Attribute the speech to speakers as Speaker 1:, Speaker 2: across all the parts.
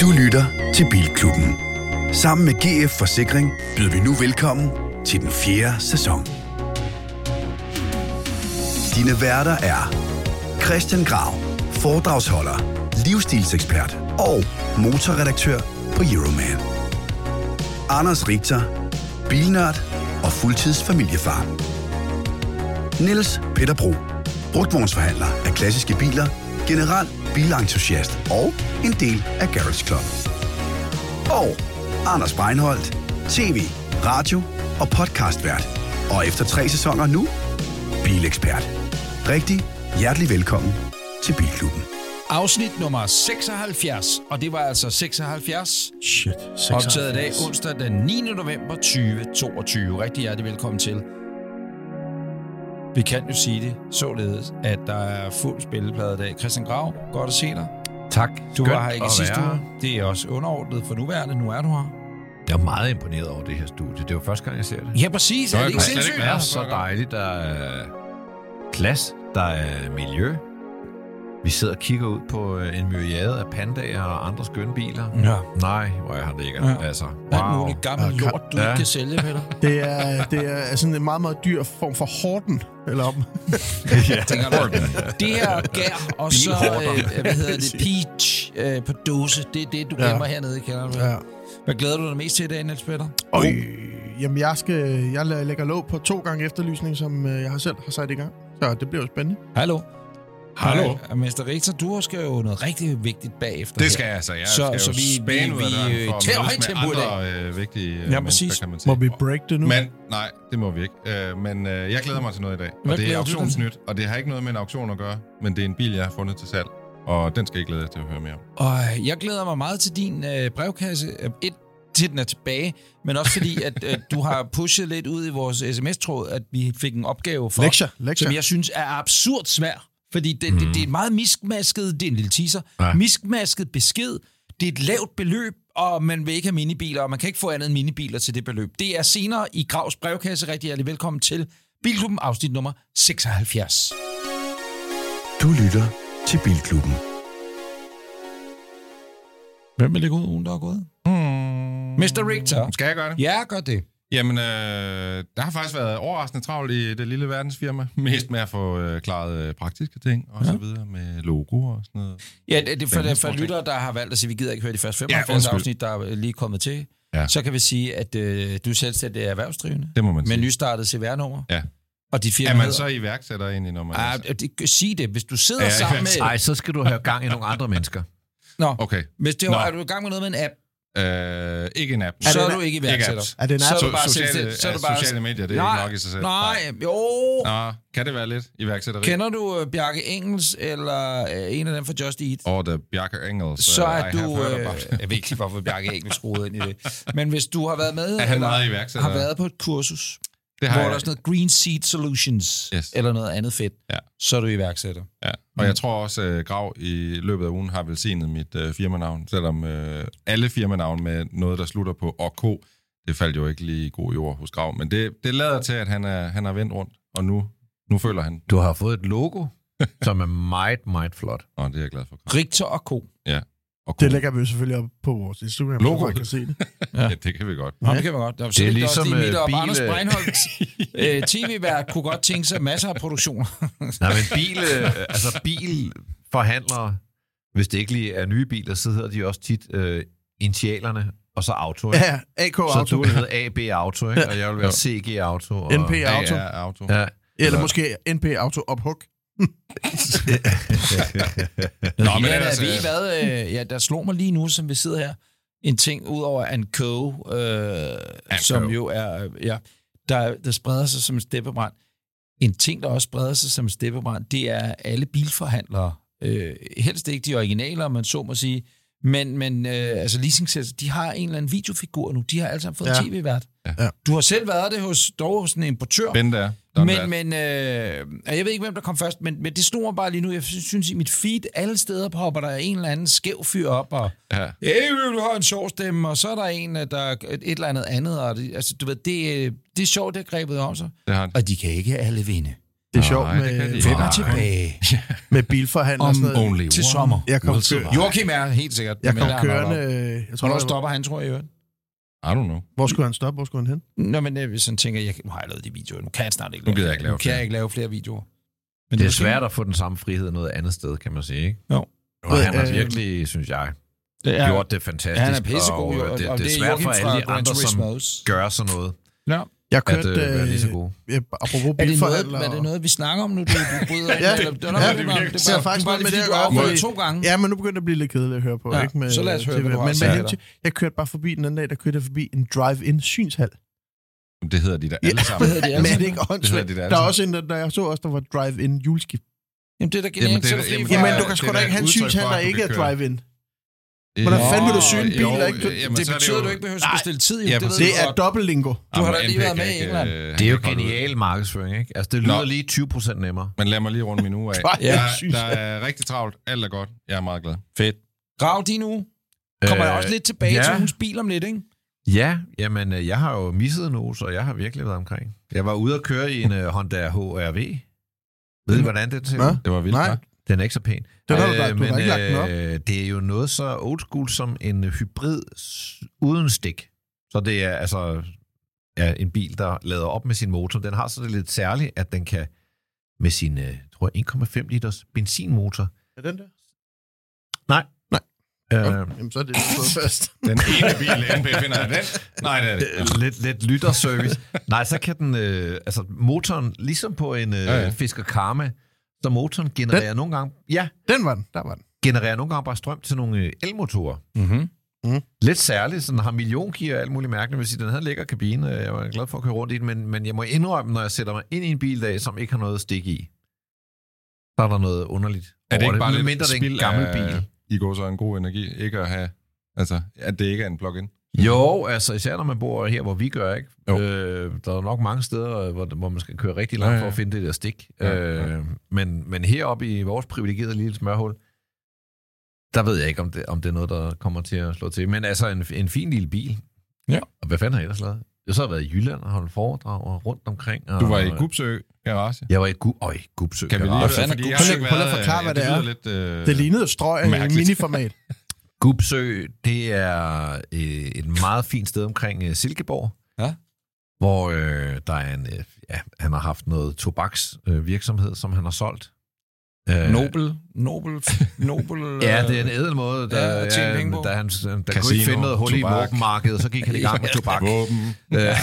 Speaker 1: Du lytter til Bilklubben. Sammen med GF Forsikring byder vi nu velkommen til den fjerde sæson. Dine værter er Christian Grav, foredragsholder, livsstilsekspert og motorredaktør på Euroman. Anders Richter, bilnørd og fuldtidsfamiliefar. Niels Peter Bro, brugtvognsforhandler af klassiske biler, general bilentusiast og en del af Garage Club. Og Anders Breinholt, tv, radio og podcastvært. Og efter tre sæsoner nu, bilekspert. Rigtig hjertelig velkommen til Bilklubben.
Speaker 2: Afsnit nummer 76, og det var altså 76,
Speaker 3: Shit. 76.
Speaker 2: optaget i dag onsdag den 9. november 2022. Rigtig hjertelig velkommen til. Vi kan jo sige det således, at der er fuld spilleplade i dag. Christian Grav, godt at se dig.
Speaker 3: Tak.
Speaker 2: Du
Speaker 3: Skønt
Speaker 2: var her ikke i
Speaker 3: at
Speaker 2: sidste
Speaker 3: være
Speaker 2: uge.
Speaker 3: her.
Speaker 2: Det er også underordnet for nuværende. Nu er du her.
Speaker 3: Jeg er meget imponeret over det her studie. Det var første gang, jeg ser det.
Speaker 2: Ja, præcis. er det ikke
Speaker 3: slet
Speaker 2: sindssygt?
Speaker 3: være så dejligt. Der er plads, der er miljø. Vi sidder og kigger ud på øh, en myriade af pandaer og andre skønne biler.
Speaker 2: Ja.
Speaker 3: Nej, hvor er han lækker.
Speaker 2: Mm. Ja.
Speaker 3: Ja. Altså,
Speaker 2: Alt
Speaker 3: wow.
Speaker 2: muligt gammel
Speaker 4: Ja,
Speaker 2: lort, du
Speaker 3: ja.
Speaker 2: ikke kan sælge, Peter.
Speaker 4: Det er, det er sådan en meget, meget dyr form for horden. Eller om.
Speaker 2: Jeg tænker nok, det her gær, og så, øh, hvad hedder det, peach øh, på dåse, det er det, du
Speaker 4: Ja.
Speaker 2: gemmer hernede i kælderen. Ja. Hvad glæder du dig mest til i dag, Niels Peter?
Speaker 4: Og, øh, jamen, jeg, skal, jeg la- lægger låg på to gange efterlysning, som øh, jeg har selv har sat i gang. Så det bliver jo spændende.
Speaker 2: Hallo?
Speaker 5: Hallo.
Speaker 2: Hej, Mester Richter, du skal jo noget rigtig vigtigt bagefter.
Speaker 5: Det
Speaker 2: her.
Speaker 5: skal jeg altså. Jeg
Speaker 2: Så-
Speaker 5: skal
Speaker 2: så
Speaker 5: jo
Speaker 2: vi-
Speaker 5: spænde
Speaker 2: vi-
Speaker 5: ud af
Speaker 2: vi, øh,
Speaker 5: døren for at
Speaker 2: tager
Speaker 5: mødes
Speaker 2: højt
Speaker 5: med
Speaker 2: tempo i dag.
Speaker 5: andre øh, vigtige øh,
Speaker 2: Ja,
Speaker 5: mennesker,
Speaker 2: præcis.
Speaker 5: kan man sige.
Speaker 4: Må vi break det nu?
Speaker 5: Men nej, det må vi ikke. Øh, men øh, jeg glæder mig til noget i dag.
Speaker 2: Hvad
Speaker 5: Og det
Speaker 2: glæder
Speaker 5: er
Speaker 2: du dig til?
Speaker 5: auktionsnyt, og det har ikke noget med en auktion at gøre, men det er en bil, jeg har fundet til salg. Og den skal jeg glæde jer til at høre mere om.
Speaker 2: Og jeg glæder mig meget til din øh, brevkasse. Øh, Et, til den er tilbage, men også fordi, at øh, du har pushet lidt ud i vores sms-tråd, at vi fik en opgave for,
Speaker 4: Lektier, lektier.
Speaker 2: som jeg synes er absurd svær. Fordi det, mm. det, det er meget miskmasket, det er en lille teaser, ja.
Speaker 3: Ja.
Speaker 2: miskmasket besked, det er et lavt beløb, og man vil ikke have minibiler, og man kan ikke få andet end minibiler til det beløb. Det er senere i Gravs brevkasse. Rigtig hjertelig velkommen til Bilklubben, afsnit nummer 76.
Speaker 1: Du lytter til Bilklubben.
Speaker 2: Hvem vil lægge ud ugen, der er gået? Mm. Mr. Richter.
Speaker 5: Skal jeg gøre det?
Speaker 2: Ja, gør det.
Speaker 5: Jamen, øh, der har faktisk været overraskende travlt i det lille verdensfirma. Mest med at få øh, klaret øh, praktiske ting og ja. så videre med logoer og sådan noget.
Speaker 2: Ja, det, det, for,
Speaker 5: Spændende
Speaker 2: for
Speaker 5: forslag.
Speaker 2: lyttere, der har valgt at sige, vi gider ikke høre de første
Speaker 5: Ja,
Speaker 2: 95 ja,
Speaker 5: undskyld.
Speaker 2: afsnit, der er lige kommet til, ja.
Speaker 5: Ja.
Speaker 2: så kan vi sige, at øh, du er selvstændig erhvervsdrivende
Speaker 5: Det må man
Speaker 2: med
Speaker 5: sige.
Speaker 2: nystartet CVR-nummer.
Speaker 5: Ja.
Speaker 2: Og dit firma
Speaker 5: Er man
Speaker 2: hedder-
Speaker 5: så iværksætter egentlig, når man... er-
Speaker 2: Ah, det, sig det, hvis du sidder
Speaker 5: Ja,
Speaker 2: ja,
Speaker 5: ja,
Speaker 2: sammen med...
Speaker 3: Ej, så skal du have gang i nogle andre mennesker.
Speaker 2: Nå,
Speaker 5: Okay.
Speaker 2: hvis det
Speaker 5: Nå.
Speaker 2: var, er du i gang med noget med en app,
Speaker 5: Øh, ikke en app.
Speaker 2: så er
Speaker 4: en
Speaker 2: du
Speaker 4: app?
Speaker 2: ikke iværksætter.
Speaker 5: apps.
Speaker 4: Er det en
Speaker 2: Så er
Speaker 4: app?
Speaker 2: Altså, du bare
Speaker 5: So- sociale-
Speaker 2: selvstændig. Så er du
Speaker 5: er
Speaker 2: bare...
Speaker 5: sociale medier, det er
Speaker 2: nej,
Speaker 5: ikke nok i sig selv.
Speaker 2: Nej, jo.
Speaker 5: Nå, kan det være lidt iværksætteri?
Speaker 2: Kender du uh, Bjarke Engels eller uh, en af dem fra Just Eat?
Speaker 5: Over the Bjarke Engels.
Speaker 2: så
Speaker 5: øh, I
Speaker 2: er
Speaker 5: have
Speaker 2: du...
Speaker 5: heard
Speaker 2: Øh,
Speaker 5: about it.
Speaker 2: jeg ved ikke, hvorfor Bjarke Engel skruede ind i det. Men hvis du har været med...
Speaker 5: Er han
Speaker 2: eller
Speaker 5: meget iværksætter?
Speaker 2: Har været på et kursus, hvor
Speaker 5: det har
Speaker 2: der er
Speaker 5: jeg.
Speaker 2: sådan noget Green Seed Solutions,
Speaker 5: Yes.
Speaker 2: eller noget andet fedt,
Speaker 5: Ja.
Speaker 2: så er du iværksætter.
Speaker 5: Ja. Og jeg tror også, øh, Grav i løbet af ugen har velsignet mit øh, firmanavn, selvom øh, alle firmanavn med noget, der slutter på OK, det faldt jo ikke lige i god jord hos Grav. Men det, det lader til, at han er, han er vendt rundt, og nu, nu føler han,
Speaker 3: Du har fået et logo, som er meget, meget flot.
Speaker 5: Nå, det er jeg glad for.
Speaker 2: Richter og Co.
Speaker 5: Og
Speaker 4: Det lægger vi jo selvfølgelig op på vores Instagram,
Speaker 5: Logo.
Speaker 4: så man kan se det.
Speaker 5: ja. ja, det kan vi godt.
Speaker 2: Nå, det kan man godt. Nå, så
Speaker 3: Det er
Speaker 2: ligger der også
Speaker 3: ligesom,
Speaker 2: lige
Speaker 3: øh,
Speaker 2: midt op.
Speaker 3: bil,
Speaker 2: Anders
Speaker 3: øh.
Speaker 2: Breinholt, øh, tv-vært, kunne godt tænke sig masser af produktioner.
Speaker 3: Nej, men bil, øh, altså bilforhandlere, hvis det ikke lige er nye biler, så hedder de også tit øh, initialerne, og så auto. ikke?
Speaker 4: Ja, AK
Speaker 3: Så
Speaker 4: Auto.
Speaker 3: du vil hedde AB Auto, ikke? og jeg vil være CG Auto. Og,
Speaker 4: NP Auto.
Speaker 5: Ja, auto. Ja.
Speaker 3: Ja.
Speaker 4: Eller måske NP Auto Ophug.
Speaker 5: Nå,
Speaker 2: Nå, men
Speaker 5: men
Speaker 2: ja,
Speaker 5: ellers,
Speaker 2: altså, ved I
Speaker 5: øh,
Speaker 2: hvad? Øh, ja, der slog mig lige nu, som vi sidder her, en ting ud over Anko, øh, som
Speaker 5: Anko.
Speaker 2: jo er, øh, ja, der, der spreder sig som en steppebrand. En ting, der også spreder sig som en steppebrand, det er alle bilforhandlere. Øh, helst ikke de originaler, om man så må sige. Men, men øh, altså leasingselskaber, de har en eller anden videofigur nu. De har alle sammen fået ja.
Speaker 4: Ja.
Speaker 2: tv-vært.
Speaker 4: Ja.
Speaker 2: Du har selv været det hos, dog hos en importør.
Speaker 5: Bente er.
Speaker 2: Men, men øh, og jeg ved ikke, hvem der kom først, men, men det stod mig bare lige nu. Jeg sy- synes, i mit feed, alle steder popper der en eller anden skæv fyr op, og
Speaker 5: Ja.
Speaker 2: hey, du har en sjov stemme, og så er der en, øh, der er et eller andet andet. Og det, altså, du ved, det, øh, det er sjovt, det har grebet om sig.
Speaker 5: Det har han.
Speaker 2: Og de kan ikke alle vinde.
Speaker 4: Det er sjovt
Speaker 5: Nej, det kan de
Speaker 4: med,
Speaker 5: ikke.
Speaker 2: Hvem
Speaker 5: Nej.
Speaker 2: er tilbage øh,
Speaker 4: med bilforhandler og sådan noget.
Speaker 5: Only
Speaker 2: til
Speaker 5: one
Speaker 2: sommer?
Speaker 4: Jeg kom,
Speaker 5: will
Speaker 4: kø-
Speaker 5: survive.
Speaker 2: Joachim er helt sikkert.
Speaker 4: jeg
Speaker 2: men
Speaker 4: kom
Speaker 2: der er han
Speaker 4: kørende...
Speaker 2: nok op.
Speaker 4: øh, Jeg tror,
Speaker 2: Hvornår
Speaker 4: jeg-
Speaker 2: stopper han, tror jeg, i øvrigt?
Speaker 5: I don't know.
Speaker 4: Hvor skulle han stoppe? Hvor skulle han hen?
Speaker 2: Nå, men øh, hvis han tænker, jeg, nu har jeg lavet de videoer, nu kan jeg snart ikke
Speaker 5: Nu gider jeg ikke lave
Speaker 2: nu kan
Speaker 5: flere.
Speaker 2: jeg ikke lave flere videoer. Men
Speaker 3: Det er
Speaker 2: måske-
Speaker 3: svært at få den samme frihed noget andet sted, kan man sige, ikke?
Speaker 2: Jo.
Speaker 3: Og han har
Speaker 4: Øh,
Speaker 3: virkelig, synes jeg,
Speaker 2: Det
Speaker 3: ja.
Speaker 2: er,
Speaker 3: gjort det fantastisk.
Speaker 2: ja, han Altså, er pissegod,
Speaker 3: og,
Speaker 2: jo,
Speaker 3: øh, det, det,
Speaker 2: og
Speaker 3: er svært for
Speaker 2: Joachim
Speaker 3: alle de
Speaker 2: fra Gran
Speaker 3: andre, som
Speaker 2: Turismos.
Speaker 3: gør sådan noget,
Speaker 2: Ja.
Speaker 4: Jeg
Speaker 3: at
Speaker 4: kørte...
Speaker 3: øh, være lige så
Speaker 4: Øh,
Speaker 3: gode.
Speaker 4: jeg, apropos
Speaker 2: Er det, noget,
Speaker 4: bilforhandler...
Speaker 2: er det noget, vi snakker om nu, du, du bryder ind?
Speaker 4: Ja,
Speaker 2: eller, det,
Speaker 4: ja,
Speaker 2: det,
Speaker 4: det
Speaker 2: var-
Speaker 4: er
Speaker 2: det, det,
Speaker 4: faktisk
Speaker 2: det, bare
Speaker 4: noget med
Speaker 2: lige,
Speaker 4: det
Speaker 2: fordi
Speaker 4: at
Speaker 2: du
Speaker 4: gøre,
Speaker 2: afbrød
Speaker 4: fordi-
Speaker 2: to gange.
Speaker 4: Ja, men nu begynder det at blive lidt kedeligt at høre på,
Speaker 2: Mm. Ja,
Speaker 4: ikke? Med,
Speaker 2: så lad os høre,
Speaker 4: TV.
Speaker 2: hvad du har
Speaker 4: Men
Speaker 2: at
Speaker 4: med
Speaker 2: sige
Speaker 4: hensyn, jeg kørte bare forbi den anden dag, der kørte jeg forbi en drive-in synshal.
Speaker 5: Det hedder de der alle sammen.
Speaker 2: Hvad hedder det
Speaker 4: Men
Speaker 2: altså?
Speaker 4: er det ikke åndssvagt?
Speaker 5: det der
Speaker 4: Der,
Speaker 5: alle
Speaker 4: er
Speaker 5: sammen.
Speaker 4: også en, der, der jeg så også, der var drive-in juleskift.
Speaker 2: Jamen, det er da
Speaker 5: Jamen,
Speaker 2: genialt,
Speaker 5: det
Speaker 2: så
Speaker 5: er
Speaker 2: er du fri
Speaker 5: da- jamen,
Speaker 2: fra.
Speaker 4: Jamen,
Speaker 5: er-
Speaker 4: du kan sgu
Speaker 5: det er
Speaker 4: da ikke
Speaker 5: et
Speaker 4: have en
Speaker 5: udtryk for,
Speaker 4: synshal,
Speaker 5: at
Speaker 4: der
Speaker 5: du
Speaker 4: ikke er
Speaker 5: kan køre.
Speaker 4: drive-in.
Speaker 2: Hvordan
Speaker 5: Øh,
Speaker 2: fanden vil du
Speaker 4: syge en
Speaker 5: jo,
Speaker 4: bil, der ikke-
Speaker 5: øh, jamen,
Speaker 2: Det
Speaker 5: så er
Speaker 2: betyder,
Speaker 5: jo-
Speaker 2: at du ikke behøver at bestille tid. jo.
Speaker 5: Ja,
Speaker 2: det ved
Speaker 4: Det
Speaker 2: du
Speaker 4: er
Speaker 2: godt.
Speaker 4: dobbeltlingo.
Speaker 2: Du har
Speaker 5: Jamen,
Speaker 2: da lige
Speaker 5: NPK
Speaker 2: været med i
Speaker 5: kan ikke,
Speaker 2: England.
Speaker 5: øh,
Speaker 3: Det er jo
Speaker 5: han kan godt ud.
Speaker 3: genial markedsføring, ikke? Altså, det lyder
Speaker 5: Nå.
Speaker 3: lige 20% nemmere.
Speaker 5: Men lad mig lige runde min uge af.
Speaker 4: Drive-in
Speaker 2: Ja,
Speaker 5: Der, der
Speaker 4: synshal.
Speaker 5: er rigtig travlt. Alt er godt. Jeg er meget glad.
Speaker 2: Fedt. Grav din uge. Kommer jeg også lidt tilbage
Speaker 3: ja.
Speaker 2: til ugens bil om lidt, ikke?
Speaker 3: Øh, Ja, jamen, øh, jeg har jo misset nu, så jeg har virkelig været omkring. Jeg var ude at køre i en uh, Honda HRV. Ved I, hvordan det ser
Speaker 4: Hvad?
Speaker 3: ud?
Speaker 5: Det var vildt,
Speaker 4: Nej.
Speaker 5: hva'?
Speaker 3: Den er ikke så pæn.
Speaker 4: Den har du lagt- du har ikke lagt den op.
Speaker 3: øh, det er jo noget så old school som en hybrid s- uden stik. Så det er altså ja, en bil, der lader op med sin motor. Den har så det lidt særligt, at den kan med sin øh, tror jeg, 1,5 liters benzinmotor.
Speaker 4: Er den der?
Speaker 3: Nej. Nej. Øh,
Speaker 4: Jamen, så er det slået fast.
Speaker 5: Den ene bil, NP finder er den. Nej, det er det.
Speaker 3: Øh, lidt, lidt lytterservice. Nej, så kan den, øh, altså motoren, ligesom på en øh,
Speaker 5: Ja,
Speaker 3: ja,
Speaker 5: ja.
Speaker 3: ja. Fisker Karma, så motoren genererer nogle gange, ja,
Speaker 4: Den var den, der var den.
Speaker 3: genererer nogle gange bare strøm til nogle øh, elmotorer.
Speaker 2: Mm-hmm.
Speaker 3: Lidt særligt, så den har milliongear og alt muligt mærkeligt. Hvis den havde en lækker kabine, øh, jeg var glad for at køre rundt i den, men, men jeg må indrømme, når jeg sætter mig ind i en bil i dag, som ikke har noget stik i, så er der noget underligt.
Speaker 5: Er det
Speaker 3: over
Speaker 5: ikke bare lidt
Speaker 3: Medmindre det er en
Speaker 5: spild
Speaker 3: gammel
Speaker 5: af-
Speaker 3: bil.
Speaker 5: I går så en god energi. Ikke at have... Altså, at det ikke er en plug-in.
Speaker 3: Jo, altså især når man bor her, hvor vi gør, ikke?
Speaker 5: Jo.
Speaker 3: Øh, der er nok mange steder, øh, hvor, hvor man skal køre rigtig langt
Speaker 5: Ja,
Speaker 3: ja,
Speaker 5: ja.
Speaker 3: ja. for at finde det der stik.
Speaker 5: Ja,
Speaker 3: Ja,
Speaker 5: ja.
Speaker 3: ja. Øh, men, men heroppe i vores privilegerede lille smørhul, der ved jeg ikke, om det, om det er noget, der kommer til at slå til. Men altså en, en fin lille bil.
Speaker 2: Ja.
Speaker 3: Og hvad fanden har jeg ellers lavet? Jeg så har været i Jylland og holdt foredrag og rundt omkring. Og,
Speaker 5: Du var i Gubsø Garage.
Speaker 3: Jeg var i Gub... Øj, Gubsø.
Speaker 5: Kan vi lige...
Speaker 3: Garage.
Speaker 2: fanden er
Speaker 5: fordi
Speaker 2: Gubsø?
Speaker 5: jeg har ikke
Speaker 4: Prøv lige at
Speaker 5: været-
Speaker 4: forklare, hvad det
Speaker 5: lyder
Speaker 4: er.
Speaker 5: Lidt, øh,
Speaker 4: Det lignede et strøg af en
Speaker 5: mærkeligt.
Speaker 4: miniformat.
Speaker 3: Gubsø, det er øh, et meget fint sted omkring øh, Silkeborg.
Speaker 2: Ja.
Speaker 3: Hvor øh, der er en, øh, ja, han har haft noget tobaksvirksomhed, øh, virksomhed, som han har solgt. Øh,
Speaker 2: Nobel. Nobel. Nobel. øh,
Speaker 3: Ja, det er en ædel måde, der,
Speaker 2: Ja, at tjene penge på.
Speaker 3: da han der kunne
Speaker 5: Casino,
Speaker 3: ikke finde noget hul
Speaker 5: tobak.
Speaker 3: i våbenmarkedet, så gik han i gang med tobak.
Speaker 5: Våben.
Speaker 3: Øh,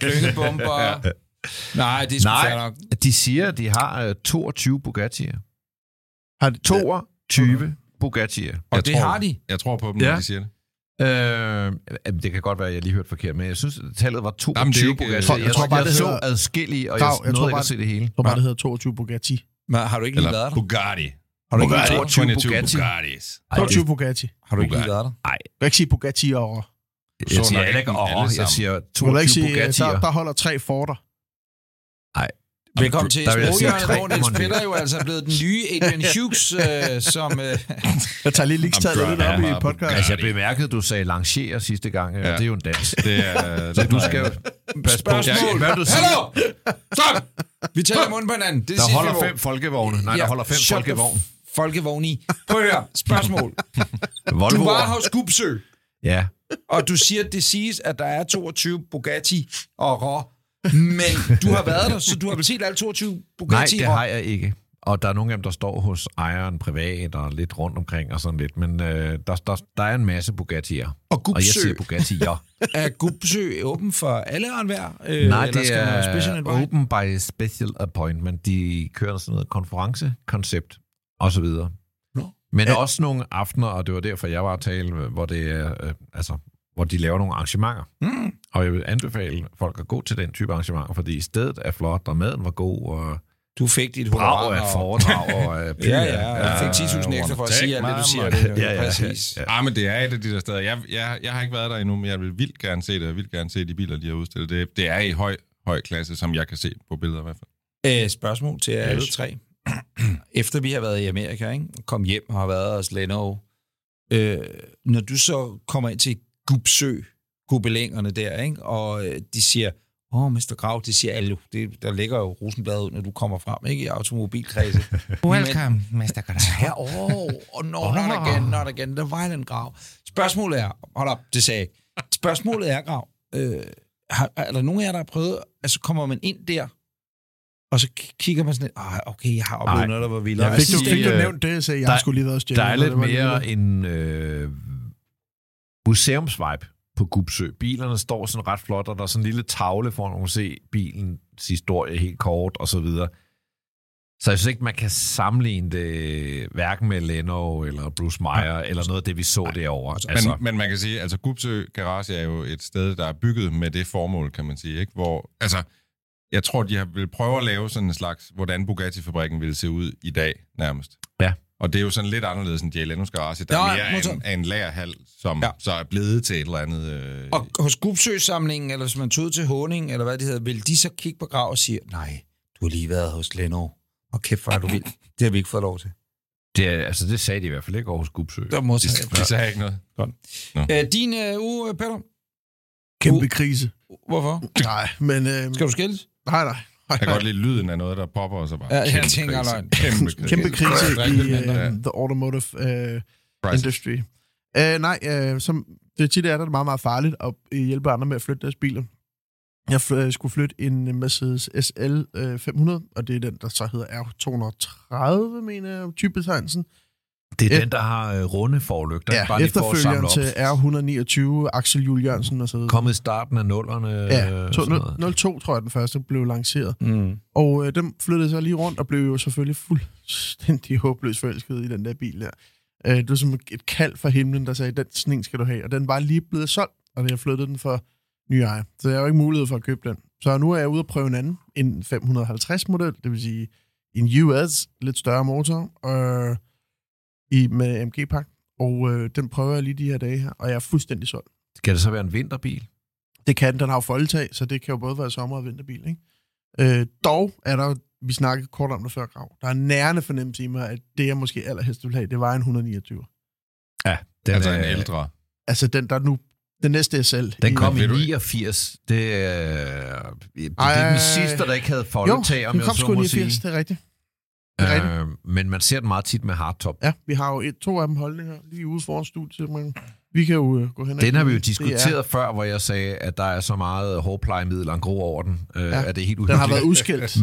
Speaker 2: Klyngebomber. Nej, det er sgu
Speaker 3: Nej.
Speaker 2: fair nok.
Speaker 3: de siger, at de har øh, 22 Bugatti'er.
Speaker 4: Har det,
Speaker 3: 22 Bugatti'er.
Speaker 2: Og
Speaker 5: Jeg
Speaker 2: det
Speaker 5: tror-
Speaker 2: har de.
Speaker 5: Jeg tror på dem,
Speaker 3: Ja.
Speaker 5: når de siger det.
Speaker 3: Øh, jamen, det kan godt være, at jeg lige hørte forkert, men jeg synes, at tallet var 22
Speaker 5: Jamen, det er ikke-
Speaker 3: Bugatti. Jeg, jeg, tror bare, jeg
Speaker 4: det
Speaker 3: så
Speaker 4: hedder-
Speaker 3: adskillige, og
Speaker 4: Dag,
Speaker 3: jeg,
Speaker 4: jeg
Speaker 3: jeg
Speaker 4: tror
Speaker 3: nåede ikke
Speaker 4: bare-
Speaker 3: at se det hele.
Speaker 4: tror bare, det hedder 22 Bugatti.
Speaker 2: Men har du ikke
Speaker 5: Eller
Speaker 2: lige været der?
Speaker 5: Bugatti.
Speaker 2: Har du ikke lige været der?
Speaker 3: 22
Speaker 5: 22
Speaker 3: Bugatti.
Speaker 5: Bugattis.
Speaker 3: Ej,
Speaker 4: 22 Bugatti.
Speaker 2: Har du ikke lige været der?
Speaker 4: Du kan ikke sige Bugatti og...
Speaker 3: jeg,
Speaker 5: Så
Speaker 3: jeg siger
Speaker 5: nok
Speaker 3: heller
Speaker 5: ikke
Speaker 3: ikke,
Speaker 5: dem alle
Speaker 3: åh, jeg
Speaker 5: sammen.
Speaker 3: siger
Speaker 4: Du kan ikke
Speaker 3: 22
Speaker 4: sige, øh, der,
Speaker 3: Bugatti'er.
Speaker 4: der holder tre Forder.
Speaker 2: Velkommen til
Speaker 3: Der vil jeg sige
Speaker 2: Sproghjørnet,
Speaker 3: tre
Speaker 2: hvor Niels
Speaker 3: Monty.
Speaker 2: Peter jo altså er blevet den nye Adrian Hughes, øh, som... Øh,
Speaker 4: Jeg tager lige ligstaget
Speaker 5: Jamen,
Speaker 4: lidt
Speaker 5: du er
Speaker 4: op i
Speaker 5: meget
Speaker 4: podcast.
Speaker 3: Altså, jeg bemærkede, at du sagde lancerer sidste gang, ja.
Speaker 5: Ja.
Speaker 3: og det er jo en dans.
Speaker 5: Det er...
Speaker 3: Så du skal jo passe på.
Speaker 2: spørgsmål!
Speaker 3: Hvad du siger?
Speaker 2: Hallo! Stop! Vi taler mund på hinanden. Det
Speaker 3: Der
Speaker 2: siger
Speaker 3: holder
Speaker 2: vi, hvor-
Speaker 3: fem folkevogne. Nej, der
Speaker 2: Ja,
Speaker 3: holder fem
Speaker 2: shut the
Speaker 3: folkevogne.
Speaker 2: f- Folkevogne i. Prøv at høre. Spørgsmål. Du
Speaker 3: Volvo.
Speaker 2: var hos Gubsø,
Speaker 3: Ja.
Speaker 2: og du siger, at det siges, at der er 22 Bugatti og Rå. Men du har været der, så du har vel set alle 22
Speaker 3: Nej,
Speaker 2: Bugatti
Speaker 3: det
Speaker 2: Rå?
Speaker 3: har jeg ikke. Og der er nogle af dem, der står hos ejeren privat og lidt rundt omkring og sådan lidt. Men øh, der, der, der er en masse Bugatti'er.
Speaker 2: Og
Speaker 3: Og jeg
Speaker 2: Gubsø,
Speaker 3: siger Bugatti'er.
Speaker 2: er Gubsø åben for alle og enhver? Øh,
Speaker 3: Nej,
Speaker 2: eller
Speaker 3: det
Speaker 2: skal man have special
Speaker 3: er
Speaker 2: invite?
Speaker 3: open by special appointment. De kører sådan noget konferencekoncept og så videre.
Speaker 2: Nå.
Speaker 3: Men også nogle aftener, og det var derfor, jeg var at tale, hvor, det er, øh, altså, hvor de laver nogle arrangementer.
Speaker 2: Mm.
Speaker 3: Og jeg vil anbefale folk at gå til den type arrangementer, fordi stedet er flot, og maden var god, og
Speaker 2: Du fik dit
Speaker 3: brav
Speaker 2: honorar.
Speaker 3: af
Speaker 2: og-
Speaker 3: foredrag. og, øh, by
Speaker 2: Ja,
Speaker 3: er-
Speaker 2: ja, og jeg fik 10.000 ekstra for at
Speaker 5: Take
Speaker 2: sige alt det,
Speaker 5: my
Speaker 2: du siger.
Speaker 5: money.
Speaker 2: Det,
Speaker 3: Ja, ja,
Speaker 2: præcis.
Speaker 3: ja.
Speaker 5: Ja, Ah, men det er et af de der steder. Jeg, jeg, jeg har ikke været der endnu, men jeg vil vildt gerne se det. Jeg vil gerne se de biler, de har udstillet. Det, det er i høj, høj klasse, som jeg kan se på billeder i hvert fald.
Speaker 2: Øh, spørgsmål til jer alle tre. Efter vi har været i Amerika, ikke? kom hjem og har været hos Leno, øh, når du så kommer ind til Gubsø, gubelængerne der, ikke? og øh, de siger, Åh, oh, Mr. Grav, det siger alle jo. Det, der ligger jo rosenbladet, når du kommer frem, ikke? I automobilkredse.
Speaker 6: Welcome, Mr. Grav.
Speaker 2: Ja, åh, oh, oh, no, not again, not again. The violent grav. Spørgsmålet er, hold op, det sagde jeg ikke. Spørgsmålet er, grav, øh, har, er der nogen af jer, der har prøvet, altså kommer man ind der, og så k- kigger man sådan lidt, ah, okay, jeg har oplevet
Speaker 3: Nej.
Speaker 2: noget, der var
Speaker 3: Jeg
Speaker 2: vildere.
Speaker 3: vil
Speaker 4: Fik du,
Speaker 3: sige,
Speaker 4: fik du
Speaker 3: øh,
Speaker 4: nævnt det, så jeg
Speaker 3: der-
Speaker 4: der, skulle lige været stjælet.
Speaker 3: Der er lidt mere en øh, museumsvibe på Gubsø. Bilerne står sådan ret flot, og der er sådan en lille tavle for, at man kan se bilens historie helt kort og så videre. Så jeg synes ikke, man kan sammenligne det øh, hverken med Leno eller Bruce Meyer eller noget af det, vi så derovre.
Speaker 5: Altså.
Speaker 3: Altså,
Speaker 5: Men, men man kan sige, altså Gubsø Garage er jo et sted, der er bygget med det formål, kan man sige. Ikke? Hvor, altså, jeg tror, de har vil prøve at lave sådan en slags, hvordan Bugatti-fabrikken ville se ud i dag nærmest.
Speaker 3: Ja.
Speaker 5: Og det er jo sådan lidt anderledes end Jelenos Garage, der
Speaker 2: Nå,
Speaker 5: er
Speaker 2: ja,
Speaker 5: mere af
Speaker 2: modtaget.
Speaker 5: en, af en lagerhal, som
Speaker 2: Ja.
Speaker 5: ja. så er blevet til et eller andet. Øh,
Speaker 2: Og hos Gubsø-samlingen, eller hvis man tog ud til Honing, eller hvad det hedder, vil de så kigge på grav og sige, nej, du har lige været hos Leno, og kæft, hvor er du vild. Det har vi ikke fået lov til.
Speaker 3: det, er- altså, det sagde de i hvert fald ikke over hos Gubsø.
Speaker 2: Der modtager jeg.
Speaker 5: de sagde ikke noget.
Speaker 2: Øh, din øh, uge, Peter,
Speaker 4: Kæmpe krise.
Speaker 2: hvorfor?
Speaker 4: Nej, men... Øh,
Speaker 2: Skal du skilles?
Speaker 4: Nej, nej. nej,
Speaker 5: Jeg kan
Speaker 4: nej.
Speaker 5: godt lide lyden af noget, der popper, og så bare
Speaker 2: Ja, jeg
Speaker 5: kæmpe
Speaker 2: tænker,
Speaker 5: krise.
Speaker 2: løgn.
Speaker 5: Kæmpe,
Speaker 4: Kæmpe krise i
Speaker 5: mindre, ja.
Speaker 4: uh, the automotive uh,
Speaker 5: Price.
Speaker 4: industry. Uh, nej, uh, som det tit er, der er det meget, meget farligt at øh, hjælpe andre med at flytte deres biler. Jeg fl- øh, skulle flytte en øh, Mercedes SL øh, 500, og det er den, der så hedder R230, mener jeg, typebetegnelsen.
Speaker 3: Det er
Speaker 4: Ja.
Speaker 3: den, der har øh, runde forlygter.
Speaker 4: Ja,
Speaker 3: bare lige for at samle
Speaker 4: efterfølgeren
Speaker 3: op.
Speaker 4: til R129, Axel Juhl Jørgensen og så videre.
Speaker 3: Kommet i starten af nullerne.
Speaker 4: Ja,
Speaker 3: øh,
Speaker 4: to,
Speaker 3: sådan noget.
Speaker 4: 02 tror jeg, den første blev lanceret.
Speaker 2: Mm.
Speaker 4: Og øh, dem flyttede så lige rundt og blev jo selvfølgelig fuldstændig håbløst forelsket i den der bil der. Øh, det var som et kald fra himlen, der sagde, den sådan en skal du have. Og den var lige blevet solgt, og jeg flyttede den for nye ejer. Så jeg har jo ikke mulighed for at købe den. Så nu er jeg ude og prøve en anden, en 550-model, det vil sige en US, lidt større motor, øh, i, med MG-pakke. Og øh, den prøver jeg lige de her dage her, og jeg er fuldstændig solgt.
Speaker 3: Skal det så være en vinterbil?
Speaker 4: Det kan den. Den har jo foldetag, så det kan jo både være sommer- og vinterbil, ikke? Øh, dog er der jo- vi snakkede kort om det før, Grav. Der er en nærende fornemmelse i mig, at det, jeg måske allerhelst ville have, det var en 129.
Speaker 3: Den
Speaker 5: Altså
Speaker 3: er-
Speaker 5: en ældre.
Speaker 4: Altså den, der nu... Den næste SL.
Speaker 3: Den kom
Speaker 5: Men
Speaker 3: i
Speaker 5: ved du ikke-
Speaker 3: 89. Det, øh, det, det er
Speaker 4: Ej.
Speaker 3: den sidste, der ikke havde
Speaker 4: jo,
Speaker 3: foldetag, om
Speaker 4: den
Speaker 3: jeg
Speaker 4: kom
Speaker 3: så
Speaker 4: sgu
Speaker 3: må
Speaker 4: 89,
Speaker 3: sige.
Speaker 4: det er rigtigt. er
Speaker 3: Øh, men man ser den meget tit med hardtop.
Speaker 4: Ja, vi har jo et, to af dem holdninger lige ude foran studiet, men vi kan jo øh, gå hen og
Speaker 3: Den har vi jo
Speaker 4: kigge. Det er-
Speaker 3: diskuteret før, hvor jeg sagde, at der er så meget hårplejemiddel og grå over den, øh,
Speaker 4: Ja.
Speaker 3: ja. at det er helt
Speaker 4: Den
Speaker 3: uhyggeligt.
Speaker 4: har været udskilt.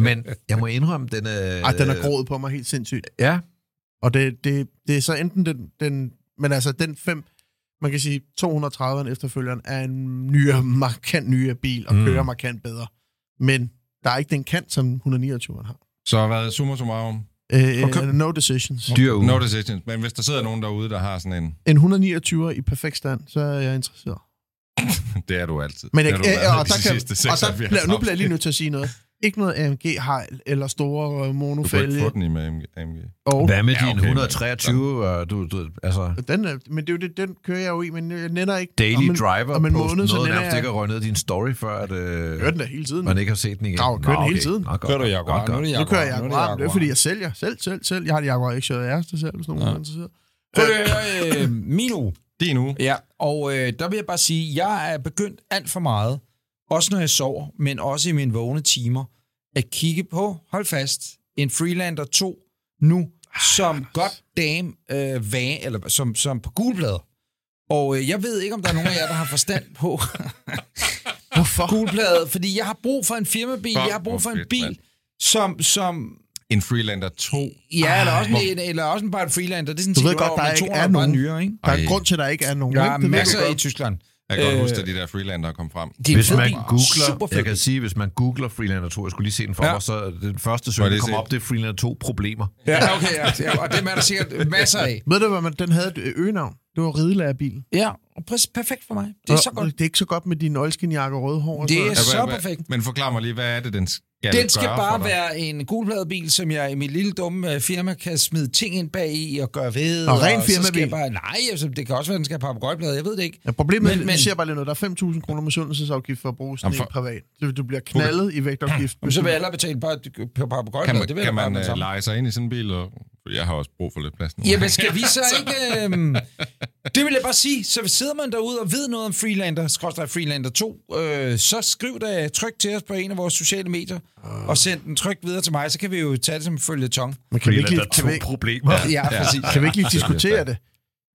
Speaker 3: Men jeg må indrømme, den er...
Speaker 4: Ej, den har grået på mig helt sindssygt.
Speaker 3: Ja,
Speaker 4: Og det, det, det er så enten den, den... Men altså, den 5... Man kan sige, 230'eren efterfølgeren er en nyere, markant nyere bil, og
Speaker 3: Mm.
Speaker 4: mm. kører markant bedere. Men der er ikke den kant, som 129'eren har.
Speaker 5: Så har været summa summarum.
Speaker 4: Øh,
Speaker 5: Okay.
Speaker 4: okay. No decisions.
Speaker 3: dyr uge.
Speaker 5: No decisions. Men hvis der sidder nogen derude, der har sådan en...
Speaker 4: En 129'er i perfekt stand, så er jeg interesseret.
Speaker 5: Det er du altid.
Speaker 4: Men jeg,
Speaker 5: det
Speaker 4: øh,
Speaker 5: har du været
Speaker 4: og,
Speaker 5: de
Speaker 4: der kan,
Speaker 5: sidste
Speaker 4: og der
Speaker 5: 76
Speaker 4: bliver, nu bliver jeg lige
Speaker 5: afsnit.
Speaker 4: nødt til at sige noget. Ikke noget AMG-hejl eller store øh,
Speaker 5: Du kan ikke
Speaker 4: monofælge.
Speaker 5: få den i med AMG. AMG.
Speaker 4: Og
Speaker 3: Hvad med
Speaker 5: Ja,
Speaker 3: ja, din
Speaker 5: okay, men-
Speaker 3: 123? Og du, du, altså,
Speaker 4: den, er- men det er jo det, den kører jeg jo i, men jeg nænder ikke.
Speaker 3: daily
Speaker 4: om en-
Speaker 3: driver
Speaker 4: om en
Speaker 3: posten,
Speaker 4: måned, så
Speaker 3: noget
Speaker 4: den
Speaker 3: nærmest
Speaker 4: er-
Speaker 3: ikke har røget ned i din story, før at, øh,
Speaker 4: Kører den da hele tiden.
Speaker 3: man ikke har set den igen.
Speaker 4: Grav, kører
Speaker 3: Nå,
Speaker 4: den hele
Speaker 3: okay.
Speaker 4: tiden.
Speaker 3: Nå, godt,
Speaker 2: Kører du
Speaker 3: godt,
Speaker 2: Jaguar?
Speaker 3: godt.
Speaker 2: Nu er det
Speaker 4: Nu
Speaker 2: Jaguar.
Speaker 4: kører jeg
Speaker 2: nu
Speaker 4: Jaguar, men det er fordi, jeg sælger. Selv, selv, selv. Jeg har en Jaguar ikke til selv, hvis nogen
Speaker 2: Ja.
Speaker 4: ja. er interesseret.
Speaker 2: Prøv lige at høre, øh, min uge.
Speaker 5: Din uge.
Speaker 2: Ja, og øh, der vil jeg bare sige, jeg er begyndt alt for meget, også når jeg sover, men også i mine vågne timer, at kigge på, hold fast, en Freelander 2 nu, som godt dame øh, van, eller som, som på gulblader. Og øh, jeg ved ikke, om der er nogen af jer, der har forstand på
Speaker 4: Hvorfor?
Speaker 2: gulblader, fordi jeg har brug for en firmabil,
Speaker 5: Fuck,
Speaker 2: jeg har brug for
Speaker 5: hvor
Speaker 2: en
Speaker 5: fedt, mand.
Speaker 2: bil, som, som
Speaker 5: En Freelander 2.
Speaker 2: Ja, eller også, en, eller også en, bare en freelander. Det er sådan
Speaker 4: Du ved
Speaker 2: set,
Speaker 4: godt,
Speaker 2: hvor
Speaker 4: der
Speaker 2: man
Speaker 4: ikke
Speaker 2: toner
Speaker 4: er
Speaker 2: bare
Speaker 4: nogen.
Speaker 2: nyere, ikke?
Speaker 4: Der er
Speaker 5: Ej.
Speaker 4: en grund til, at der ikke er nogen.
Speaker 2: Der er
Speaker 4: ikke? Det ved
Speaker 2: masser
Speaker 4: du godt.
Speaker 2: i Tyskland.
Speaker 5: Jeg kan godt
Speaker 2: Øh,
Speaker 5: huske, at de der Freelander kom frem.
Speaker 2: Det er en
Speaker 3: Hvis
Speaker 2: fed
Speaker 3: man
Speaker 2: bil. Super
Speaker 3: googler,
Speaker 2: fed
Speaker 3: jeg kan
Speaker 2: bil.
Speaker 3: sige, hvis man googler Freelander 2, jeg skulle lige se den for
Speaker 2: Ja.
Speaker 3: ja. mig, så den første
Speaker 5: Må jeg
Speaker 3: søgning, der
Speaker 5: lige
Speaker 3: kommer
Speaker 5: se?
Speaker 3: op, det er Freelander 2 problemer.
Speaker 2: Ja, okay, ja, ja, og dem er der sikkert masser af.
Speaker 4: Ved du, hvad man, den havde et ø- øgenavn? Det var ridelærerbilen.
Speaker 2: Ja, og præcis perfekt for mig. Det er så godt.
Speaker 4: Det er ikke så godt med din oldskinjakke og røde hår. og
Speaker 2: Det
Speaker 4: sådan
Speaker 2: er
Speaker 4: noget.
Speaker 5: Ja,
Speaker 2: så
Speaker 5: hvad-
Speaker 2: perfekt.
Speaker 5: Men forklar mig lige, hvad er det, den skal
Speaker 2: Den skal
Speaker 5: gøre for
Speaker 2: bare
Speaker 5: dig?
Speaker 2: være en gulpladebil, som jeg i mit lille dumme øh, firma kan smide ting ind bag i og gøre ved.
Speaker 4: Og ren
Speaker 2: så skal
Speaker 4: firmabil.
Speaker 2: jeg Bare, nej, altså, det kan også være, den skal have papagøjblade. Jeg ved det ikke.
Speaker 4: Ja, problemet
Speaker 2: Men-
Speaker 4: men, men,
Speaker 2: men-
Speaker 4: vi ser bare lige noget. Der er 5.000 kroner med sundhedsafgift for at bruge sådan
Speaker 5: Jamen, for-
Speaker 4: en privat. Så du bliver knaldet i vægtafgift.
Speaker 2: Men så vil jeg hellere betale på, på
Speaker 5: Kan
Speaker 2: papagøjblade.
Speaker 5: man,
Speaker 2: Det vil jeg
Speaker 5: kan
Speaker 2: bare
Speaker 5: man
Speaker 2: med det
Speaker 5: øh,
Speaker 2: samme.
Speaker 5: lege sig ind i sådan en bil? Og, for jeg har også brug for lidt plads nu.
Speaker 2: Jamen, skal vi så ikke... Øhm, Det vil jeg bare sige. Så hvis sidder man derude og ved noget om Freelander, skråstrej Freelander 2, øh, så skriv da tryk til os på en af vores sociale medier, og send den tryk videre til mig, så kan vi jo tage det som følge tong.
Speaker 4: Men kan vi ikke lige, kan vi, ikke-
Speaker 3: problemer.
Speaker 2: Ja, præcis.
Speaker 4: kan vi ikke lige diskutere det?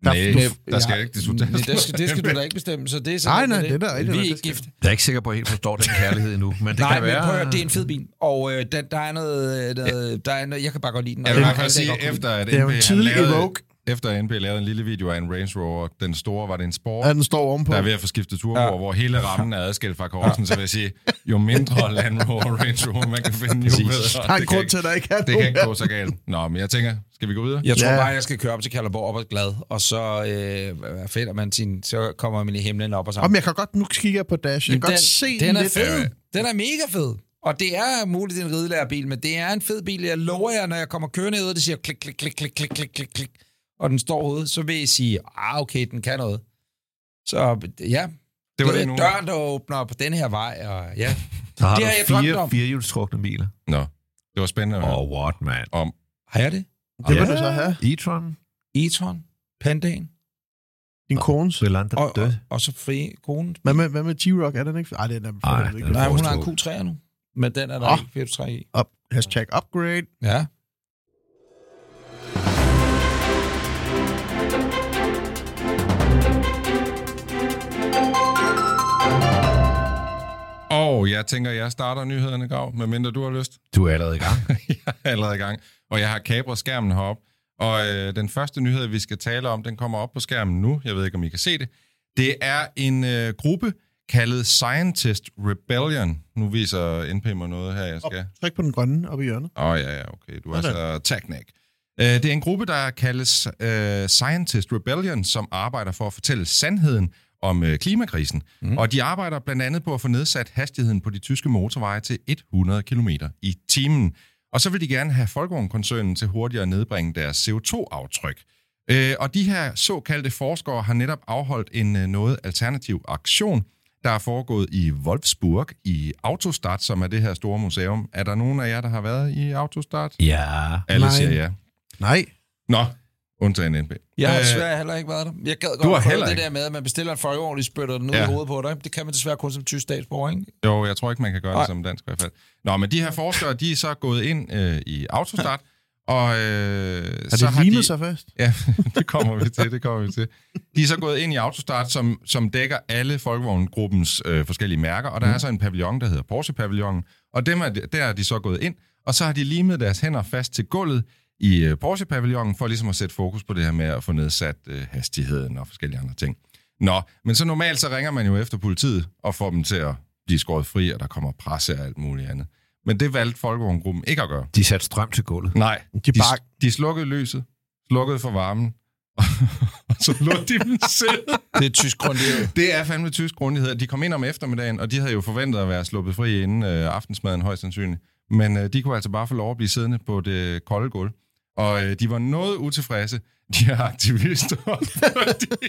Speaker 5: Nej,
Speaker 4: du-
Speaker 5: der skal
Speaker 4: ja.
Speaker 5: ikke diskuteres.
Speaker 2: Men det skal, det skal du da ikke bestemme, så det er
Speaker 4: Nej,
Speaker 2: sådan,
Speaker 4: nej,
Speaker 2: det,
Speaker 4: det er da rigtigt,
Speaker 2: Vi er
Speaker 4: det
Speaker 2: ikke
Speaker 4: skal-
Speaker 2: gift.
Speaker 3: Jeg er ikke sikker på, at jeg helt forstår den kærlighed endnu, men det
Speaker 2: Nej,
Speaker 3: kan
Speaker 2: men
Speaker 3: være...
Speaker 2: prøv at høre, det er en fed bil, og øh, der, der er noget, øh, noget, der er noget, jeg kan bare godt lide den.
Speaker 5: Jeg
Speaker 2: og
Speaker 5: vil i
Speaker 2: jeg
Speaker 5: hvert
Speaker 2: kan
Speaker 5: fald sige,
Speaker 2: godt lide den.
Speaker 5: efter at
Speaker 4: Det er jo
Speaker 5: NB
Speaker 4: en
Speaker 5: han
Speaker 4: tidlig
Speaker 5: lavede-
Speaker 4: Evoque.
Speaker 5: Efter at NB lavede en lille video af en Range Rover, den store var det en sport,
Speaker 4: Ja, den står ovenpå.
Speaker 5: der er ved at få skiftet turbo, ja. hvor hele rammen er adskilt fra korsen, så vil jeg sige, jo mindre Land Rover Range Rover man kan finde, jo bedre.
Speaker 4: Der er en
Speaker 5: Det kan
Speaker 4: grund
Speaker 5: ikke-
Speaker 4: til, at der ikke er
Speaker 5: Det kan ikke
Speaker 4: nogen.
Speaker 5: gå så galt. Nå, men jeg tænker, skal vi gå videre?
Speaker 2: Jeg tror
Speaker 4: øh, Ja.
Speaker 2: bare, jeg skal køre op til Kalderborg op og glad, og så øh, fælder man sin, så kommer man i himlen op og så.
Speaker 4: Om jeg kan godt, nu kigger jeg på Dash. Jeg kan
Speaker 2: Jamen,
Speaker 4: godt se
Speaker 2: den er
Speaker 4: lidt.
Speaker 2: fed. Den er mega fed. Og det er muligt en ridelærerbil, men det er en fed bil. Jeg lover jer, når jeg kommer kørende ud, det siger klik, klik, klik, klik, klik, klik, klik, klik. Og den står ude, så vil I sige, ah, okay, den kan noget. Så ja,
Speaker 5: Det var
Speaker 2: er
Speaker 5: det nu.
Speaker 2: døren, der åbner på den her vej, og ja.
Speaker 3: Så har
Speaker 2: Det
Speaker 3: det
Speaker 2: har jeg
Speaker 3: du
Speaker 2: drømt om.
Speaker 3: fire firehjulstrukne biler.
Speaker 5: Nå, det var spændende at høre.
Speaker 3: Oh, what, man.
Speaker 2: Har jeg det?
Speaker 4: Det vil
Speaker 3: Ja.
Speaker 4: du så have.
Speaker 3: E-tron,
Speaker 2: E-tron, Pandaen,
Speaker 4: Din kones.
Speaker 3: Velan, der
Speaker 2: og,
Speaker 3: død.
Speaker 2: og, og så fri konen.
Speaker 4: Hvad med, hvad med T-Rock? Er den ikke? Ej, den er
Speaker 3: Ej,
Speaker 4: den er
Speaker 3: den
Speaker 4: ikke.
Speaker 3: er-
Speaker 2: Nej, hun har en
Speaker 3: forstå.
Speaker 2: Q3'er nu, men den er der
Speaker 4: Åh.
Speaker 2: oh. ikke 3 i.
Speaker 4: Up, hashtag upgrade.
Speaker 2: Ja.
Speaker 5: Og jeg tænker, jeg starter nyhederne, Grav, medmindre du har lyst.
Speaker 3: Du er allerede i gang.
Speaker 5: jeg er allerede i gang, og jeg har kabret skærmen heroppe. Og øh, den første nyhed, vi skal tale om, den kommer op på skærmen nu. Jeg ved ikke, om I kan se det. Det er en øh, gruppe kaldet Scientist Rebellion. Nu viser NP mig noget her, jeg
Speaker 4: Op,
Speaker 5: skal...
Speaker 4: tryk på den grønne oppe i hjørnet.
Speaker 5: Åh, oh, ja, ja, okay. Du er
Speaker 4: Sådan.
Speaker 5: så teknik. Øh, Det er en gruppe, der kaldes øh, Scientist Rebellion, som arbejder for at fortælle sandheden om øh, klimakrisen. Mm. Og de arbejder blandt andet på at få nedsat hastigheden på de tyske motorveje til 100 km i timen. Og så vil de gerne have Volkswagen-koncernen til hurtigere at nedbringe deres CO2-aftryk. Øh, og de her såkaldte forskere har netop afholdt en øh, noget alternativ aktion, der er foregået i Wolfsburg i Autostadt, som er det her store museum. Er der nogen af jer, der har været i Autostadt?
Speaker 3: ja.
Speaker 5: Alle
Speaker 4: Nej.
Speaker 5: siger ja.
Speaker 4: Nej.
Speaker 5: Nå, undtagen NB.
Speaker 2: Jeg har
Speaker 5: Øh,
Speaker 2: desværre heller ikke været der. Jeg gad
Speaker 5: har
Speaker 2: godt prøve
Speaker 5: heller
Speaker 2: det
Speaker 5: ikke.
Speaker 2: der med, at man bestiller en 40 år, og de spytter den ud
Speaker 5: Ja.
Speaker 2: ja. i hovedet på dig. Det kan man desværre kun som tysk statsborger, ikke?
Speaker 5: Jo, jeg tror ikke, man kan gøre
Speaker 2: Nej.
Speaker 5: det som dansk i hvert fald. Nå, men de her forskere, de er så gået ind øh, i Autostart, og øh,
Speaker 4: Har
Speaker 5: så
Speaker 4: det
Speaker 5: har
Speaker 4: limet
Speaker 5: de...
Speaker 4: sig fast?
Speaker 5: Ja, det kommer vi til, det kommer vi til. De er så gået ind i Autostart, som, som dækker alle Folkevogngruppens øh, forskellige mærker,
Speaker 4: Mhm.
Speaker 5: og der er så en pavillon, der hedder Porsche-pavillonen, og dem er, der er de så gået ind, og så har de limet deres hænder fast til gulvet i øh, Porsche-pavillonen, for ligesom at sætte fokus på det her med at få nedsat øh, hastigheden og forskellige andre ting. Nå, men så normalt så ringer man jo efter politiet og får dem til at blive skåret fri, og der kommer presse og alt muligt andet. Men det valgte Folkevogngruppen ikke at gøre.
Speaker 3: De satte strøm til gulvet.
Speaker 5: Nej,
Speaker 4: De
Speaker 5: de,
Speaker 4: bare...
Speaker 5: de slukkede lyset, slukkede for varmen, og så lå de dem selv.
Speaker 2: Det er tysk grundighed.
Speaker 5: Det er fandme tysk grundighed. De kom ind om eftermiddagen, og de havde jo forventet at være sluppet fri inden øh, aftensmaden højst sandsynligt. Men øh, de kunne altså bare få lov at blive siddende på det kolde gulv. Og øh, de var noget utilfredse, de her aktivister, fordi,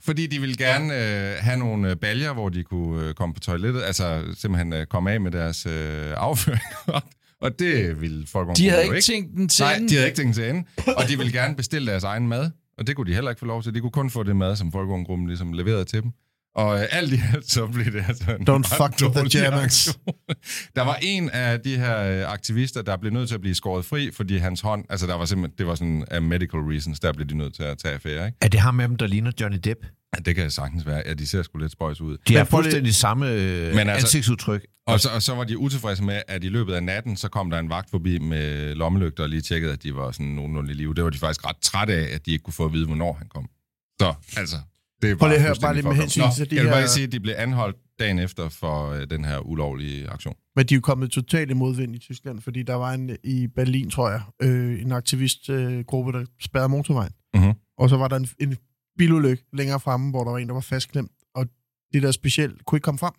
Speaker 5: fordi de ville gerne øh, have nogle øh, baljer, hvor de kunne øh, komme på toilettet, altså simpelthen øh, komme af med deres øh, afføring. og det ville folk
Speaker 2: De havde ikke tænkt den til.
Speaker 5: Nej,
Speaker 2: enden.
Speaker 5: de havde ikke tænkt til ende. Og de ville gerne bestille deres egen mad, og det kunne de heller ikke få lov til. De kunne kun få det mad, som Folkevogngruppen ligesom leverede til dem. Og øh, alt i alt, så blev det altså en
Speaker 4: Don't
Speaker 5: ret
Speaker 4: fuck with the
Speaker 5: dårlig
Speaker 4: Germans.
Speaker 5: aktion. Der var en af de her øh, aktivister, der blev nødt til at blive skåret fri, fordi hans hånd, altså der var simpelthen, det var sådan af medical reasons, der blev de nødt til at tage affære, ikke?
Speaker 3: Er det ham med dem, der ligner Johnny Depp?
Speaker 5: Ja, det kan sagtens være, ja, de ser sgu lidt spøjs ud.
Speaker 3: De har
Speaker 4: prøv lige-
Speaker 3: fuldstændig samme øh,
Speaker 5: Men altså-
Speaker 3: ansigtsudtryk.
Speaker 5: Og så, og så var de utilfredse med, at i løbet af natten, så kom der en vagt forbi med lommelygter og lige tjekkede, at de var sådan nogenlunde i live. Det var de faktisk ret trætte af, at de ikke kunne få at vide, hvornår han kom. Så altså, det er bare,
Speaker 4: Prøv lige at høre,
Speaker 5: fuldstændig
Speaker 4: bare lige med
Speaker 5: fucked up.
Speaker 4: hensyn
Speaker 5: Nå,
Speaker 4: til de
Speaker 5: Jeg vil bare
Speaker 4: her-
Speaker 5: lige sige, at de blev anholdt dagen efter for øh, den her ulovlige aktion.
Speaker 4: Men de er jo kommet totalt i modvind i Tyskland, fordi der var en i Berlin, tror jeg, øh, en aktivistgruppe, øh, gruppe, der spærrede motorvejen.
Speaker 5: Mhm.
Speaker 4: Og så var der en, en bilulykke længere fremme, hvor der var en, der var fastklemt, og det der specielt kunne ikke komme frem.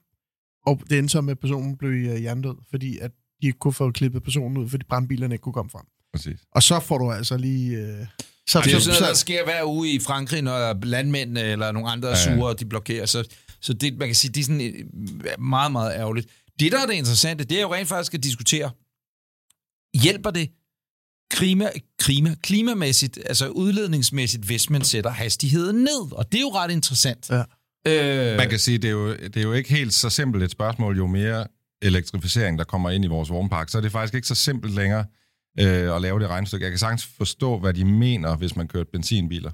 Speaker 4: Og det endte så med, at personen blev øh, hjernedød, fordi at de ikke kunne få klippet personen ud, fordi brandbilerne ikke kunne komme frem.
Speaker 5: Præcis.
Speaker 4: Og så får du altså lige... Øh, så,
Speaker 2: Det er jo
Speaker 4: så-
Speaker 2: sådan noget, der
Speaker 4: så-
Speaker 2: sker hver uge i Frankrig, når landmænd eller nogle andre er
Speaker 5: Ja, ja.
Speaker 2: sure, og de blokerer. Så, så det, man kan sige, det er sådan øh, meget, meget ærgerligt. Det, der er det interessante, det er jo rent faktisk at diskutere, hjælper det klima, klima, klimamæssigt, altså udledningsmæssigt, hvis man sætter hastigheden ned. Og det er jo ret interessant.
Speaker 4: Ja.
Speaker 2: Øh,
Speaker 5: Man kan sige, det er, jo, det er jo ikke helt så simpelt et spørgsmål, jo mere elektrificering, der kommer ind i vores vognpark, så er det faktisk ikke så simpelt længere øh, at lave det regnstykke. Jeg kan sagtens forstå, hvad de mener, hvis man kører benzinbiler.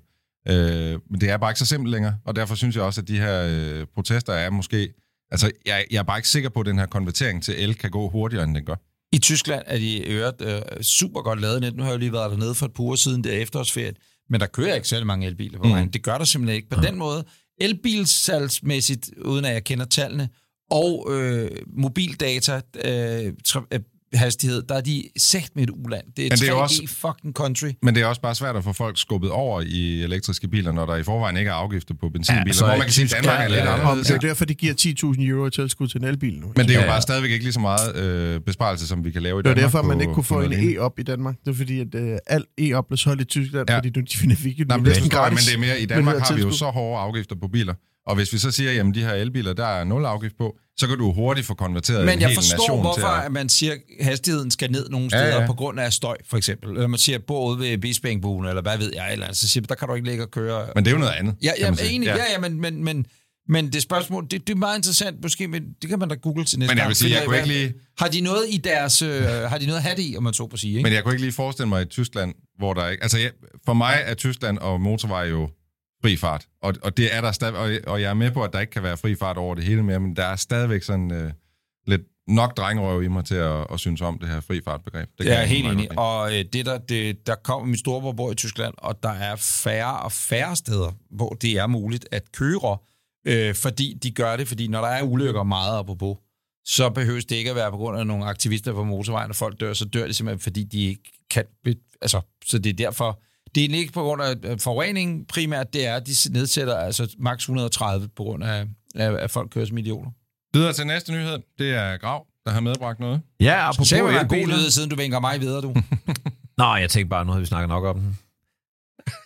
Speaker 5: Øh, men det er bare ikke så simpelt længere, og derfor synes jeg også, at de her øh, protester er måske... Altså, jeg, jeg er bare ikke sikker på, at den her konvertering til el kan gå hurtigere, end den gør.
Speaker 2: I Tyskland er de i øvrigt øh, super godt lavet net. Nu har jeg jo lige været dernede for et par uger siden, det er efterårsferien, men der kører ikke særlig mange elbiler på vejen. Mm. Det gør der simpelthen ikke. På den måde, elbilsalgsmæssigt, uden at jeg kender tallene, og øh, mobildata, øh, tra- øh, hastighed, der er de sagt med et uland. Det er,
Speaker 5: Men det er
Speaker 2: 3G
Speaker 5: jo også-
Speaker 2: fucking country.
Speaker 5: Men det er også bare svært at få folk skubbet over i elektriske biler, når der i forvejen ikke er afgifter på benzinbiler. Ja,
Speaker 3: så
Speaker 5: så hvor
Speaker 3: i
Speaker 5: man kan sige, at
Speaker 3: Tyskland
Speaker 5: Danmark er lidt
Speaker 3: er det-
Speaker 4: Og
Speaker 5: anderledes.
Speaker 4: det er jo derfor, de giver 10.000 euro i tilskud til en elbil nu.
Speaker 5: Men det er jo bare stadigvæk ikke lige så meget øh, besparelse, som vi kan lave i
Speaker 4: Det var
Speaker 5: Danmark.
Speaker 4: derfor,
Speaker 5: på-
Speaker 4: man ikke kunne
Speaker 5: på
Speaker 4: få en
Speaker 5: noget lignende.
Speaker 4: e-op i Danmark. Det var fordi, at øh, alt e-op blev solgt i Tyskland,
Speaker 5: Ja.
Speaker 4: ja. fordi nu de finder vi ikke
Speaker 5: Nej, men det, forstår jeg,
Speaker 4: E- gratis.
Speaker 5: men det er mere, i
Speaker 4: Men
Speaker 5: Danmark
Speaker 4: det er
Speaker 5: har vi jo
Speaker 4: tilskud.
Speaker 5: så hårde afgifter på biler. Og hvis vi så siger, jamen de her elbiler, der er nul afgift på, så kan du hurtigt få konverteret en
Speaker 2: Men jeg
Speaker 5: hel
Speaker 2: forstår,
Speaker 5: nation
Speaker 2: hvorfor
Speaker 5: Øh, til at...
Speaker 2: at man siger, at hastigheden skal ned nogle
Speaker 5: Ja,
Speaker 2: steder ja,
Speaker 5: ja.
Speaker 2: ja. på grund af støj, for eksempel. Eller man siger, at både ved Bispingbuen, eller hvad ved jeg, eller andet, så siger man, der kan du ikke ligge og køre.
Speaker 5: Men det er jo noget andet.
Speaker 2: Ja,
Speaker 5: kan
Speaker 2: ja,
Speaker 5: man
Speaker 2: men
Speaker 5: sige.
Speaker 2: egentlig, ja, ja, men, men, men, men det spørgsmål, det, det er meget interessant, måske, men det kan man da google til næste
Speaker 5: Men jeg
Speaker 2: gang,
Speaker 5: vil sige,
Speaker 2: finde
Speaker 5: jeg
Speaker 2: ud af,
Speaker 5: kunne
Speaker 2: hvad-
Speaker 5: ikke lige-
Speaker 2: Har de noget i deres... Øh, har de noget at have det i, om man så på sige, ikke?
Speaker 5: Men jeg kunne ikke lige forestille mig i Tyskland, hvor der ikke... Altså, jeg, for mig er Tyskland og motorvej jo fri fart. Og, og det er der stadig... Og, og jeg er med på, at der ikke kan være fri fart over det hele mere, men der er stadigvæk sådan øh, lidt nok drengerøv i mig til at, at synes om det her fri fart-begreb. Det kan
Speaker 2: jeg er helt
Speaker 5: meget godt
Speaker 2: enig.
Speaker 5: lide.
Speaker 2: Og øh, det der, det, der kommer min storebror bor i Tyskland, og der er færre og færre steder, hvor det er muligt at køre, øh, fordi de gør det, fordi når der er ulykker meget apropos, så behøves det ikke at være på grund af nogle aktivister på motorvejen, og folk dør, så dør de simpelthen, fordi de ikke kan... Be, altså, så det er derfor... Det er ikke på grund af øh, forureningen primært, det er, at de nedsætter altså maks 130 på grund af, af, at folk kører som idioter.
Speaker 5: Videre til næste nyhed. Det er Grav, der har medbragt noget.
Speaker 3: Ja, apropos
Speaker 2: Så er en god
Speaker 3: elbiler.
Speaker 2: lyd, siden du vinker mig videre, du.
Speaker 3: Nå, jeg tænkte bare, nu havde vi snakket nok om den.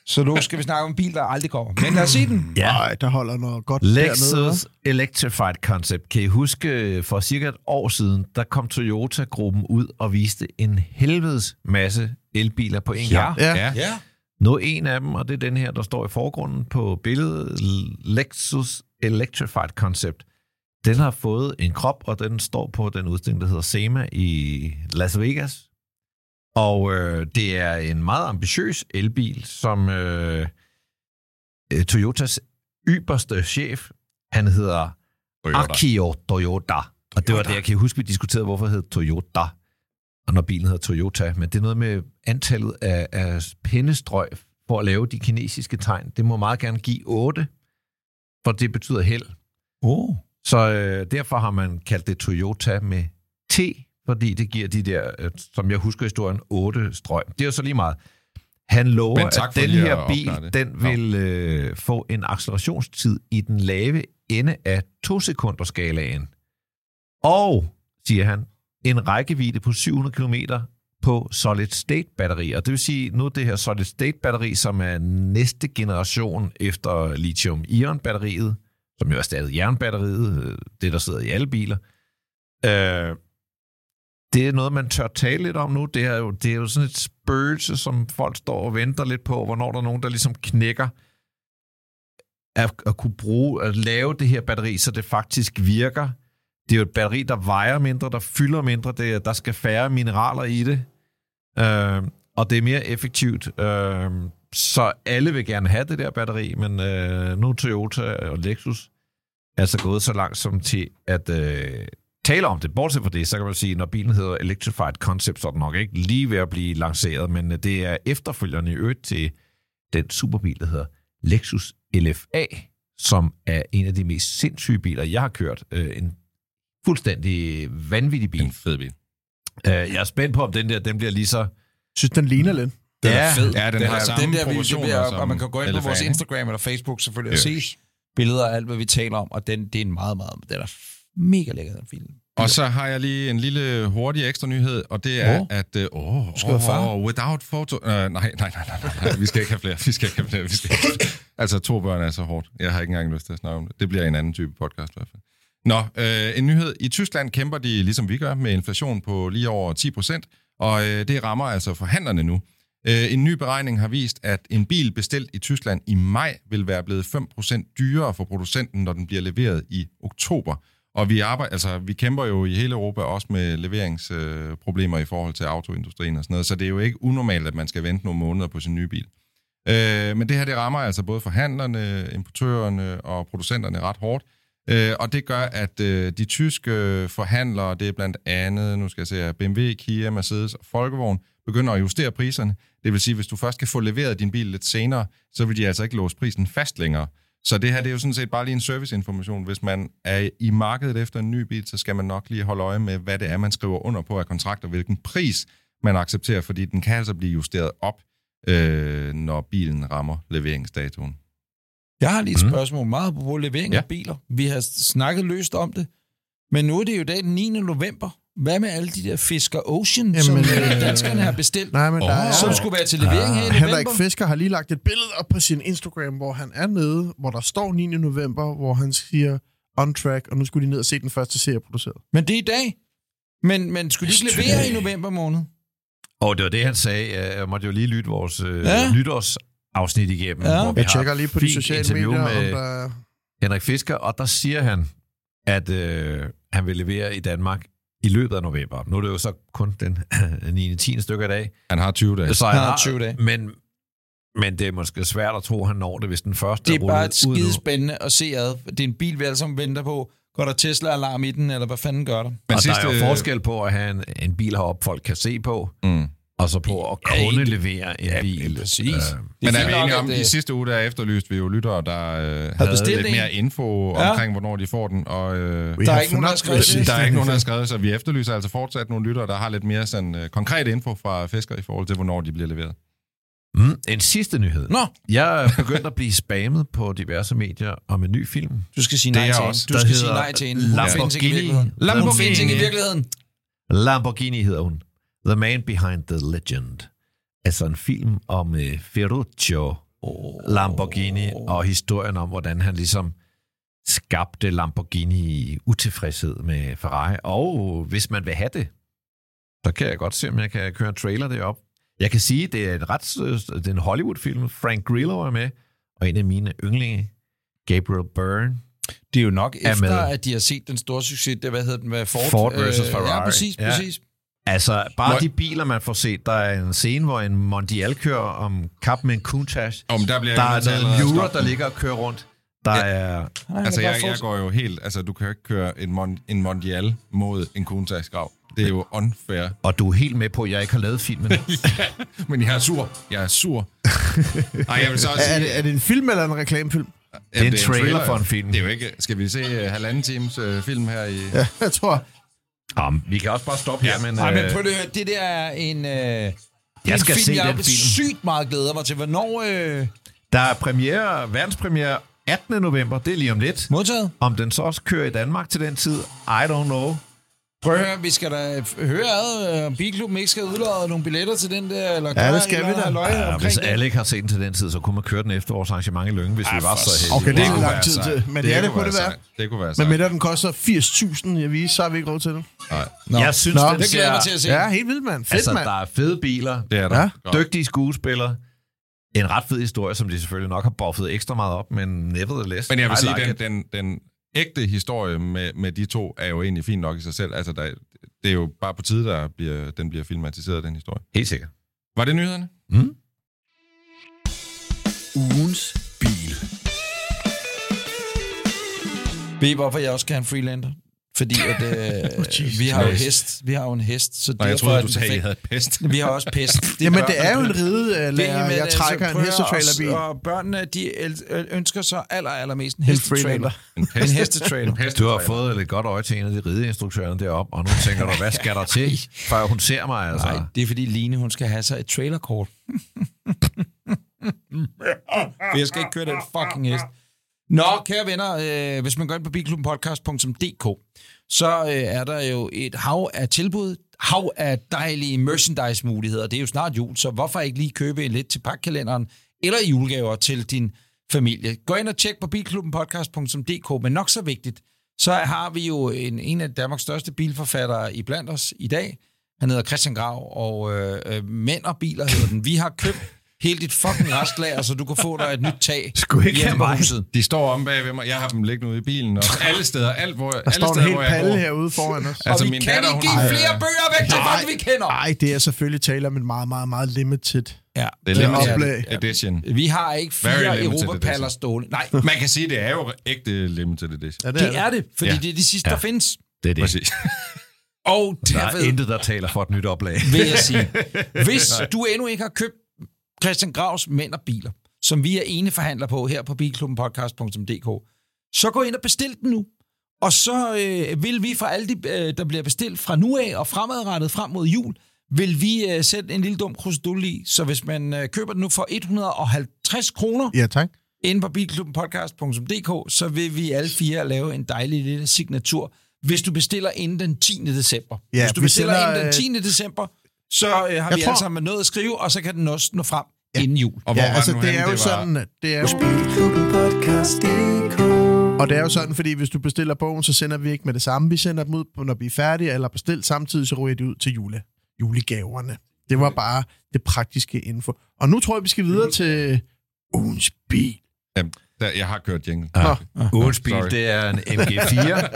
Speaker 2: Så nu skal vi snakke om en bil, der aldrig kommer. Men lad os se den.
Speaker 3: Ja.
Speaker 4: Nej, der holder noget godt dernede. hva'?
Speaker 3: Lexus Electrified Concept. Kan I huske, øh, for cirka et år siden, der kom Toyota-gruppen ud og viste en helvedes masse elbiler på en
Speaker 2: Ja.
Speaker 3: gang.
Speaker 4: Ja.
Speaker 2: Ja.
Speaker 3: Nå en af dem, og det er den her, der står i forgrunden på billedet, Lexus Electrified Concept. Den har fået en krop, og den står på den udstilling, der hedder SEMA i Las Vegas. Og øh, det er en meget ambitiøs elbil, som øh, øh, Toyotas ypperste chef, han hedder
Speaker 2: Ah,
Speaker 3: Akio Toyota. Og det var det, jeg kan huske, vi diskuterede, hvorfor hed Toyota, og når bilen hedder Toyota. Men det er noget med antallet af, af pindestrøg for at lave de kinesiske tegn. Det må meget gerne give 8, for det betyder held.
Speaker 2: Oh.
Speaker 3: Så øh, derfor har man kaldt det Toyota med T, fordi det giver de der, øh, som jeg husker historien, 8 strøg. Det er jo så lige meget. Han lover,
Speaker 5: Men tak
Speaker 3: at
Speaker 5: for
Speaker 3: den
Speaker 5: lige at
Speaker 3: her
Speaker 5: opklare
Speaker 3: bil,
Speaker 5: det.
Speaker 3: den
Speaker 5: Nå.
Speaker 3: vil øh, få en accelerationstid i den lave ende af 2 sekunder skalaen. Og, siger han, en rækkevidde på 700 km på solid state batterier. Det vil sige, nu er det her solid state batteri, som er næste generation efter lithium ion batteriet, som jo erstattede jernbatteriet, øh, det der sidder i alle biler. Øh, det er noget, man tør tale lidt om nu. Det er, jo, det er jo sådan et spøgelse, som folk står og venter lidt på, hvornår der er nogen, der ligesom knækker at, at kunne bruge, at lave det her batteri, så det faktisk virker. Det er jo et batteri, der vejer mindre, der fylder mindre, det, er- der skal færre mineraler i det, øh, og det er mere effektivt. Øh, så alle vil gerne have det der batteri, men øh, nu er Toyota og Lexus altså gået så langt som til at øh, tale om det. Bortset fra det, så kan man sige, når bilen hedder Electrified Concept, så er den nok ikke lige ved at blive lanceret, men øh, det er efterfølgerne i øvrigt til den superbil, der hedder Lexus LFA, som er en af de mest sindssyge biler, jeg har kørt. Øh, en fuldstændig vanvittig bil.
Speaker 5: En fed bil.
Speaker 3: Øh, jeg er spændt på, om den der den bliver lige så...
Speaker 4: Jeg synes, den ligner lidt.
Speaker 2: Den
Speaker 3: Ja,
Speaker 2: er fed.
Speaker 5: ja, den har samme
Speaker 2: den der video,
Speaker 5: proportioner
Speaker 2: der, og
Speaker 5: som
Speaker 2: man kan gå ind på
Speaker 5: elefanten,
Speaker 2: vores
Speaker 5: ikke?
Speaker 2: Instagram eller Facebook selvfølgelig og
Speaker 5: Ja.
Speaker 2: se billeder af alt, hvad vi taler om, og den, det er en meget, meget, den er mega lækker, den film.
Speaker 5: Og så har jeg lige en lille hurtig ekstra nyhed, og det er,
Speaker 2: Åh.
Speaker 5: at... øh, Åh, oh,
Speaker 2: Skal du have far?
Speaker 5: without photo... Uh, nej, nej, nej, nej, nej, vi skal ikke have flere, vi skal ikke have flere, vi skal ikke have flere. Altså, to børn er så hårdt. Jeg har ikke engang lyst til at snakke om det. Det bliver en anden type podcast i hvert fald. Nå, øh, en nyhed. I Tyskland kæmper de, ligesom vi gør, med inflation på lige over 10 procent, Og øh, det rammer altså forhandlerne nu. Øh, en ny beregning har vist, at en bil bestilt i Tyskland i maj vil være blevet 5% dyrere for producenten, når den bliver leveret i oktober. Og vi, arbejder, altså, vi kæmper jo i hele Europa også med leveringsproblemer øh, problemer i forhold til autoindustrien og sådan noget, så det er jo ikke unormalt, at man skal vente nogle måneder på sin nye bil. Øh, men det her, det rammer altså både forhandlerne, importørerne og producenterne ret hårdt. Øh, og det gør, at øh, de tyske forhandlere, det er blandt andet, nu skal jeg se her, BMW, Kia, Mercedes og Folkevogn, begynder at justere priserne. Det vil sige, hvis du først kan få leveret din bil lidt senere, så vil de altså ikke låse prisen fast længere. Så det her, det er jo sådan set bare lige en serviceinformation. Hvis man er i markedet efter en ny bil, så skal man nok lige holde øje med, hvad det er, man skriver under på af kontrakt, og hvilken pris man accepterer, fordi den kan altså blive justeret op, øh, når bilen rammer leveringsdatoen.
Speaker 2: Jeg har lige et
Speaker 3: Mm.
Speaker 2: spørgsmål meget på levering ja.
Speaker 5: Mhm. Ja.
Speaker 2: af biler. Vi har snakket løst om det, men nu er det jo i dag den 9. november. Hvad med alle de der Fisker Ocean, Jamen, som
Speaker 4: Jamen,
Speaker 2: øh,
Speaker 4: øh,
Speaker 2: danskerne har bestilt,
Speaker 4: Nej, men oh, der
Speaker 5: Åh,
Speaker 4: er...
Speaker 2: som skulle være til levering her i november?
Speaker 4: Henrik Fisker har lige lagt et billede op på sin Instagram, hvor han er nede, hvor der står 9. november, hvor han siger on track, og nu skulle de ned og se den første serie produceret.
Speaker 2: Men det er i dag. Men, men skulle de ikke levere i november måned?
Speaker 3: Og det var det, han sagde. Øh, Jeg måtte jo lige lytte vores øh,
Speaker 2: Ja.
Speaker 3: ja. nytårsafsnit igennem,
Speaker 2: Ja.
Speaker 3: ja. hvor vi
Speaker 4: Jeg
Speaker 3: har
Speaker 4: tjekker lige på de
Speaker 3: fint
Speaker 4: sociale
Speaker 3: interview
Speaker 4: medier, med... om
Speaker 3: med-
Speaker 4: der er...
Speaker 3: Henrik Fisker, og der siger han, at øh, han vil levere i Danmark i løbet af november. Nu er det jo så kun den 9. 10. stykke i dag.
Speaker 5: Han har 20 dage.
Speaker 3: Så han
Speaker 2: Han har
Speaker 3: har,
Speaker 2: 20 dage.
Speaker 3: Men, men det er måske svært at tro, at han når det, hvis den første
Speaker 2: Det er bare
Speaker 3: rullet ud nu.
Speaker 2: skidespændende at se ad. Det er en bil, vi alle sammen venter på. Går der Tesla-alarm i den, eller hvad fanden gør der?
Speaker 5: Men
Speaker 3: Og
Speaker 5: sidste-
Speaker 3: der er jo forskel på at have en, en bil herop, folk kan se på,
Speaker 5: Mm.
Speaker 3: og så på at
Speaker 2: Ja,
Speaker 3: kunne levere en bil.
Speaker 2: præcis.
Speaker 3: Øh,
Speaker 2: Det er
Speaker 5: Men er
Speaker 2: fint nok,
Speaker 5: vi enige altså, om,
Speaker 2: at,
Speaker 5: at i
Speaker 2: øh,
Speaker 5: sidste uge, der efterlyste vi jo lyttere, der øh, havde
Speaker 2: bestilt
Speaker 5: lidt
Speaker 2: en.
Speaker 5: mere info
Speaker 2: Ja.
Speaker 5: ja. omkring, hvornår de får den, og øh,
Speaker 2: Der er
Speaker 4: have
Speaker 2: ikke nogen, der har
Speaker 4: fornøjelse.
Speaker 2: skrevet det.
Speaker 5: der er ikke nogen, der har skrevet, så vi efterlyser altså fortsat nogle lyttere, der har lidt mere sådan, øh, konkret info fra fisker i forhold til, hvornår de bliver leveret.
Speaker 3: Mm, en sidste nyhed.
Speaker 2: Nå,
Speaker 3: Jeg er begyndt at blive spammet på diverse medier om en ny film.
Speaker 2: du skal sige
Speaker 3: Det
Speaker 2: nej
Speaker 3: er
Speaker 2: til hende.
Speaker 3: også-
Speaker 2: Du
Speaker 3: der
Speaker 2: skal sige
Speaker 3: hedder
Speaker 2: nej til hende. Hun
Speaker 3: Lamborghini.
Speaker 2: findes ikke i virkeligheden. Hun findes ikke i
Speaker 3: Lamborghini.
Speaker 2: virkeligheden.
Speaker 3: Lamborghini hedder hun. The Man Behind the Legend. Altså en film om øh, Ferruccio Lamborghini og historien om, hvordan han ligesom skabte Lamborghini i utilfredshed med Ferrari. Og hvis man vil have det, så kan jeg godt se, om jeg kan køre en trailer derop. Jeg kan sige, det er en, ret, øh, det er en Hollywood-film. Frank Grillo er med, og en af mine yndlinge, Gabriel Byrne.
Speaker 2: Det er jo nok
Speaker 3: Er
Speaker 2: efter,
Speaker 3: med.
Speaker 2: at de har set den store succes, det hvad hedder den, hvad Ford,
Speaker 3: Ford versus
Speaker 2: øh, Ja,
Speaker 3: Ferrari.
Speaker 2: præcis,
Speaker 3: Ja.
Speaker 2: præcis.
Speaker 3: Altså, bare
Speaker 5: Nå.
Speaker 3: de biler, man får set. Der er en scene, hvor en Mondial kører om kap med en Countach.
Speaker 5: Om der bliver
Speaker 3: Der
Speaker 5: jeg
Speaker 3: er
Speaker 5: nødt til
Speaker 3: noget
Speaker 5: allerede at
Speaker 3: Miura,
Speaker 5: stoppe
Speaker 3: der
Speaker 5: den.
Speaker 3: ligger og kører rundt. Der er...
Speaker 2: Nej,
Speaker 5: Altså,
Speaker 2: men
Speaker 5: jeg,
Speaker 2: bare
Speaker 5: jeg går jo helt... Altså, du kan jo ikke køre en, mon, en mondial mod en kuntagsgrav. Det er jo unfair.
Speaker 3: Og du er helt med på, at jeg ikke har lavet filmen.
Speaker 5: Men jeg er sur. Jeg er sur. Ej, jeg vil så også
Speaker 4: Er, er,
Speaker 5: sige...
Speaker 4: det, er det en film eller en reklamefilm?
Speaker 5: Jamen,
Speaker 3: det er en trailer for en film.
Speaker 5: Det er jo ikke... Skal vi se uh, halvanden times uh, film her i... Ja.
Speaker 4: Jeg tror,
Speaker 3: Jamen, vi kan også bare stoppe her, men...
Speaker 2: Nej, men
Speaker 3: øh,
Speaker 2: prøv lige at høre, det der er en... Øh, jeg en
Speaker 3: skal
Speaker 2: film,
Speaker 3: se
Speaker 2: jeg
Speaker 3: den film.
Speaker 2: sygt meget glæder mig til. Hvornår øh,
Speaker 3: Der er premiere, verdenspremiere 18. november, det er lige om lidt.
Speaker 2: modtaget?
Speaker 3: Om den så også kører i Danmark til den tid, I don't know.
Speaker 2: Prøv at høre, vi skal da f- høre ad, øh, om Bilklubben ikke skal udlade nogle billetter til den der, eller
Speaker 4: Ja, det skal vi da.
Speaker 2: Ja,
Speaker 3: Ja,
Speaker 2: omkring
Speaker 3: hvis
Speaker 2: det.
Speaker 3: alle ikke har set den til den tid, så kunne man køre den efter vores arrangement i Lønge, hvis vi var så heldige.
Speaker 4: Okay, det er
Speaker 5: kunne
Speaker 4: lang
Speaker 5: være
Speaker 4: tid
Speaker 5: sejt.
Speaker 4: til, men ja, det kunne det være.
Speaker 5: sejt. Det kunne være
Speaker 4: men
Speaker 5: sejt.
Speaker 4: med den koster 80.000, jeg viser, så har vi ikke råd til det.
Speaker 5: Nej,
Speaker 2: Nå,
Speaker 3: Jeg synes,
Speaker 4: Nå,
Speaker 3: den
Speaker 2: det glæder jeg
Speaker 3: ser...
Speaker 2: mig til at se.
Speaker 4: Ja, helt vildt, mand. Fedt,
Speaker 3: Altså,
Speaker 4: mand.
Speaker 3: der er fede biler,
Speaker 5: det er der.
Speaker 4: Ja.
Speaker 5: Godt.
Speaker 3: dygtige skuespillere, en ret fed historie, som de selvfølgelig nok har buffet ekstra meget op, men nevertheless.
Speaker 5: Men jeg vil
Speaker 3: I
Speaker 5: sige,
Speaker 3: like
Speaker 5: den,
Speaker 3: it.
Speaker 5: den, den ægte historie med, med de to er jo egentlig fin nok i sig selv. Altså, der, det er jo bare på tide, der bliver, den bliver filmatiseret, den historie.
Speaker 3: Helt sikkert.
Speaker 5: Var det nyhederne?
Speaker 1: Ugens bil.
Speaker 2: Ved I, hvorfor jeg også kan have en freelander? Fordi at, øh, vi har jo
Speaker 5: Christ.
Speaker 2: hest. Vi har jo en hest, så
Speaker 5: Nej, jeg
Speaker 2: derfor
Speaker 5: troede,
Speaker 2: er
Speaker 5: du
Speaker 2: den
Speaker 5: sagde, at I
Speaker 2: perfekt.
Speaker 5: havde pest.
Speaker 2: Vi har også pest. Det
Speaker 4: Jamen,
Speaker 2: børn,
Speaker 4: det er jo en ride,
Speaker 2: Det er
Speaker 4: lærer.
Speaker 2: med,
Speaker 4: Jeg
Speaker 2: altså,
Speaker 4: trækker en
Speaker 2: prøv at-
Speaker 4: hestetrailerbil.
Speaker 2: Og børnene, de el- ø- ønsker så aller, allermest en
Speaker 4: En
Speaker 2: hestetrailer.
Speaker 5: En
Speaker 2: En
Speaker 5: pest.
Speaker 2: hestetrailer.
Speaker 5: pest.
Speaker 3: Du har fået lidt godt øje til en af de rideinstruktørerne deroppe, og nu tænker du, hvad skal der til, før hun ser mig? Altså.
Speaker 2: Nej, det er fordi Line, hun skal have sig et trailerkort. For jeg skal ikke køre den fucking hest. Nå, kære venner, øh, hvis man går ind på bilklubbenpodcast.dk, så øh, er der jo et hav af tilbud, hav af dejlige merchandise-muligheder. Det er jo snart jul, så hvorfor ikke lige købe en lidt til pakkalenderen eller i julegaver til din familie? Gå ind og tjek på bilklubbenpodcast.dk, men nok så vigtigt, så har vi jo en, en af Danmarks største bilforfattere i blandt os i dag, Han hedder Christian Grav, og øh, øh, Mænd og Biler hedder den. Vi har købt hele dit fucking restlager, så du kan få dig et nyt tag
Speaker 3: Skulle ikke
Speaker 2: hjemme
Speaker 3: have
Speaker 2: på
Speaker 3: mig.
Speaker 2: huset.
Speaker 5: De står om bagved mig. Jeg har dem liggende ude i bilen. Og alle steder, alt hvor,
Speaker 4: Der
Speaker 5: alle
Speaker 4: står en
Speaker 5: steder,
Speaker 4: hel
Speaker 5: hvor jeg
Speaker 4: palle
Speaker 5: går.
Speaker 4: herude foran os.
Speaker 5: Altså,
Speaker 2: og vi
Speaker 5: min
Speaker 2: kan
Speaker 5: datter,
Speaker 2: ikke
Speaker 5: hun-
Speaker 2: give
Speaker 5: Ej.
Speaker 2: flere bøger væk til folk, vi kender.
Speaker 4: Nej, det er selvfølgelig tale om en meget, meget, meget limited.
Speaker 2: Ja.
Speaker 5: Det er
Speaker 4: Den
Speaker 5: limited
Speaker 4: oplag.
Speaker 5: edition.
Speaker 2: Vi har ikke
Speaker 5: Very
Speaker 2: fire
Speaker 5: limited
Speaker 2: europapaller
Speaker 5: edition.
Speaker 2: stående. Nej,
Speaker 5: Man kan sige, det er jo ægte limited edition.
Speaker 4: Ja, det,
Speaker 2: det er det, fordi
Speaker 5: Ja.
Speaker 2: det er de sidste, der findes.
Speaker 3: Det er det.
Speaker 5: Præcis.
Speaker 2: Og
Speaker 3: Der er
Speaker 2: derved
Speaker 3: intet, der taler for et nyt oplag.
Speaker 2: vil jeg sige, hvis du endnu ikke har købt Christian Gravs Mænd og Biler, som vi er ene forhandler på her på bilklubbenpodcast.dk, så gå ind og bestil den nu. Og så øh, vil vi for alle de, øh, der bliver bestilt fra nu af og fremadrettet frem mod jul, vil vi øh, sætte en lille dum krusedulle i. Så hvis man øh, køber den nu for 150 kroner,
Speaker 4: Ja, tak.
Speaker 2: inde på bilklubbenpodcast.dk, så vil vi alle fire lave en dejlig lille signatur, hvis du bestiller inden den 10. december.
Speaker 4: Ja,
Speaker 2: hvis du
Speaker 4: vi
Speaker 2: bestiller
Speaker 4: sender,
Speaker 2: inden den
Speaker 4: øh,
Speaker 2: 10. december, så øh, har vi
Speaker 4: tror-
Speaker 2: alle sammen noget at skrive, og så kan den også nå frem ja. inden jul.
Speaker 5: Og hvor
Speaker 4: Ja,
Speaker 5: var
Speaker 4: altså
Speaker 5: den nu
Speaker 4: det
Speaker 5: henne?
Speaker 4: er jo
Speaker 5: var-
Speaker 4: sådan, at det er jo, og det er jo sådan, fordi hvis du bestiller bogen, så sender vi ikke med det samme. Vi sender dem ud, når vi er færdige eller bestilt samtidig, så ryger de ud til jule, julegaverne. Det
Speaker 5: Mm.
Speaker 4: var bare det praktiske info. Og nu tror jeg, vi skal videre til ugens bil.
Speaker 5: Jamen, der, jeg har kørt jingle.
Speaker 3: Ugens bil,
Speaker 5: Sorry.
Speaker 3: det er en MG4.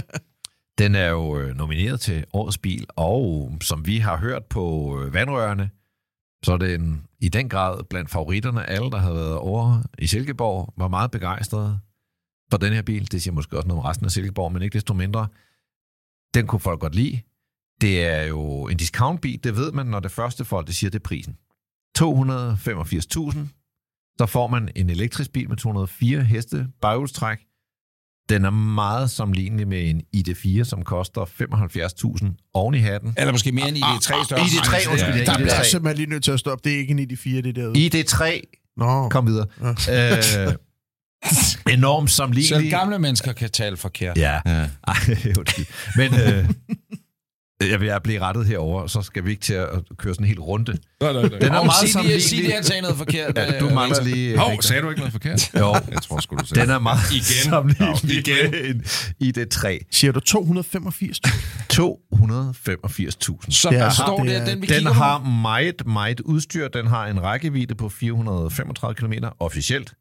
Speaker 3: Den er jo øh, nomineret til årets bil, og som vi har hørt på øh, vandrørene, så er det en, i den grad blandt favoritterne. Alle, der havde været over i Silkeborg, var meget begejstrede for den her bil. Det siger måske også noget om resten af Silkeborg, men ikke desto mindre. Den kunne folk godt lide. Det er jo en discountbil, det ved man, når det første folk det siger, det er prisen. 285.000 så får man en elektrisk bil med 204 heste baghjulstræk. Den er meget sammenlignelig med en ID4, som koster 75.000 oven i hatten.
Speaker 2: Eller måske mere end i de tre større.
Speaker 3: ID3, undskyld, ja,
Speaker 5: Ja,
Speaker 4: Der bliver jeg
Speaker 3: ID3.
Speaker 4: simpelthen lige nødt til at stoppe. Det er ikke en i de fire, det derude.
Speaker 3: ID3,
Speaker 4: Nå,
Speaker 3: kom videre. Øh, enormt
Speaker 2: Selv
Speaker 3: sammenlignelig.
Speaker 2: gamle mennesker kan tale forkert.
Speaker 3: Ja,
Speaker 5: Ja.
Speaker 3: Ej, undskyld. Men øh, jeg vil jeg blive rettet herover, så skal vi ikke til at køre sådan en hel runde.
Speaker 5: Nå, nå, nå.
Speaker 3: Den er
Speaker 2: Hov,
Speaker 3: meget
Speaker 2: sig, de, sig de,
Speaker 3: sammenlignelig.
Speaker 2: han sagde noget forkert.
Speaker 3: Ja,
Speaker 2: øh,
Speaker 3: du mangler
Speaker 2: Victor.
Speaker 3: lige...
Speaker 5: Hov,
Speaker 3: Victor.
Speaker 5: sagde du ikke noget forkert?
Speaker 3: Jo,
Speaker 5: Jeg tror sgu, du sagde
Speaker 3: den er meget
Speaker 5: Igen.
Speaker 3: sammenlignelig
Speaker 5: Igen.
Speaker 3: med en ID3.
Speaker 4: siger du 285?
Speaker 3: 285.000.
Speaker 2: Så
Speaker 4: Ja,
Speaker 2: der står
Speaker 4: det
Speaker 2: det,
Speaker 4: er-
Speaker 2: den vi
Speaker 3: Den
Speaker 2: kigger
Speaker 3: har meget, meget udstyr. Den har en rækkevidde på 435 km officielt.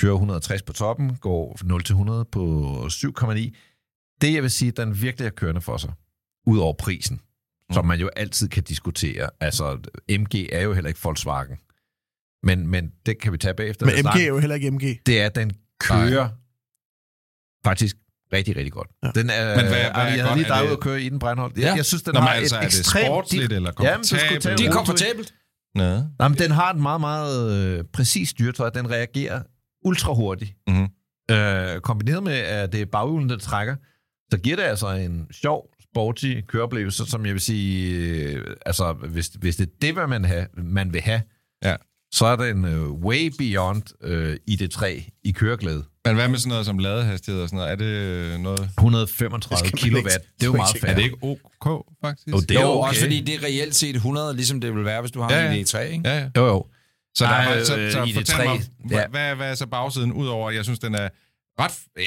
Speaker 3: Kører 160 på toppen, går 0-100 på 7,9. Det, jeg vil sige, den virkelig er kørende for sig, ud over prisen, som man jo altid kan diskutere. Altså, MG er jo heller ikke Volkswagen. Men, men det kan vi tage bagefter.
Speaker 4: Men
Speaker 3: Der
Speaker 4: MG er jo heller ikke MG.
Speaker 3: det er, at den kører Nej. faktisk rigtig, rigtig godt. Ja. Den er,
Speaker 5: Men hvad- hvad er
Speaker 3: Arne, jeg
Speaker 5: godt?
Speaker 3: havde lige
Speaker 5: Er
Speaker 3: dig
Speaker 5: det-
Speaker 3: ud at køre i den brændhold. Jeg,
Speaker 2: Ja.
Speaker 3: jeg synes, den
Speaker 5: Nå,
Speaker 3: har
Speaker 5: men altså,
Speaker 3: et
Speaker 5: er det
Speaker 3: ekstremt...
Speaker 5: sportsligt eller
Speaker 3: Jamen, du skulle
Speaker 5: komfortabelt?
Speaker 3: tage-
Speaker 2: De
Speaker 5: Det
Speaker 2: er
Speaker 5: er
Speaker 2: komfortabelt.
Speaker 5: Nå.
Speaker 3: Jamen, den har et meget, meget øh, præcist styretøj. Den reagerer ultra hurtigt.
Speaker 5: Mhm.
Speaker 3: Øh, kombineret med, at det er baghjulen, der trækker, så giver det altså en sjov, sporty køreoplevelse, som jeg vil sige, øh, altså, hvis, hvis det er det, hvad man, have, man vil have,
Speaker 5: Ja.
Speaker 3: så er den øh, way beyond øh, ID3 i køreglæde.
Speaker 5: Men hvad med sådan noget som ladehastighed og sådan noget? Er det øh, noget...
Speaker 3: 135
Speaker 4: Det skal man ikke-
Speaker 3: kilowatt. Det er jo meget
Speaker 5: Er
Speaker 3: færre.
Speaker 5: det ikke OK, faktisk?
Speaker 3: Jo, det
Speaker 2: Det
Speaker 3: er
Speaker 2: er jo
Speaker 3: okay.
Speaker 2: også fordi, det er reelt set 100, ligesom det vil være, hvis du har
Speaker 5: Ja,
Speaker 2: en
Speaker 5: ja.
Speaker 2: ID3, ikke?
Speaker 5: Ja, ja.
Speaker 3: Jo, jo.
Speaker 5: Så, der,
Speaker 3: Nej,
Speaker 5: er- så,
Speaker 3: øh,
Speaker 5: så
Speaker 3: i det
Speaker 5: fortæl
Speaker 3: tre.
Speaker 5: mig,
Speaker 3: Ja.
Speaker 5: hva- hvad, hvad er så bagsiden udover? Jeg synes, den er ret... ja,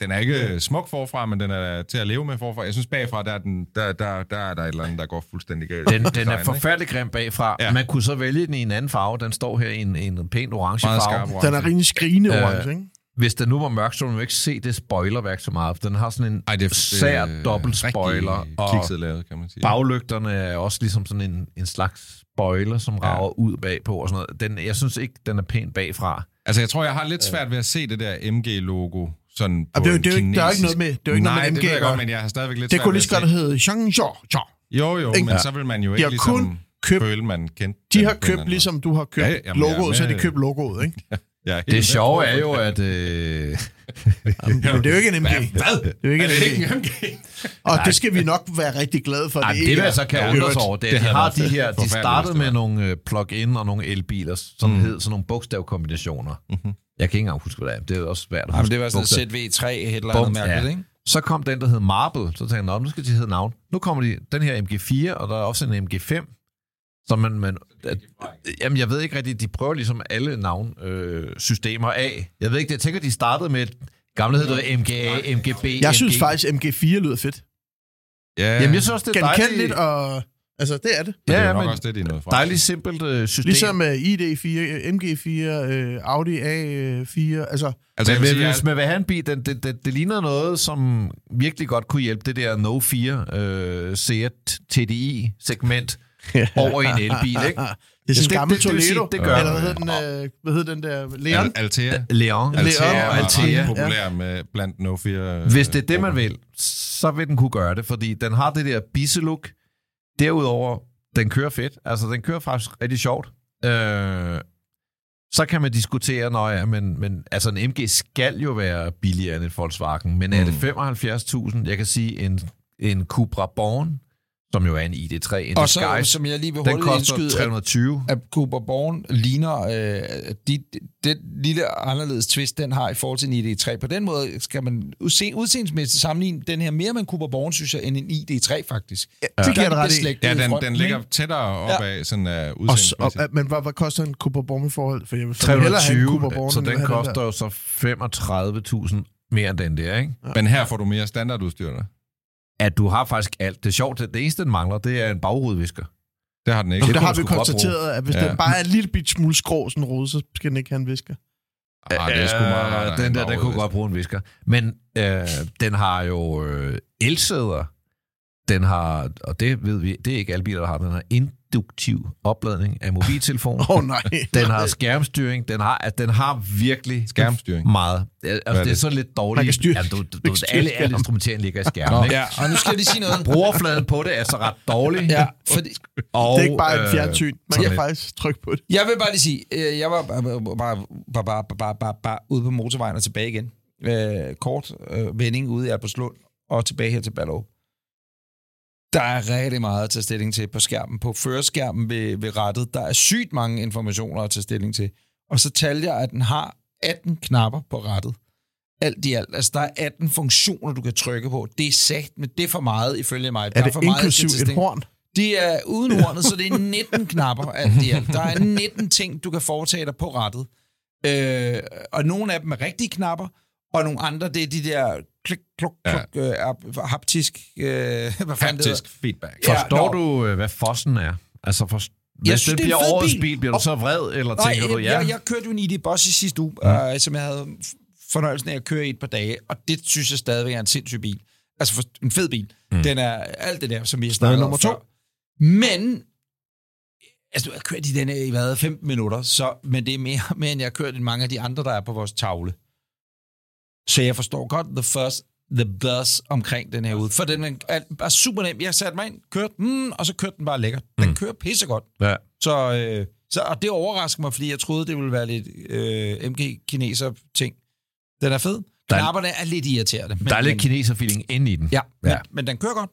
Speaker 5: Den er ikke smuk forfra, men den er til at leve med forfra. Jeg synes, bagfra, der er, den, der, der, der, er der et eller andet, der går fuldstændig galt.
Speaker 3: Den, den er
Speaker 5: Design, ikke?
Speaker 3: forfærdelig grim bagfra.
Speaker 5: Ja.
Speaker 3: Ja. Man kunne så vælge den i en anden farve. Den står her i en, en pænt orange
Speaker 5: Meget
Speaker 3: farve.
Speaker 5: skarp
Speaker 4: Den er rimelig skrigende
Speaker 3: Øh,
Speaker 4: orange, ikke?
Speaker 3: Hvis den nu var mørk, så ville man jo ikke se det spoilerværk så meget. for Den har sådan en
Speaker 5: Ej, det er
Speaker 3: sær dobbelt spoiler. Og
Speaker 5: Kikset lavet, kan man sige.
Speaker 3: baglygterne er også ligesom sådan en, en slags spoiler, som rager ud bagpå og sådan noget. Den, jeg synes ikke, den er pæn bagfra.
Speaker 5: Altså, jeg tror, jeg har lidt svært ved at se det der MG-logo sådan på
Speaker 4: Og det er jo-
Speaker 5: en
Speaker 4: det er jo ikke- der er jo ikke
Speaker 5: kinesisk-
Speaker 4: noget med- det er jo ikke
Speaker 5: Nej,
Speaker 4: noget med
Speaker 5: det
Speaker 4: MG
Speaker 5: ved jeg
Speaker 4: at
Speaker 5: godt,
Speaker 4: gøre.
Speaker 5: men jeg har stadigvæk lidt
Speaker 4: Det
Speaker 5: svært
Speaker 4: kunne
Speaker 5: ved
Speaker 4: lige så
Speaker 5: at
Speaker 4: godt
Speaker 5: se-
Speaker 4: hedde Jean Jean Jean.
Speaker 5: Jo, jo,
Speaker 4: Ikke?
Speaker 5: men så vil man jo ikke
Speaker 4: har
Speaker 5: ligesom
Speaker 4: kun købt-
Speaker 5: føle, man kendte
Speaker 4: De
Speaker 5: den
Speaker 4: har
Speaker 5: på en eller
Speaker 4: købt,
Speaker 5: anden
Speaker 4: ligesom du har købt
Speaker 5: Ja,
Speaker 4: ja,
Speaker 5: jamen, jeg er
Speaker 4: logoet, så har de
Speaker 5: med.
Speaker 4: købt logoet, ikke?
Speaker 5: måde. Jeg er helt med
Speaker 3: Det sjove
Speaker 5: på,
Speaker 3: er jo, at... Øh,
Speaker 4: Men det er jo ikke en MG.
Speaker 5: Hvad?
Speaker 4: Det er jo ikke
Speaker 5: Er det
Speaker 4: en
Speaker 5: ikke
Speaker 4: MG.
Speaker 5: en MG?
Speaker 4: Og det skal vi nok være rigtig glade for.
Speaker 3: Ej,
Speaker 4: ikke
Speaker 3: det, altså
Speaker 4: er.
Speaker 3: man så kan
Speaker 4: Ja,
Speaker 3: undre sig
Speaker 4: øvrigt.
Speaker 3: over, det, er,
Speaker 5: Det
Speaker 3: at de
Speaker 5: havde
Speaker 3: har
Speaker 5: været
Speaker 3: de her, de
Speaker 5: forfærdeligt, hvis
Speaker 3: startede
Speaker 5: det
Speaker 3: med
Speaker 5: var.
Speaker 3: nogle øh, plug-in og nogle elbiler, som mm. hed sådan nogle bogstavkombinationer. Mm-hmm. Jeg kan ikke engang huske, hvad det er. Det er også svært at
Speaker 2: Jamen,
Speaker 3: huske.
Speaker 2: det var
Speaker 3: bogstav.
Speaker 2: sådan et ZV3, et eller
Speaker 3: Bum,
Speaker 2: andet mærkeligt,
Speaker 3: ja.
Speaker 2: ikke?
Speaker 3: Så kom den, der hed Marble. Så tænkte jeg, "Nå, nu skal de hedde navn. Nu kommer de, den her MG4, og der er også en MG5. Så man, man, at, jamen, jeg ved ikke rigtigt, de prøver ligesom alle navnsystemer øh, systemer af. Jeg ved ikke, jeg tænker, de startede med et gamle hed det MGA, MGB,
Speaker 4: Jeg synes
Speaker 3: MG.
Speaker 4: faktisk, MG4 lyder fedt.
Speaker 5: Ja,
Speaker 3: Jamen, jeg synes også, det er
Speaker 4: Genkendeligt
Speaker 3: dejligt.
Speaker 4: og Altså, det er det.
Speaker 5: Men ja, det er jo
Speaker 3: Ja,
Speaker 5: nok
Speaker 3: men-
Speaker 5: også det, de er nået frem.
Speaker 3: Dejligt simpelt øh, system.
Speaker 4: Ligesom uh, ID4, øh, MG4, øh, Audi A4, altså...
Speaker 5: Altså, jeg vil sige,
Speaker 3: hvis
Speaker 5: jeg,
Speaker 3: man vil have en bil, den, det, det, det ligner noget, som virkelig godt kunne hjælpe det der No 4 øh, Seat TDI-segment over i en elbil, ikke?
Speaker 4: Ah, Det er
Speaker 3: synes,
Speaker 4: sådan
Speaker 3: det-
Speaker 4: en gammel
Speaker 3: det- det vil sige,
Speaker 4: Toledo.
Speaker 3: det gør
Speaker 4: Eller hvad
Speaker 3: det.
Speaker 4: hedder den, øh, hvad hedder den der? Leon?
Speaker 5: Al- Altea.
Speaker 3: Leon.
Speaker 5: Altea
Speaker 4: Leon.
Speaker 5: er
Speaker 4: Altea,
Speaker 5: ret
Speaker 4: ja.
Speaker 5: populær med blandt no 4
Speaker 3: Hvis det er det, man vil, så vil den kunne gøre det, fordi den har det der bisselook. Derudover, den kører fedt. Altså, den kører faktisk rigtig sjovt. Øh, så kan man diskutere, når ja, men, men altså en MG skal jo være billigere end en Volkswagen, men er det 75.000? Jeg kan sige, en, en Cupra Born, som jo er en ID3, en
Speaker 2: Og så,
Speaker 3: Disguise,
Speaker 2: som jeg lige vil
Speaker 3: den
Speaker 2: hurtigt
Speaker 3: koster
Speaker 2: indskyde, at
Speaker 3: 320.
Speaker 2: at Cooper Born ligner øh, de, de, den lille anderledes twist, den har i forhold til en ID3. På den måde skal man se, udseendsmæssigt sammenligne den her mere med en Cooper Born, synes jeg, end en ID3 faktisk. Ja,
Speaker 4: det kan jeg da ret i.
Speaker 5: Ja, den, den ligger tættere op
Speaker 2: Ja.
Speaker 5: af sådan uh,
Speaker 4: Og, s- og,
Speaker 5: udseendemæssigt.
Speaker 4: øh, men hvad, hvad koster en Cooper Born i forhold? For jeg vil fandme hellere have en Cooper
Speaker 3: 320,
Speaker 4: Born,
Speaker 3: så
Speaker 4: end jeg
Speaker 3: den
Speaker 4: vil have
Speaker 3: koster jo så 35.000 mere end den der, ikke?
Speaker 5: Men her får du mere standardudstyr, der.
Speaker 3: at du har faktisk alt. Det er sjovt, det, det eneste, den mangler, det er en bagrudvisker.
Speaker 5: Det har den ikke.
Speaker 4: der.
Speaker 3: det
Speaker 4: Der
Speaker 3: kunne
Speaker 4: har
Speaker 3: man
Speaker 4: vi
Speaker 3: sgu godt
Speaker 4: konstateret, at hvis
Speaker 5: Ja.
Speaker 4: den bare er en lille bit smule skrå, sådan en rode, så skal den ikke have en visker.
Speaker 5: Ah, det er sgu meget rart, at
Speaker 3: den
Speaker 5: han
Speaker 3: der,
Speaker 5: bare
Speaker 3: den kunne
Speaker 5: rød.
Speaker 3: godt bruge en visker. Men øh, den har jo øh, elsæder. Den har, og det ved vi, det er ikke alle biler, der har, den har induktiv opladning af mobiltelefon.
Speaker 4: Åh oh, nej.
Speaker 3: den har skærmstyring. Den har, at den har virkelig
Speaker 5: Skærmstyring.
Speaker 3: meget. Altså,
Speaker 5: er
Speaker 3: det er
Speaker 5: det?
Speaker 3: sådan lidt dårligt.
Speaker 4: Man kan styre-
Speaker 3: ja, du, du,
Speaker 4: man
Speaker 3: du,
Speaker 4: kan styre
Speaker 3: alle, alle
Speaker 4: skærmen.
Speaker 3: instrumenteringen ligger i skærmen. Ikke?
Speaker 2: Ja, og nu skal jeg lige sige noget.
Speaker 3: Brugerfladen på det er så ret dårlig.
Speaker 2: Ja, fordi,
Speaker 3: Og,
Speaker 4: Det er ikke bare
Speaker 3: øh,
Speaker 4: et fjernsyn. Man
Speaker 3: sådan
Speaker 4: kan
Speaker 3: lidt.
Speaker 4: faktisk trykke på det.
Speaker 2: jeg vil bare lige sige, øh, jeg var bare, bare, bare, bare, bare, bare, bare ude på motorvejen og tilbage igen. Øh, kort øh, vending ude i Albertslund og tilbage her til Ballerup. Der er rigtig meget at tage stilling til på skærmen. På førerskærmen ved, ved rettet, der er sygt mange informationer at tage stilling til. Og så talte jeg, at den har 18 knapper på rettet. Alt i alt. Altså, der er 18 funktioner, du kan trykke på. Det er sagt, men det er for meget, ifølge mig.
Speaker 4: Er
Speaker 2: der
Speaker 4: det
Speaker 2: for meget, jeg skal
Speaker 4: inklusiv
Speaker 2: tage
Speaker 4: et
Speaker 2: stilling-
Speaker 4: horn?
Speaker 2: det er uden hornet, så det er 19 knapper alt i alt. Der er 19 ting, du kan foretage dig på rettet. Øh, og nogle af dem er rigtige knapper, og nogle andre, det er de der klik, kluk, kluk, ja. øh, hap- haptisk, øh, hvad fanden det
Speaker 5: Haptisk
Speaker 2: hedder.
Speaker 5: feedback.
Speaker 2: Ja,
Speaker 3: Forstår
Speaker 2: nå.
Speaker 3: du, øh, hvad fossen er? Altså, for, hvis
Speaker 2: synes, det
Speaker 3: det
Speaker 2: er en
Speaker 3: bliver
Speaker 2: fed
Speaker 3: årets
Speaker 2: bil.
Speaker 3: bil, bliver du
Speaker 2: Og-
Speaker 3: så vred, eller
Speaker 2: Nej,
Speaker 3: tænker du,
Speaker 2: øh,
Speaker 3: ja?
Speaker 2: jeg, jeg kørte jo en ID Boss i sidste uge, mm. øh, som jeg havde f- fornøjelsen af at køre i et par dage, og det synes jeg stadigvæk er en sindssyg bil. Altså for, en fed bil. Mm. Den er alt det der, som vi har snakket om
Speaker 4: nummer to.
Speaker 2: før. Men, altså nu har jeg kørt i den her i hvad, 15 minutter, så, men det er mere, mere end jeg har kørt end mange af de andre, der er på vores tavle. Så jeg forstår godt the first, the buzz omkring den her ude. For den er- er, er super nem. Jeg satte mig ind, kørte den, og så kørte den bare lækkert. Den kører pissegodt.
Speaker 3: Ja.
Speaker 2: Så, øh, så og det overrasker mig, fordi jeg troede, det ville være lidt øh, MG-kineser-ting. Den er fed.
Speaker 3: Der er-
Speaker 2: Knapperne er lidt irriterende. Men,
Speaker 3: Der er lidt
Speaker 2: men,
Speaker 3: kineser-feeling inde i den.
Speaker 2: ja,
Speaker 3: Ja.
Speaker 2: ja. Men, men den kører godt.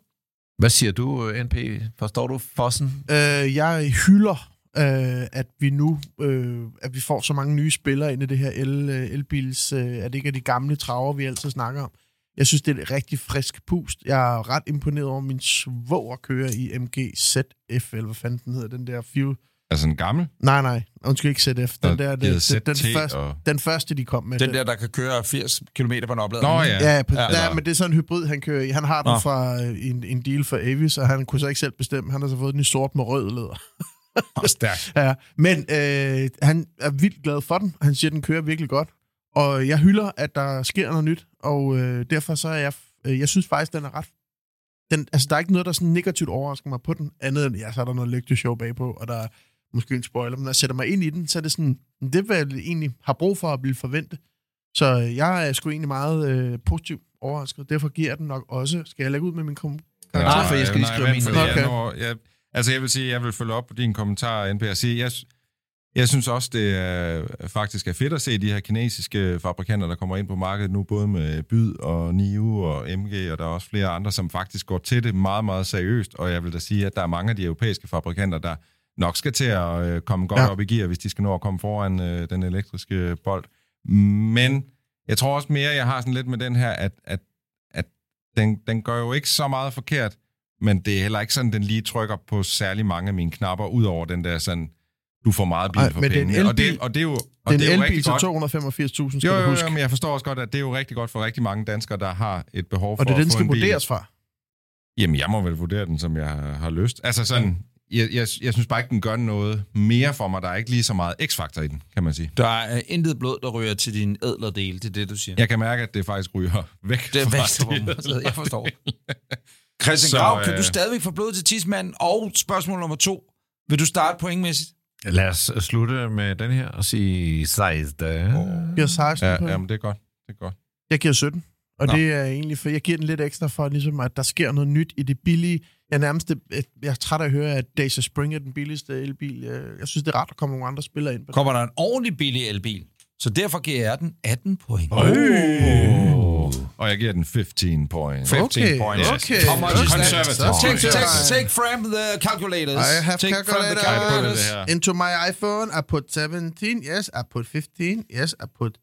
Speaker 3: Hvad siger du, øh, NP? Forstår du fossen?
Speaker 4: Øh, jeg hylder, øh, at vi nu øh, at vi får så mange nye spillere ind i det her el, øh, elbils, øh, at det ikke er de gamle traver, vi altid snakker om. Jeg synes, det er et rigtig frisk pust. Jeg er ret imponeret over, at min svoger kører i MG ZF, eller hvad fanden den hedder, den der fire...
Speaker 5: Altså en gammel.
Speaker 4: Nej, nej, undskyld, ikke ZF. Den, der,
Speaker 5: det,
Speaker 4: den, den, den, første,
Speaker 5: Og...
Speaker 4: den første, de kom med.
Speaker 2: Den der, der kan køre 80 km på en opladning.
Speaker 5: Nå ja.
Speaker 4: Ja, på, ja,
Speaker 2: Ja,
Speaker 4: der,
Speaker 5: eller-
Speaker 4: men det er sådan en hybrid, han kører i. Han har den
Speaker 2: Nå.
Speaker 4: fra øh, en, en deal fra Avis, og han kunne så ikke selv bestemme. Han har så fået den i sort med rød læder.
Speaker 2: stærkt.
Speaker 4: Ja, men øh, han er vildt glad for den. Han siger, at den kører virkelig godt. Og jeg hylder, at der sker noget nyt, og øh, derfor så er jeg... Øh, jeg synes faktisk, den er ret... Den, altså, der er ikke noget, der sådan negativt overrasker mig på den, andet end, ja, så er der noget lygteshow bagpå, og der er måske en spoiler, men når jeg sætter mig ind i den, så er det sådan, det er, hvad jeg egentlig har brug for at blive forventet. Så øh, jeg er sgu egentlig meget øh, positivt overrasket. Derfor giver jeg den nok også... Skal jeg lægge ud med min kom-
Speaker 5: Nej,
Speaker 3: Nej, for jeg skal lige
Speaker 5: nej,
Speaker 3: skrive
Speaker 5: vent,
Speaker 3: min
Speaker 5: fordi
Speaker 4: ned.
Speaker 5: jeg
Speaker 4: Okay.
Speaker 5: når- jeg- Altså, jeg vil sige, jeg vil følge op på din kommentar, NP, og sige, jeg, jeg synes også, det er, faktisk er fedt at se de her kinesiske fabrikanter, der kommer ind på markedet nu, både med Byd og Niu og MG, og der er også flere andre, som faktisk går til det meget, meget seriøst, og jeg vil da sige, at der er mange af de europæiske fabrikanter, der nok skal til at øh, komme godt
Speaker 4: Ja.
Speaker 5: ja. op i gear, hvis de skal nå at komme foran øh, den elektriske bold. Men jeg tror også mere, jeg har sådan lidt med den her, at, at, at den, den gør jo ikke så meget forkert, men det er heller ikke sådan, den lige trykker på særlig mange af mine knapper, ud over den der sådan, du får meget bil
Speaker 4: Ej,
Speaker 5: for
Speaker 4: men det er en
Speaker 5: pengene. og, det,
Speaker 4: elbil.
Speaker 5: og det er jo, og
Speaker 4: Den
Speaker 5: det er jo
Speaker 4: elbil
Speaker 5: rigtig
Speaker 4: til 285.000,
Speaker 5: godt.
Speaker 4: skal
Speaker 5: Jo,
Speaker 4: du
Speaker 5: jo,
Speaker 4: huske.
Speaker 5: jo, men jeg forstår også godt, at det er jo rigtig godt for rigtig mange danskere, der har et behov for
Speaker 4: og det er
Speaker 5: at
Speaker 4: den,
Speaker 5: få
Speaker 4: skal
Speaker 5: en bil.
Speaker 4: vurderes fra.
Speaker 5: Jamen, jeg må vel vurdere den, som jeg har lyst. Altså sådan, jeg, jeg, jeg synes bare ikke, den gør noget mere for mig. Der er ikke lige så meget x-faktor i den, kan man sige.
Speaker 2: Der er intet blod, der rører til din ædlerdel, det er det, du siger.
Speaker 5: Jeg kan mærke, at det faktisk ryger væk
Speaker 2: Det er
Speaker 5: fra
Speaker 2: vækstformen. Jeg forstår. Christian
Speaker 5: Så,
Speaker 2: så, Grav, kan
Speaker 5: øh,
Speaker 2: du stadigvæk få blod til tidsmanden? Og spørgsmål nummer to. Vil du starte pointmæssigt?
Speaker 3: Lad os øh, slutte med den her og sige 16.
Speaker 4: Jeg giver 16 ja,
Speaker 5: Ja,
Speaker 4: på den.
Speaker 5: jamen, det er godt. Det er godt.
Speaker 4: Jeg giver 17. Og
Speaker 5: Nå.
Speaker 4: Nå. det er egentlig, for jeg giver den lidt ekstra for, ligesom, at der sker noget nyt i det billige. Jeg er nærmest, jeg er træt af at høre, at Dacia Spring er den billigste elbil. Jeg jeg synes, det er rart, at komme nogle andre spillere ind på det.
Speaker 2: Kommer der en ordentlig billig elbil? Så derfor giver jeg den 18 point.
Speaker 5: Og jeg giver den 15 point.
Speaker 2: 15 points.
Speaker 4: okay.
Speaker 2: How much is that?
Speaker 5: Conservative.
Speaker 2: Take,
Speaker 5: Conservative.
Speaker 2: take, take from the calculators.
Speaker 4: I have
Speaker 2: take From the
Speaker 4: calculator.
Speaker 5: calculators.
Speaker 2: calculators.
Speaker 5: Ja.
Speaker 4: Into my iPhone, I put 17, yes, I put 15, yes, I put...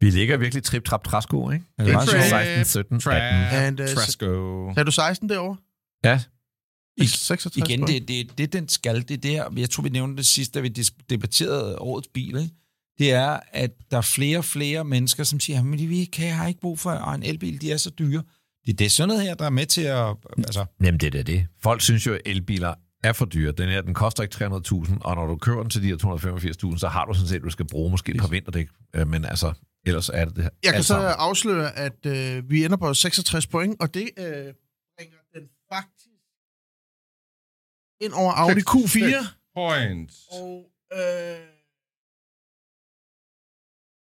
Speaker 3: Vi ligger virkelig trip trap træsko, ikke?
Speaker 2: Det er meget sjovt.
Speaker 3: 16, 17, 18.
Speaker 5: Trap,
Speaker 4: And, uh,
Speaker 5: Trasco.
Speaker 4: Er du 16 derovre?
Speaker 3: Ja.
Speaker 2: Mm. I-
Speaker 4: 66
Speaker 2: Igen, det,
Speaker 4: point.
Speaker 2: det, det den skal, det er der, jeg tror, vi nævnte det sidst, da vi dis- debatterede årets bil, ikke? det er, at der er flere og flere mennesker, som siger, men vi kan, jeg har ikke brug for og en elbil, de er så dyre. Det er det sådan noget her, der er med til at... Altså,
Speaker 3: Jamen, det er da det. Folk synes jo, at elbiler er for dyre. Den her, den koster ikke 300.000, og når du køber den til de her 285.000, så har du sådan set, du skal bruge måske et par vinterdæk, Øh, men altså, ellers er det det her.
Speaker 4: Jeg kan
Speaker 3: alt
Speaker 4: så
Speaker 2: Altså.
Speaker 3: sammen.
Speaker 4: afsløre, at øh, vi ender på 66 point, og det øh, bringer den faktisk ind over Audi Q4.
Speaker 5: Point.
Speaker 4: Og øh,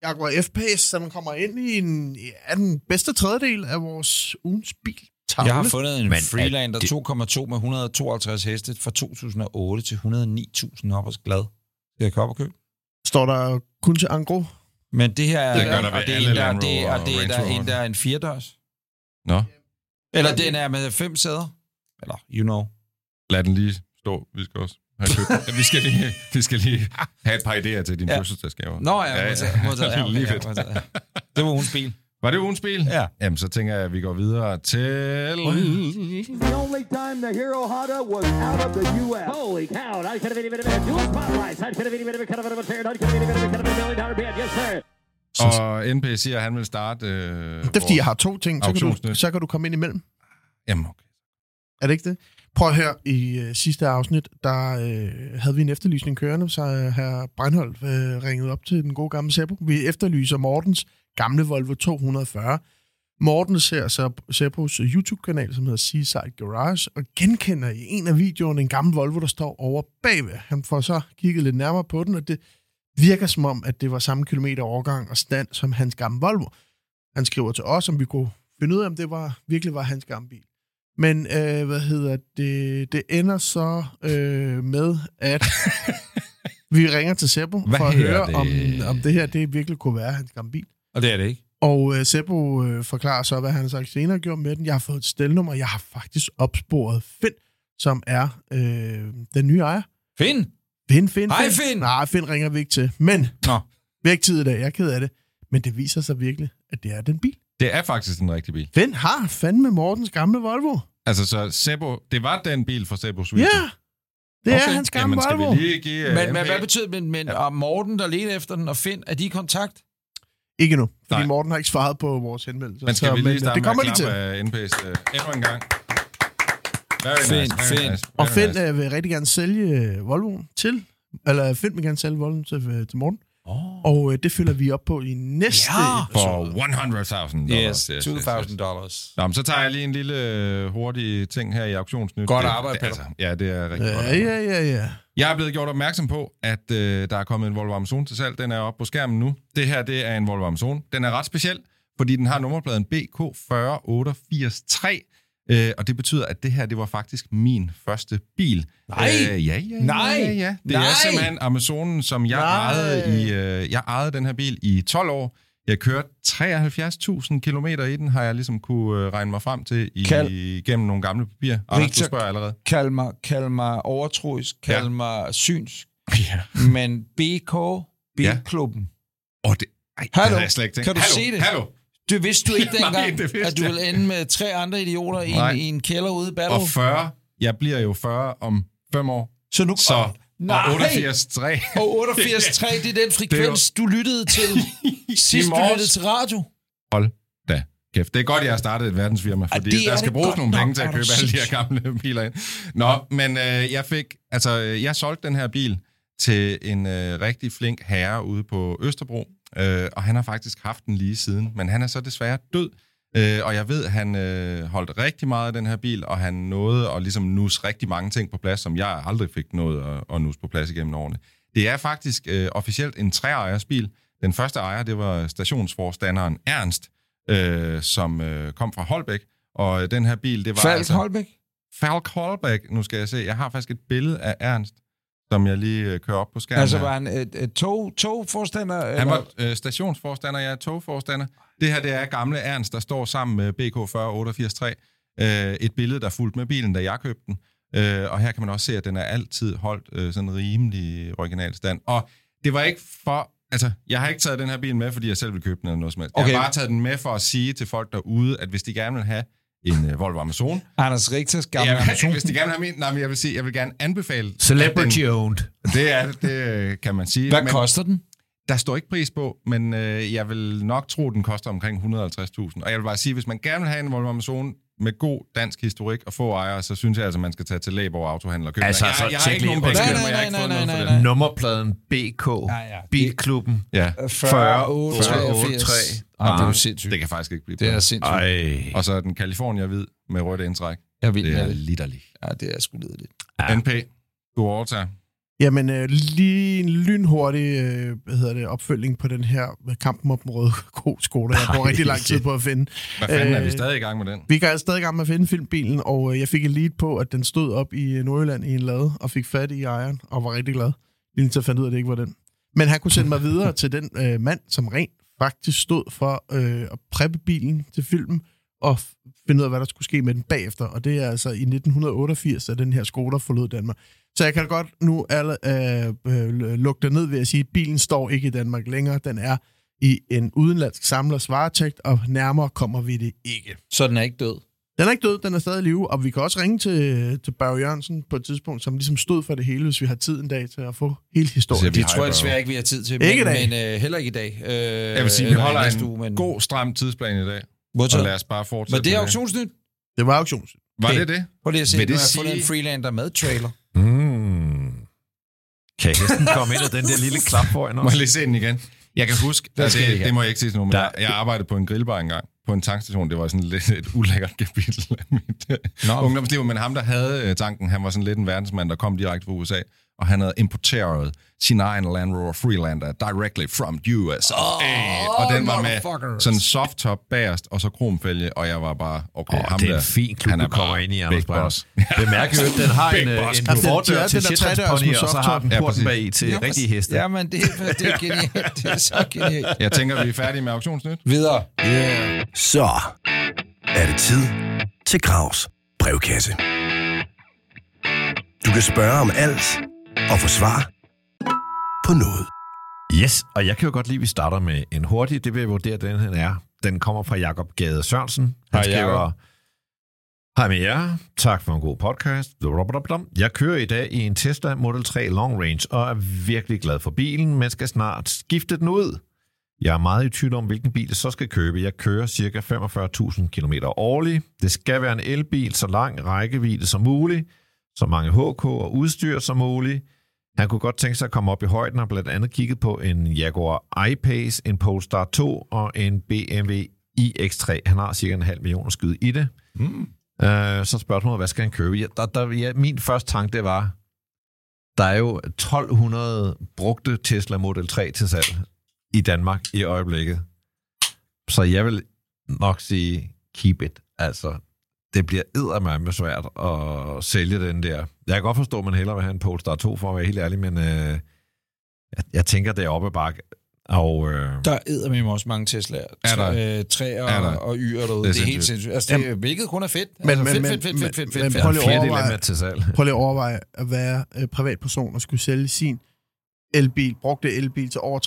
Speaker 4: Jaguar F-Pace, som kommer ind i en, ja, den bedste tredjedel af vores ugens bil.
Speaker 2: jeg har fundet en
Speaker 3: Men er
Speaker 2: Freelander
Speaker 3: det-
Speaker 2: 2,2 med 152 heste fra 2008 til 109.000 op og glad. Det er jeg op og købe.
Speaker 4: Står der kun til Angro?
Speaker 2: Men det her er,
Speaker 5: Det gør der
Speaker 2: og
Speaker 5: ved
Speaker 2: det er
Speaker 5: alle
Speaker 2: en, der,
Speaker 5: Land
Speaker 2: det,
Speaker 5: Rover
Speaker 2: og det er
Speaker 5: og
Speaker 2: der
Speaker 5: Range
Speaker 2: en, der er en firedørs.
Speaker 5: Nå,
Speaker 2: Eller den er med fem sæder. Eller, you know.
Speaker 5: lad den lige stå. Vi skal også have købt. vi, skal lige, vi skal lige have et par idéer til dine
Speaker 2: Ja.
Speaker 5: ja. fødselsdagsgaver.
Speaker 2: Nå ja, modtaget. modtaget. Ja, okay,
Speaker 5: Lige
Speaker 2: ja,
Speaker 5: fedt.
Speaker 2: modtaget. Det var ugens bil.
Speaker 5: Var det ugens bil?
Speaker 2: Ja.
Speaker 5: Jamen, så tænker jeg, at vi går videre til...
Speaker 7: The only time the Hero Honda was out of the U.S. Holy cow! I could have been even a dual spotlights. I could have been even a cut of a tear. I could have been even a cut of a million dollar band. Yes, sir.
Speaker 5: Og NP siger, at han vil starte... Øh,
Speaker 4: Det er fordi, jeg har to ting, så kan, du,
Speaker 5: Auktionsnyt.
Speaker 4: så kan du komme ind imellem.
Speaker 5: Jamen, okay.
Speaker 4: Er det ikke det? Prøv at høre, i øh, sidste afsnit, der øh, havde vi en efterlysning kørende, så øh, herr Breinholt øh, ringede op til den gode gamle Seppo. Vi efterlyser Mortens gamle Volvo 240. Morten ser så Seppos YouTube-kanal, som hedder Seaside Garage, og genkender i en af videoerne en gammel Volvo, der står over bagved. Han får så kigget lidt nærmere på den, og det virker som om, at det var samme kilometer overgang og stand som hans gamle Volvo. Han skriver til os, om vi kunne finde ud af, om det var, virkelig var hans gamle bil. Men øh, hvad hedder det? Det ender så øh, med, at vi ringer til Seppo
Speaker 5: Hvad
Speaker 4: for at
Speaker 5: hedder
Speaker 4: høre,
Speaker 5: det?
Speaker 4: om, om det her det virkelig kunne være hans gamle bil.
Speaker 2: Og det er det ikke.
Speaker 4: Og øh, Seppo øh, forklarer så, hvad han så senere gjorde med den. Jeg har fået et stelnummer. Jeg har faktisk opsporet Finn, som er øh, den nye ejer.
Speaker 2: Finn!
Speaker 4: Finn, Finn,
Speaker 2: Hej, Finn!
Speaker 4: Nej, Finn ringer vi ikke til. Men
Speaker 2: Nå.
Speaker 4: vi har ikke tid i dag. Jeg er ked af det. Men det viser sig virkelig, at det er den bil.
Speaker 5: Det er faktisk den rigtige bil.
Speaker 4: Finn har fandme Mortens gamle Volvo.
Speaker 5: Altså, så Sebo, det var den bil fra Sebos
Speaker 4: Ja,
Speaker 5: video.
Speaker 4: det er hans gamle
Speaker 5: Jamen, skal
Speaker 4: Volvo.
Speaker 5: vi lige give... øh,
Speaker 2: Men, men
Speaker 5: MP?
Speaker 2: hvad betyder men, men og Morten, der ledte efter den, og Finn, er de i kontakt?
Speaker 4: Ikke nu, fordi
Speaker 5: Nej.
Speaker 4: Morten har ikke svaret på vores henvendelse.
Speaker 5: Men skal
Speaker 4: Så,
Speaker 5: vi lige
Speaker 4: øh,
Speaker 5: starte
Speaker 4: det kommer
Speaker 5: med
Speaker 4: lige
Speaker 5: at
Speaker 4: til.
Speaker 5: klappe af NP's øh, endnu en gang? Very
Speaker 2: Fint,
Speaker 5: nice, very
Speaker 2: fint.
Speaker 5: nice.
Speaker 4: Og
Speaker 5: very
Speaker 4: Finn
Speaker 5: nice.
Speaker 4: øh, vil rigtig gerne sælge øh, Volvoen til, eller Finn vil gerne sælge Volvoen til, øh, til Morten.
Speaker 2: Oh.
Speaker 4: Og øh, det følger vi op på i næste
Speaker 2: Ja.
Speaker 5: For 100.000
Speaker 2: Yes,
Speaker 5: dollars.
Speaker 2: $2.000 dollars.
Speaker 5: Nå, men så tager jeg lige en lille øh, hurtig ting her i auktionsnyt.
Speaker 2: Godt
Speaker 5: Det-
Speaker 2: arbejde,
Speaker 5: det, altså, Ja, det er rigtig godt.
Speaker 4: Ja,
Speaker 5: arbejde.
Speaker 4: ja, ja, ja.
Speaker 5: Jeg er blevet gjort opmærksom på, at øh, der er kommet en Volvo Amazon til salg. Den er oppe på skærmen nu. Det her, det er en Volvo Amazon. Den er ret speciel, fordi den har nummerpladen BK40883. Øh, og det betyder, at det her, det var faktisk min første bil.
Speaker 2: Nej!
Speaker 5: Øh, ja, ja,
Speaker 2: Nej!
Speaker 5: Ja, ja, ja. Det
Speaker 2: Nej!
Speaker 5: er simpelthen Amazonen, som jeg
Speaker 4: Nej!
Speaker 5: ejede, i, øh, jeg ejede den her bil i 12 år. Jeg kørte 73.000 km i den, har jeg ligesom kunne øh, regne mig frem til i,
Speaker 2: Kald-
Speaker 5: gennem nogle gamle papirer. Anders,
Speaker 2: Victor-
Speaker 5: du spørger allerede.
Speaker 2: Kald mig, kald mig overtroisk, kald ja.
Speaker 5: Ja.
Speaker 2: mig synsk,
Speaker 5: Ja.
Speaker 2: men BK, B-klubben. Ja.
Speaker 5: Åh, det, ej, det
Speaker 2: Hallo?
Speaker 5: havde jeg slet ikke tænkt.
Speaker 2: Kan du
Speaker 5: hallo,
Speaker 2: se det?
Speaker 5: Hallo,
Speaker 2: Det vidste du ikke
Speaker 5: Nej,
Speaker 2: dengang,
Speaker 5: det vidste
Speaker 2: at du
Speaker 5: jeg
Speaker 2: ville ende med tre andre idioter i,
Speaker 5: Nej.
Speaker 2: en, i en kælder ude i Battle.
Speaker 5: og 40. Jeg bliver jo 40 om 5 år.
Speaker 2: så nu,
Speaker 5: Så,
Speaker 2: og, nej,
Speaker 5: og 88, 3.
Speaker 2: Og 88.3, det er den frekvens, du lyttede til sidst, du
Speaker 5: morges.
Speaker 2: lyttede til radio.
Speaker 5: Hold da Kæft, det er godt, jeg har startet et verdensfirma, fordi
Speaker 2: det er
Speaker 5: der skal
Speaker 2: det
Speaker 5: bruges
Speaker 2: godt
Speaker 5: nogle
Speaker 2: nok,
Speaker 5: penge til at
Speaker 2: er du
Speaker 5: købe alle de her gamle biler ind. Nå, men øh, jeg fik, altså, øh, jeg solgte den her bil til en øh, rigtig flink herre ude på Østerbro, øh, og han har faktisk haft den lige siden, men han er så desværre død, øh, og jeg ved, han øh, holdt rigtig meget af den her bil, og han nåede at ligesom nus rigtig mange ting på plads, som jeg aldrig fik nået at, at nus på plads igennem årene. Det er faktisk øh, officielt en treejers bil. Den første ejer, det var stationsforstanderen Ernst, øh, som øh, kom fra Holbæk. Og øh, den her bil, det var altså
Speaker 2: Falk Holbæk?
Speaker 5: Falk Holbæk, nu skal jeg se. Jeg har faktisk et billede af Ernst, som jeg lige øh, kører op på skærmen.
Speaker 2: Altså
Speaker 5: her.
Speaker 2: var han et, et tog, togforstander?
Speaker 5: Han var øh, stationsforstander, jeg er togforstander. Det her, det er gamle Ernst, der står sammen med BK 40883. Øh, et billede, der fulgte med bilen, da jeg købte den. Øh, og her kan man også se, at den er altid holdt øh, sådan rimelig original stand. Og det var ikke for... Altså, jeg har ikke taget den her bil med, fordi jeg selv ville købe den eller noget som helst. Okay.
Speaker 2: Okay.
Speaker 5: Jeg har bare taget den med for at sige til folk derude, at hvis de gerne vil have en øh, Volvo Amazon,
Speaker 2: Anders Richters gamle
Speaker 5: ja,
Speaker 2: Amazon.
Speaker 5: hvis de gerne vil have min, nej, men jeg vil sige, jeg vil gerne anbefale...
Speaker 3: Celebrity
Speaker 5: at
Speaker 3: owned.
Speaker 5: Den, det er det, øh, kan man sige.
Speaker 2: Hvad
Speaker 5: Men-
Speaker 2: koster den?
Speaker 5: der står ikke pris på, men øh, jeg vil nok tro, den koster omkring 150.000. Og jeg vil bare sige, hvis man gerne vil have en Volvo Amazon med god dansk historik og få ejere, så synes jeg altså, man skal tage til Læborg Autohandel og købe
Speaker 3: Altså,
Speaker 5: den.
Speaker 3: altså,
Speaker 5: Jeg, jeg, har
Speaker 3: tjek
Speaker 5: ikke
Speaker 3: lige
Speaker 5: nogen
Speaker 3: på
Speaker 5: penge,
Speaker 3: det.
Speaker 5: til den, og jeg har ikke
Speaker 2: Nej,
Speaker 5: fået
Speaker 2: nej,
Speaker 5: noget
Speaker 2: nej,
Speaker 5: for
Speaker 2: nej,
Speaker 5: den.
Speaker 3: Nummerpladen BK.
Speaker 2: ja. Øh,
Speaker 3: Bilklubben.
Speaker 5: Ja.
Speaker 2: 40, 8,
Speaker 3: tre.
Speaker 2: 83. Ej, Ah, det er jo sindssygt.
Speaker 5: Det kan faktisk ikke blive
Speaker 2: Øh, Det er
Speaker 5: bedre.
Speaker 2: sindssygt.
Speaker 3: Ej.
Speaker 5: Og så er den California hvid med rødt indtræk.
Speaker 2: Jeg vil
Speaker 5: Det er
Speaker 2: det.
Speaker 5: litterlig.
Speaker 2: Ja, det er sgu lidt.
Speaker 5: Ja. NP, du overtager.
Speaker 4: Jamen, øh, lige en lynhurtig øh, hvad hedder det, opfølging på den her øh, kampen om den røde ko Skoda. Jeg bruger rigtig lang tid på at finde.
Speaker 5: Hvad fanden er vi
Speaker 4: Øh,
Speaker 5: stadig i gang med den?
Speaker 4: Vi er stadig i gang med at finde filmbilen, og øh, jeg fik et lead på, at den stod op i øh, Nordjylland i en lade, og fik fat i ejeren, og var rigtig glad. Lige til jeg fandt ud af, at det ikke var den. Men han kunne sende mig videre til den øh, mand, som rent faktisk stod for øh, at preppe bilen til filmen, og f- finde ud af, hvad der skulle ske med den bagefter. Og det er altså i 1988, at den her Skoda forlod Danmark. Så jeg kan godt nu alle, øh, øh, lukke det ned ved at sige, at bilen står ikke i Danmark længere. Den er i en udenlandsk samlers varetægt, og nærmere kommer vi det ikke.
Speaker 2: Så den er ikke død.
Speaker 4: Den er ikke død, den er stadig i live, og vi kan også ringe til, til Barry Jørgensen på et tidspunkt, som ligesom stod for det hele, hvis vi har tid en dag til at få hele historien.
Speaker 5: Det
Speaker 2: Det
Speaker 5: har
Speaker 2: tror
Speaker 5: jeg
Speaker 2: jeg
Speaker 5: prøvet.
Speaker 2: desværre ikke, vi har tid til.
Speaker 4: Ikke i dag.
Speaker 2: men, men øh, heller ikke i dag. Øh,
Speaker 5: Jeg vil sige, vi
Speaker 2: eller i
Speaker 5: holder
Speaker 2: næste
Speaker 5: en
Speaker 2: uge, men-
Speaker 5: god, stram tidsplan i dag. Og
Speaker 2: Modtaget.
Speaker 5: lad os bare
Speaker 2: Men
Speaker 5: fortsætte
Speaker 2: det er
Speaker 5: med
Speaker 2: auktionsnyt.
Speaker 4: Det var auktions.
Speaker 5: Var det det?
Speaker 2: Prøv lige at se,
Speaker 5: Vil
Speaker 2: nu
Speaker 5: det
Speaker 2: har jeg fundet
Speaker 5: sige-
Speaker 2: en freelander med trailer.
Speaker 3: Mm. Kan hesten komme ind af den der lille klap foran
Speaker 5: Må
Speaker 3: os?
Speaker 5: jeg lige se den igen? Jeg kan huske, det, altså,
Speaker 2: skal jeg
Speaker 5: det,
Speaker 2: ikke.
Speaker 5: det må jeg ikke sige til nogen, men
Speaker 3: Der-
Speaker 5: jeg, jeg arbejdede på en grillbar engang, på en tankstation. Det var sådan lidt et ulækkert kapitel af mit
Speaker 2: Nå.
Speaker 5: no. ungdomsliv, men ham, der havde øh, tanken, han var sådan lidt en verdensmand, der kom direkte fra USA, og han havde importeret sin egen Land Rover Freelander directly from US. Oh, og den var med
Speaker 2: motherfuckers.
Speaker 5: sådan soft top bagerst, og så kromfælge, og jeg var bare, okay,
Speaker 3: Åh,
Speaker 5: ham
Speaker 3: det er
Speaker 5: der,
Speaker 3: en fin klub,
Speaker 5: han er
Speaker 3: du kommer
Speaker 5: bare
Speaker 3: ind i,
Speaker 5: big
Speaker 3: Anders Brønders.
Speaker 5: boss.
Speaker 3: Det mærker jo, at den har en,
Speaker 5: Big
Speaker 3: øh,
Speaker 5: boss.
Speaker 3: en
Speaker 4: Altså, det
Speaker 3: fordør
Speaker 4: er
Speaker 3: til
Speaker 4: den der tredørs
Speaker 3: Shetlandspony,
Speaker 4: med
Speaker 3: og så har den
Speaker 5: softtoppen.
Speaker 3: porten
Speaker 5: Ja,
Speaker 3: bag i til rigtige heste.
Speaker 2: Ja, men det, er- det er genialt. Det er så genialt.
Speaker 5: Jeg tænker, vi er færdige med auktionsnyt.
Speaker 2: Videre.
Speaker 1: Så er det tid til Gravs brevkasse. Du kan spørge om alt og få svar på noget.
Speaker 3: Yes, og jeg kan jo godt lide, at vi starter med en hurtig. Det vil jeg vurdere, den her er. Den kommer fra Jakob Gade Sørensen. Han
Speaker 5: Hej,
Speaker 3: skriver, Hej med jer. Tak for en god podcast. Blablabla. Jeg kører i dag i en Tesla Model 3 Long Range og er virkelig glad for bilen, men skal snart skifte den ud. Jeg er meget i tvivl om, hvilken bil jeg så skal købe. Jeg kører ca. 45.000 km årligt. Det skal være en elbil, så lang rækkevidde som muligt, så mange HK og udstyr som muligt. Han kunne godt tænke sig at komme op i højden og blandt andet kigget på en Jaguar I-Pace, en Polestar 2 og en BMW iX3. Han har cirka en halv million at skyde i det. Mm. Øh, så spørgsmålet, hvad skal han købe? Ja, der, der, ja, min første tanke, det var, der er jo 1200 brugte Tesla Model 3 til salg i Danmark i øjeblikket. Så jeg vil nok sige, keep it. Altså, det bliver eddermame svært at sælge den der. Jeg kan godt forstå, at man hellere vil have en Polestar 2, for at være helt ærlig, men øh, jeg, jeg tænker, det er oppe bakke. Og øh,
Speaker 2: Der æder med også mange Tesla'er.
Speaker 5: Er der?
Speaker 2: Øh, træer
Speaker 5: Er der?
Speaker 2: og, og yer derude.
Speaker 5: Det er
Speaker 2: Det er, helt
Speaker 5: sindssygt.
Speaker 2: sindssygt. Altså, det, er- hvilket kun er fedt.
Speaker 4: Men-
Speaker 2: Altså,
Speaker 4: men-
Speaker 2: fedt,
Speaker 4: men-
Speaker 2: fedt, fedt,
Speaker 4: men-
Speaker 2: fedt, fedt,
Speaker 4: men
Speaker 2: fedt,
Speaker 4: prøv
Speaker 2: fedt.
Speaker 4: lige
Speaker 3: en
Speaker 4: at
Speaker 3: fjerdedel
Speaker 4: overveje-
Speaker 3: er med til salg.
Speaker 4: Prøv lige at overveje at være øh, privatperson og skulle sælge sin elbil, brugte elbil til over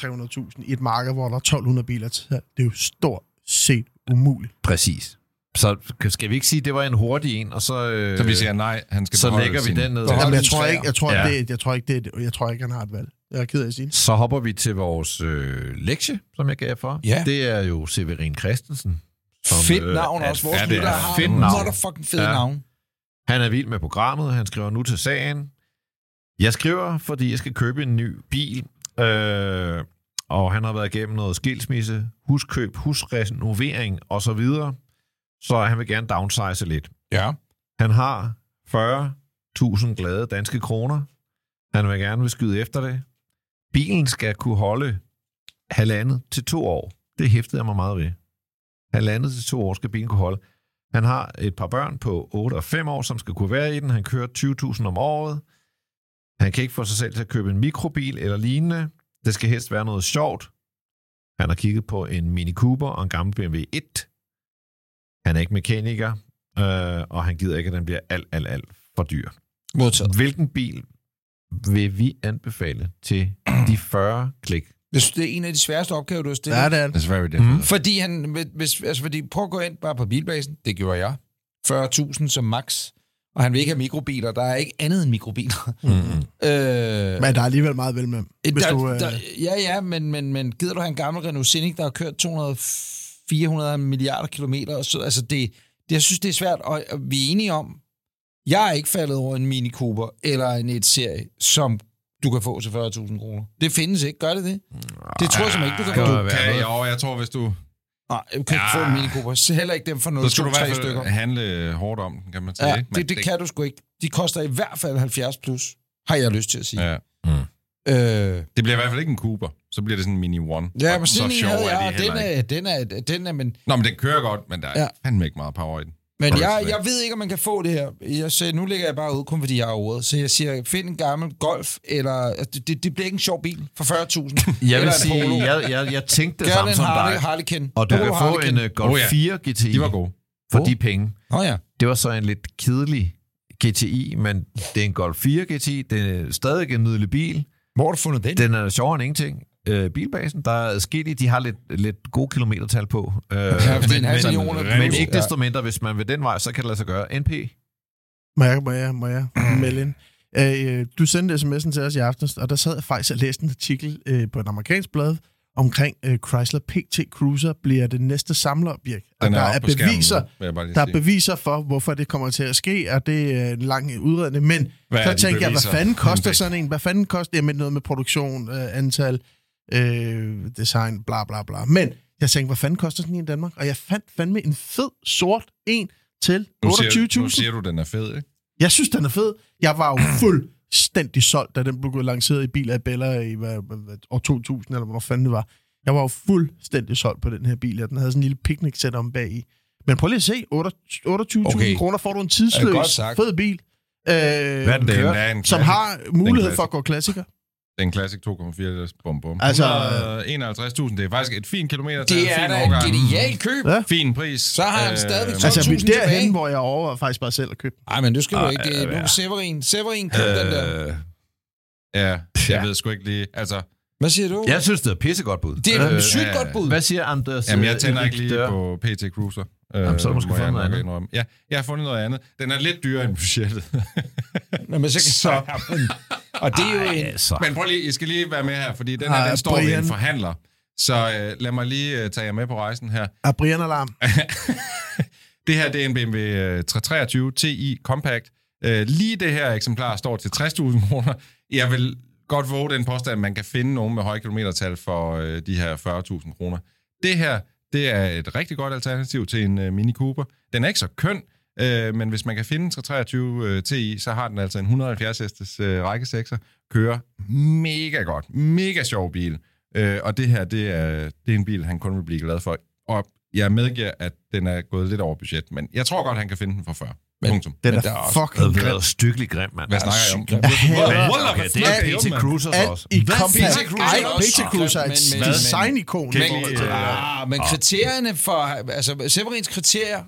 Speaker 4: 300.000 i et marked, hvor der er 1200 biler til salg. Det er jo stort set umuligt.
Speaker 3: Præcis. Så skal vi ikke sige, at det var en hurtig en, og så, øh,
Speaker 5: Så vi siger nej, han skal
Speaker 3: så
Speaker 5: beholde
Speaker 3: lægger vi
Speaker 5: sin-
Speaker 3: den ned.
Speaker 4: Jamen, jeg
Speaker 2: din
Speaker 4: tror
Speaker 2: træer.
Speaker 4: ikke, jeg tror,
Speaker 3: Ja.
Speaker 4: ja. det, er- jeg tror ikke, det, er- jeg tror ikke, han har et valg. Jeg er ked af at sige det.
Speaker 3: Så hopper vi til vores øh, lektie, som jeg gav for.
Speaker 2: Ja.
Speaker 3: Det er jo Severin Christensen,
Speaker 2: Fedt
Speaker 3: øh,
Speaker 2: navn
Speaker 3: at-
Speaker 2: også. Vores
Speaker 3: ja, det er
Speaker 2: lyttere har
Speaker 3: fedt
Speaker 2: nogle
Speaker 3: navn.
Speaker 2: motherfucking fede
Speaker 3: Ja.
Speaker 2: navn.
Speaker 3: Han er vild med programmet, han skriver nu til sagen. Jeg skriver, fordi jeg skal købe en ny bil, øh, og han har været igennem noget skilsmisse, huskøb, husrenovering osv., så, så han vil gerne downsize lidt.
Speaker 2: Ja.
Speaker 3: Han har 40.000 glade danske kroner. Han vil gerne vil skyde efter det. Bilen skal kunne holde halvandet til to år. Det hæftede jeg mig meget ved. Halvandet til to år skal bilen kunne holde. Han har et par børn på 8 og 5 år, som skal kunne være i den. Han kører 20.000 om året. Han kan ikke få sig selv til at købe en mikrobil eller lignende. Det skal helst være noget sjovt. Han har kigget på en Mini Cooper og en gammel BMW 1. Han er ikke mekaniker, øh, og han gider ikke, at den bliver alt, alt, alt for dyr.
Speaker 2: Modtaget.
Speaker 3: Hvilken bil vil vi anbefale til de 40 klik?
Speaker 2: Jeg synes, det er en af de sværeste opgaver, du har stillet.
Speaker 4: Ja, det er
Speaker 5: Det
Speaker 4: det.
Speaker 5: er very
Speaker 3: Mhm.
Speaker 5: difficult. Mm.
Speaker 2: Fordi han, hvis, altså fordi, prøv at gå ind bare på bilbasen, det gjorde jeg. 40.000 som max, og han vil ikke have mikrobiler, der er ikke andet end mikrobiler.
Speaker 3: Mm-hmm.
Speaker 2: Øh,
Speaker 4: Men der er alligevel meget vel med. Hvis
Speaker 2: der,
Speaker 4: du, øh,
Speaker 2: der, ja, ja, men, men, men gider du have en gammel Renault Scenic, der har kørt 200-400 milliarder kilometer? Og så, altså det, det, jeg synes, det er svært, og og vi er enige om, jeg er ikke faldet over en Mini Cooper eller en et serie, som du kan få til 40.000 kroner. Det findes ikke, gør det det? Det tror jeg simpelthen ikke, du kan få.
Speaker 3: det må være
Speaker 5: Okay,
Speaker 3: noget.
Speaker 5: jo, jeg tror, hvis du...
Speaker 2: Nej, du kan ikke få en Mini Cooper. Så heller ikke dem for
Speaker 5: Så skal du i
Speaker 2: 0,3
Speaker 5: hvert
Speaker 2: stykker.
Speaker 5: fald handle øh, hårdt om den, kan man sige.
Speaker 2: Ja,
Speaker 5: ikke? Men
Speaker 2: det, det kan du sgu ikke. De koster i hvert fald 70 plus, har jeg lyst til at sige.
Speaker 5: Ja.
Speaker 2: Øh,
Speaker 5: Det bliver i hvert fald ikke en Cooper. Så bliver det sådan en Mini One.
Speaker 2: ja
Speaker 5: Og
Speaker 2: men sådan en
Speaker 5: sjove
Speaker 2: havde
Speaker 5: er de
Speaker 2: jeg, og
Speaker 5: heller
Speaker 2: den
Speaker 5: ikke.
Speaker 2: er, den er, den er, men
Speaker 5: Nå, men den kører godt, men der er
Speaker 2: Ja.
Speaker 5: ja. fandme ikke meget power i den.
Speaker 2: Men
Speaker 5: Prøv
Speaker 2: jeg,
Speaker 5: at
Speaker 2: jeg ved ikke, om man kan få det her. Jeg sagde, nu ligger jeg bare ud, kun fordi jeg har ordet. Så jeg siger, find en gammel Golf, eller... altså, Det, det, det bliver ikke en sjov bil for 40.000. Eller
Speaker 3: Jeg
Speaker 2: en
Speaker 3: vil
Speaker 2: Polo.
Speaker 3: sige, jeg, jeg, jeg tænkte det
Speaker 2: Gør
Speaker 3: samme
Speaker 2: den
Speaker 3: som
Speaker 2: Harley,
Speaker 3: dig.
Speaker 2: Harlequin.
Speaker 3: Og du
Speaker 2: Polo
Speaker 3: kan få en
Speaker 2: Harlequin.
Speaker 3: øh, Golf
Speaker 5: Oh ja.
Speaker 3: 4 GTI
Speaker 5: De var gode.
Speaker 3: for de penge.
Speaker 2: Nå ja.
Speaker 3: Det var så en lidt kedelig GTI, men det er en Golf 4 GTI. Det er stadig en nydelig bil.
Speaker 2: Hvor har du fundet den?
Speaker 3: Den er sjovere end ingenting. Øh, bilbasen, der er skille, de har lidt, lidt gode kilometertal på. Øh,
Speaker 2: Ja, fordi en halv
Speaker 5: men-
Speaker 2: million.
Speaker 5: men
Speaker 2: er
Speaker 3: men
Speaker 2: dyr.
Speaker 3: ikke desto mindre, hvis man vil den vej, så kan det lade sig gøre. NP?
Speaker 4: Må jeg, må jeg, må
Speaker 5: Mm.
Speaker 4: jeg melde ind? Øh, du sendte sms'en til os i aften, og der sad jeg faktisk og læste en artikel øh, på et amerikansk blad omkring øh, Chrysler PT Cruiser bliver det næste samlerobjekt. Og
Speaker 5: Den
Speaker 4: der
Speaker 5: oppe
Speaker 4: er
Speaker 5: på skærmen nu,
Speaker 4: beviser,
Speaker 5: vil jeg bare lige
Speaker 4: der er
Speaker 5: sige.
Speaker 4: beviser for, hvorfor det kommer til at ske, og det er en lang udredning. Men
Speaker 5: Hvad
Speaker 4: hvad
Speaker 5: er
Speaker 4: så
Speaker 5: de
Speaker 4: tænker jeg, hvad
Speaker 5: beviser?
Speaker 4: fanden koster
Speaker 5: Jamen,
Speaker 4: sådan en? Hvad fanden koster Jamen noget med produktion, øh, antal, øh, design, bla bla bla. Men jeg tænkte, hvad fanden koster sådan en i Danmark? Og jeg fandt fandme en fed, sort en til
Speaker 5: Nu siger, nu
Speaker 4: 28.000.
Speaker 5: siger du, den er fed, ikke?
Speaker 4: Jeg synes, den er fed. Jeg var jo fuldstændig solgt, da den blev lanceret i Bil af Bella i hvad, hvad, hvad, år 2000, eller hvor fanden det var. Jeg var jo fuldstændig solgt på den her bil, og den havde sådan en lille picnic-sæt om bag i. Men prøv lige at se, 28.000
Speaker 2: Okay.
Speaker 4: okay. kroner får du
Speaker 2: Ja,
Speaker 4: en
Speaker 2: godt
Speaker 4: tidsløs,
Speaker 2: sagt.
Speaker 4: fed bil,
Speaker 3: Hvad
Speaker 4: øh,
Speaker 3: er den,
Speaker 5: Den
Speaker 3: kører?
Speaker 5: er en
Speaker 4: som
Speaker 5: classic.
Speaker 4: har mulighed
Speaker 5: Den
Speaker 4: for at gå klassiker.
Speaker 5: Det er en Classic 2,4 liters bum bum.
Speaker 4: Altså-
Speaker 5: Altså, 51.000, det er faktisk et fint kilometer.
Speaker 2: Det er
Speaker 5: fin
Speaker 2: da et
Speaker 5: årgang.
Speaker 2: genialt køb.
Speaker 4: Ja.
Speaker 5: Fin pris.
Speaker 2: Så har han stadigvæk
Speaker 5: Øh,
Speaker 2: Så
Speaker 4: Altså, vi er
Speaker 2: 12.000 tilbage.
Speaker 4: derhen, hvor jeg overvejer faktisk bare selv at købe den.
Speaker 2: Nej, men det skal du
Speaker 3: Ej,
Speaker 2: ikke. Det er
Speaker 3: ja.
Speaker 2: nu Severin. Severin køb den der.
Speaker 3: Øh,
Speaker 5: Ja, jeg
Speaker 3: Ja.
Speaker 5: ved sgu ikke lige. Altså,
Speaker 2: Hvad siger du?
Speaker 3: jeg synes, det er et pissegodt bud.
Speaker 2: Det er et
Speaker 5: øh,
Speaker 2: sygt
Speaker 5: ja.
Speaker 2: godt bud.
Speaker 3: Hvad siger Anders?
Speaker 5: jamen,
Speaker 3: øh,
Speaker 5: jeg tænder
Speaker 3: Erik
Speaker 5: ikke lige
Speaker 3: Dør?
Speaker 5: på PT Cruiser. Øh,
Speaker 3: Jamen, så har du måske
Speaker 5: må jeg
Speaker 3: fundet
Speaker 5: nok
Speaker 3: noget andet.
Speaker 5: indrømme. Ja, jeg har fundet noget andet. Den er lidt dyrere end budgettet.
Speaker 2: Nå, men så, så. Og det er jo en...
Speaker 3: Altså.
Speaker 5: Men prøv lige, I skal lige være med her, fordi den
Speaker 4: Ej,
Speaker 3: Ah,
Speaker 5: her, den står ved
Speaker 4: Brian.
Speaker 5: en forhandler. Så øh, lad mig lige øh, tage jer med på rejsen her.
Speaker 4: Er Ah, Brian Alarm?
Speaker 5: Det her, det er en BMW øh, 323 Ti Compact. Øh, Lige det her eksemplar står til 60.000 kroner. Jeg vil godt våge den påstand, at man kan finde nogen med høje kilometertal for øh, de her 40.000 kroner. Det her, det er et rigtig godt alternativ til en øh, Mini Cooper. Den er ikke så køn, øh, men hvis man kan finde en 323 øh, Ti, så har den altså en 170 hestes øh, rækkesekser. Kører mega godt. Mega sjov bil. Øh, og det her, det er, det er en bil, han kun vil blive glad for. Og jeg medgiver, at den er gået lidt over budget, men jeg tror godt, han kan finde den for 40. Men, Punktum.
Speaker 4: Den
Speaker 2: Men
Speaker 4: er,
Speaker 2: der er også-
Speaker 4: fucking
Speaker 3: Det
Speaker 4: grim.
Speaker 3: er stykkelig grim, mand.
Speaker 5: Hvad snakker jeg om?
Speaker 2: sygt.
Speaker 5: What- what
Speaker 3: Okay,
Speaker 5: the
Speaker 3: det er
Speaker 5: fuck,
Speaker 3: PT
Speaker 5: mand?
Speaker 3: Cruisers
Speaker 4: Alt
Speaker 3: også.
Speaker 4: i compact.
Speaker 5: PT Cruiser
Speaker 4: Ej,
Speaker 5: er også
Speaker 4: PT Cruiser er
Speaker 2: Men- men-
Speaker 4: et
Speaker 2: men-
Speaker 4: designikon.
Speaker 5: Kan I
Speaker 4: Men-
Speaker 5: ikke-
Speaker 2: Men, ah, men kriterierne for, altså Severins kriterier,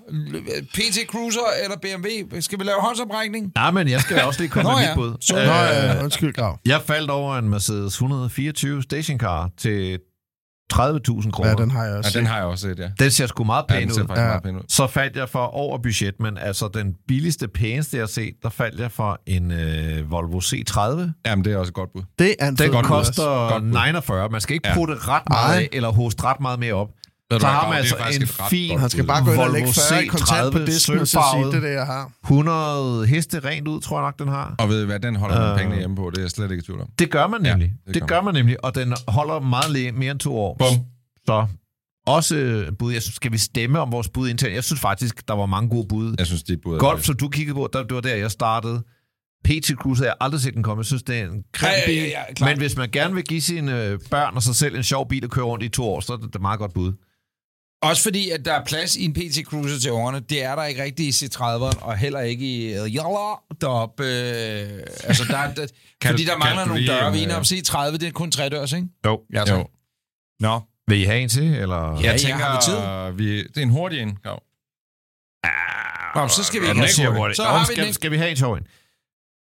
Speaker 2: PT Cruiser eller BMW, skal vi lave håndsoprækning?
Speaker 3: Nej, men jeg skal også lige komme
Speaker 2: Nå
Speaker 3: med
Speaker 2: ja.
Speaker 3: mit bud. Øh,
Speaker 2: Så-
Speaker 4: Nå, ja, undskyld, Grav.
Speaker 3: Jeg faldt over en Mercedes 124 stationcar til 30.000 kroner.
Speaker 4: Ja, den har jeg også.
Speaker 5: Ja, den har jeg også set, ja.
Speaker 3: den ser sgu meget
Speaker 5: ja
Speaker 3: pæn
Speaker 5: den ser
Speaker 3: ud.
Speaker 5: faktisk
Speaker 4: Ja.
Speaker 5: meget pæn ud.
Speaker 3: Så faldt jeg for over budget, men altså den billigste, pæneste jeg har set, der faldt jeg for en øh, Volvo C30.
Speaker 5: Jamen, det er også et godt bud.
Speaker 4: Det er en fed
Speaker 3: Den
Speaker 4: bil
Speaker 3: koster
Speaker 4: også.
Speaker 5: Godt bud.
Speaker 3: 49. Man skal ikke
Speaker 5: Ja.
Speaker 3: putte ret meget
Speaker 4: Ej.
Speaker 3: af, eller hoste ret meget mere op.
Speaker 5: Ved du
Speaker 3: Så
Speaker 5: hvad,
Speaker 3: har
Speaker 5: Grav,
Speaker 3: man
Speaker 5: det er
Speaker 3: altså
Speaker 5: faktisk
Speaker 3: en
Speaker 5: et ret
Speaker 3: fin-
Speaker 5: godt
Speaker 4: Han skal
Speaker 5: bud.
Speaker 4: bare gå ind og lægge
Speaker 3: Volvo
Speaker 4: 40 i kontant på
Speaker 3: C30
Speaker 4: disken, og så sige,
Speaker 3: sølvfarvet.
Speaker 4: det er det, jeg har.
Speaker 3: 100 heste rent ud, tror jeg nok, den har.
Speaker 5: Og ved I hvad, den holder man
Speaker 3: Øh.
Speaker 5: pengene hjemme på, det er jeg slet ikke i tvivl om.
Speaker 3: Det gør man
Speaker 5: Ja,
Speaker 3: nemlig.
Speaker 5: det
Speaker 3: Ja,
Speaker 5: gør
Speaker 3: det gør man nemlig, og den holder meget læ- mere end to år.
Speaker 5: Bum.
Speaker 3: Så også øh, bud. Jeg synes, skal vi stemme om vores bud internt? Jeg synes faktisk, der var mange gode bud.
Speaker 5: Jeg synes, dit bud er
Speaker 3: Golf, som du kiggede på, der, det var der, jeg startede. PT Cruiser, jeg har aldrig set den komme. Jeg synes, det er en grim
Speaker 2: Ja,
Speaker 3: bil.
Speaker 2: ja, ja, ja, klart.
Speaker 3: men hvis man gerne vil give sine øh, børn og sig selv en sjov bil at køre rundt i to år, så er det et meget godt bud.
Speaker 2: Også fordi, at der er plads i en PT Cruiser til ungerne. Det er der ikke rigtigt i C30'eren, og heller ikke i øh, Jalla deroppe. Øh, altså, der, er- der,
Speaker 5: Kan
Speaker 2: fordi
Speaker 5: du-
Speaker 2: der mangler
Speaker 5: kan du
Speaker 2: nogle
Speaker 5: lige,
Speaker 2: døre.
Speaker 5: øh,
Speaker 2: Vi er enige om C30, det er kun tre dørs, ikke?
Speaker 3: Jo.
Speaker 2: Ja,
Speaker 5: Jo.
Speaker 2: Nå.
Speaker 3: Vil I have en til? Eller?
Speaker 2: Ja,
Speaker 5: Jeg
Speaker 2: tænker,
Speaker 5: tænker,
Speaker 2: har vi tid?
Speaker 5: vi, det er en hurtig en, Grav.
Speaker 2: Nå, så skal vi
Speaker 3: Ja,
Speaker 2: ikke
Speaker 3: den
Speaker 2: have
Speaker 3: siger
Speaker 2: hurtigt.
Speaker 3: hurtigt.
Speaker 2: Så
Speaker 3: Nå,
Speaker 2: har vi
Speaker 3: skal,
Speaker 2: den.
Speaker 3: skal vi have en sjov en?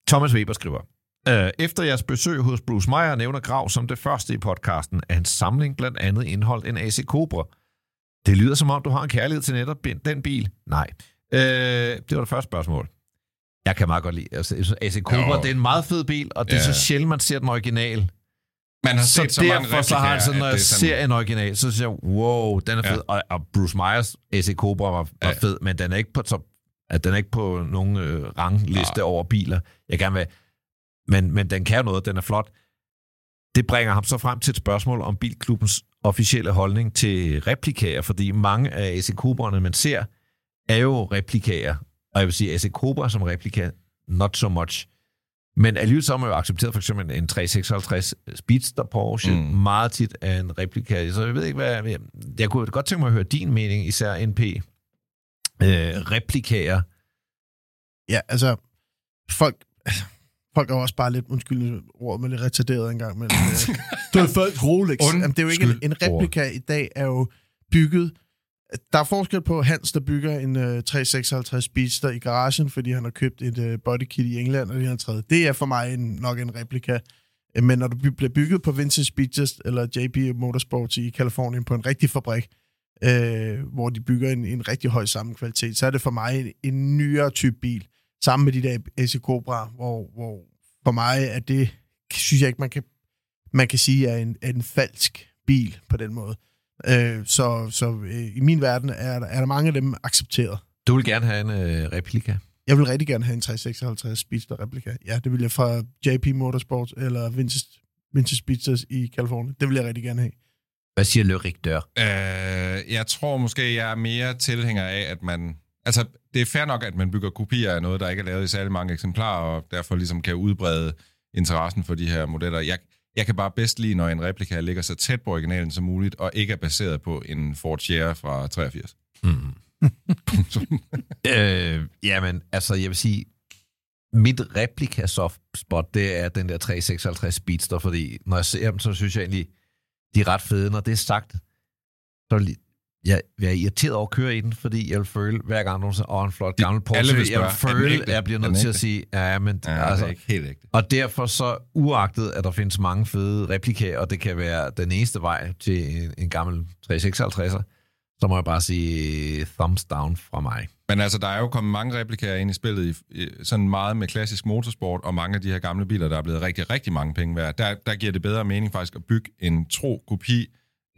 Speaker 3: Thomas Weber skriver, "Øh, efter jeres besøg hos Bruce Meyer nævner Grav som det første i podcasten, at hans samling blandt andet indholdt en AC Cobra. Det lyder som om, du har en kærlighed til netop bin- den bil. Nej. Øh, det var det første spørgsmål. Jeg kan meget godt lide altså, jeg synes, AC Cobra.
Speaker 5: Jo.
Speaker 3: Jo. Det er en meget fed bil, og det er
Speaker 5: Ja.
Speaker 3: så sjældent, man ser den original.
Speaker 5: Man har
Speaker 3: Så,
Speaker 5: set så mange
Speaker 3: derfor så har han sådan,
Speaker 5: replikaer,
Speaker 3: når
Speaker 5: at
Speaker 3: jeg
Speaker 5: det er sådan-
Speaker 3: ser en original, så siger jeg, wow, den er
Speaker 5: Ja.
Speaker 3: fed. Og, og Bruce Myers AC Cobra var, var
Speaker 5: Ja.
Speaker 3: fed, men den er ikke på top, at den er ikke på nogen øh, rangliste
Speaker 5: Nej.
Speaker 3: over biler. Jeg gerne vil, men, men den kan noget, den er flot. Det bringer ham så frem til et spørgsmål om bilklubbens officielle holdning til replikager, fordi mange af AC Cobra'erne, man ser, er jo replikager. Og jeg vil sige, AC Cobra som replika, not so much. Men alligevel så har man jo accepteret for eksempel en 356 Speedster Porsche
Speaker 5: Mm.
Speaker 3: mm. meget tit af en replika. Så jeg ved ikke, hvad... Jeg, jeg kunne godt tænke mig at høre din mening, især NP. Øh, replikager.
Speaker 4: Ja, altså, folk, altså, folk er jo også bare lidt, undskyld ordet, men lidt retarderet engang. Men, øh, du er folk Rolex. Jamen, det er jo ikke en, en replika i dag, er jo bygget... Der er forskel på Hans, der bygger en øh, 356 Speedster i garagen, fordi han har købt et øh, bodykit i England, og det har han træet. Det er for mig en, nok en replika. Øh, Men når du by- bliver bygget på Vintage Speedsters eller JP Motorsports i Kalifornien på en rigtig fabrik, øh, hvor de bygger en, en rigtig høj samme kvalitet, så er det for mig en, en nyere type bil sammen med de der AC Cobra, hvor, hvor for mig er det, synes jeg ikke, man kan, man kan sige, er en, er en falsk bil på den måde. Øh, så så øh, i min verden er der, er der mange af dem accepteret.
Speaker 3: Du vil gerne have en øh, replika.
Speaker 4: Jeg vil rigtig gerne have en 356 Speedster replika. Ja, det vil jeg fra JP Motorsports eller Vintage, Vintage Speedsters i Kalifornien. Det vil jeg rigtig gerne have.
Speaker 3: Hvad siger Le Rigdør?
Speaker 5: Øh, jeg tror måske, jeg er mere tilhænger af, at man... Altså, det er fair nok, at man bygger kopier af noget, der ikke er lavet i særlig mange eksemplarer, og derfor ligesom kan udbrede interessen for de her modeller. Jeg, jeg kan bare bedst lide, når en replika ligger så tæt på originalen som muligt, og ikke er baseret på en Ford Sierra fra 83.
Speaker 3: Mm. øh, jamen, altså, jeg vil sige, mit replika soft spot, det er den der 356 Speedster, fordi når jeg ser dem, så synes jeg egentlig, de er ret fede. Når det er sagt, så vil jeg være irriteret over at køre i den, fordi jeg vil føle, hver gang nogen siger, åh, en flot gammel
Speaker 5: alle
Speaker 3: Porsche,
Speaker 5: vil
Speaker 3: jeg vil
Speaker 5: spørge, "Er den
Speaker 3: føle,
Speaker 5: ægte?
Speaker 3: jeg bliver
Speaker 5: Er den
Speaker 3: nødt til at
Speaker 5: ægte?"
Speaker 3: sige, ja, men
Speaker 5: Ja, altså, det er ikke helt ægte.
Speaker 3: og derfor så, uagtet at der findes mange fede replikaer, og det kan være den eneste vej til en, en gammel 356'er, så må jeg bare sige thumbs down fra mig.
Speaker 5: Men altså, der er jo kommet mange replikaer ind i spillet, i, i, sådan meget med klassisk motorsport, og mange af de her gamle biler, der er blevet rigtig, rigtig mange penge værd. Der, der giver det bedre mening faktisk at bygge en tro kopi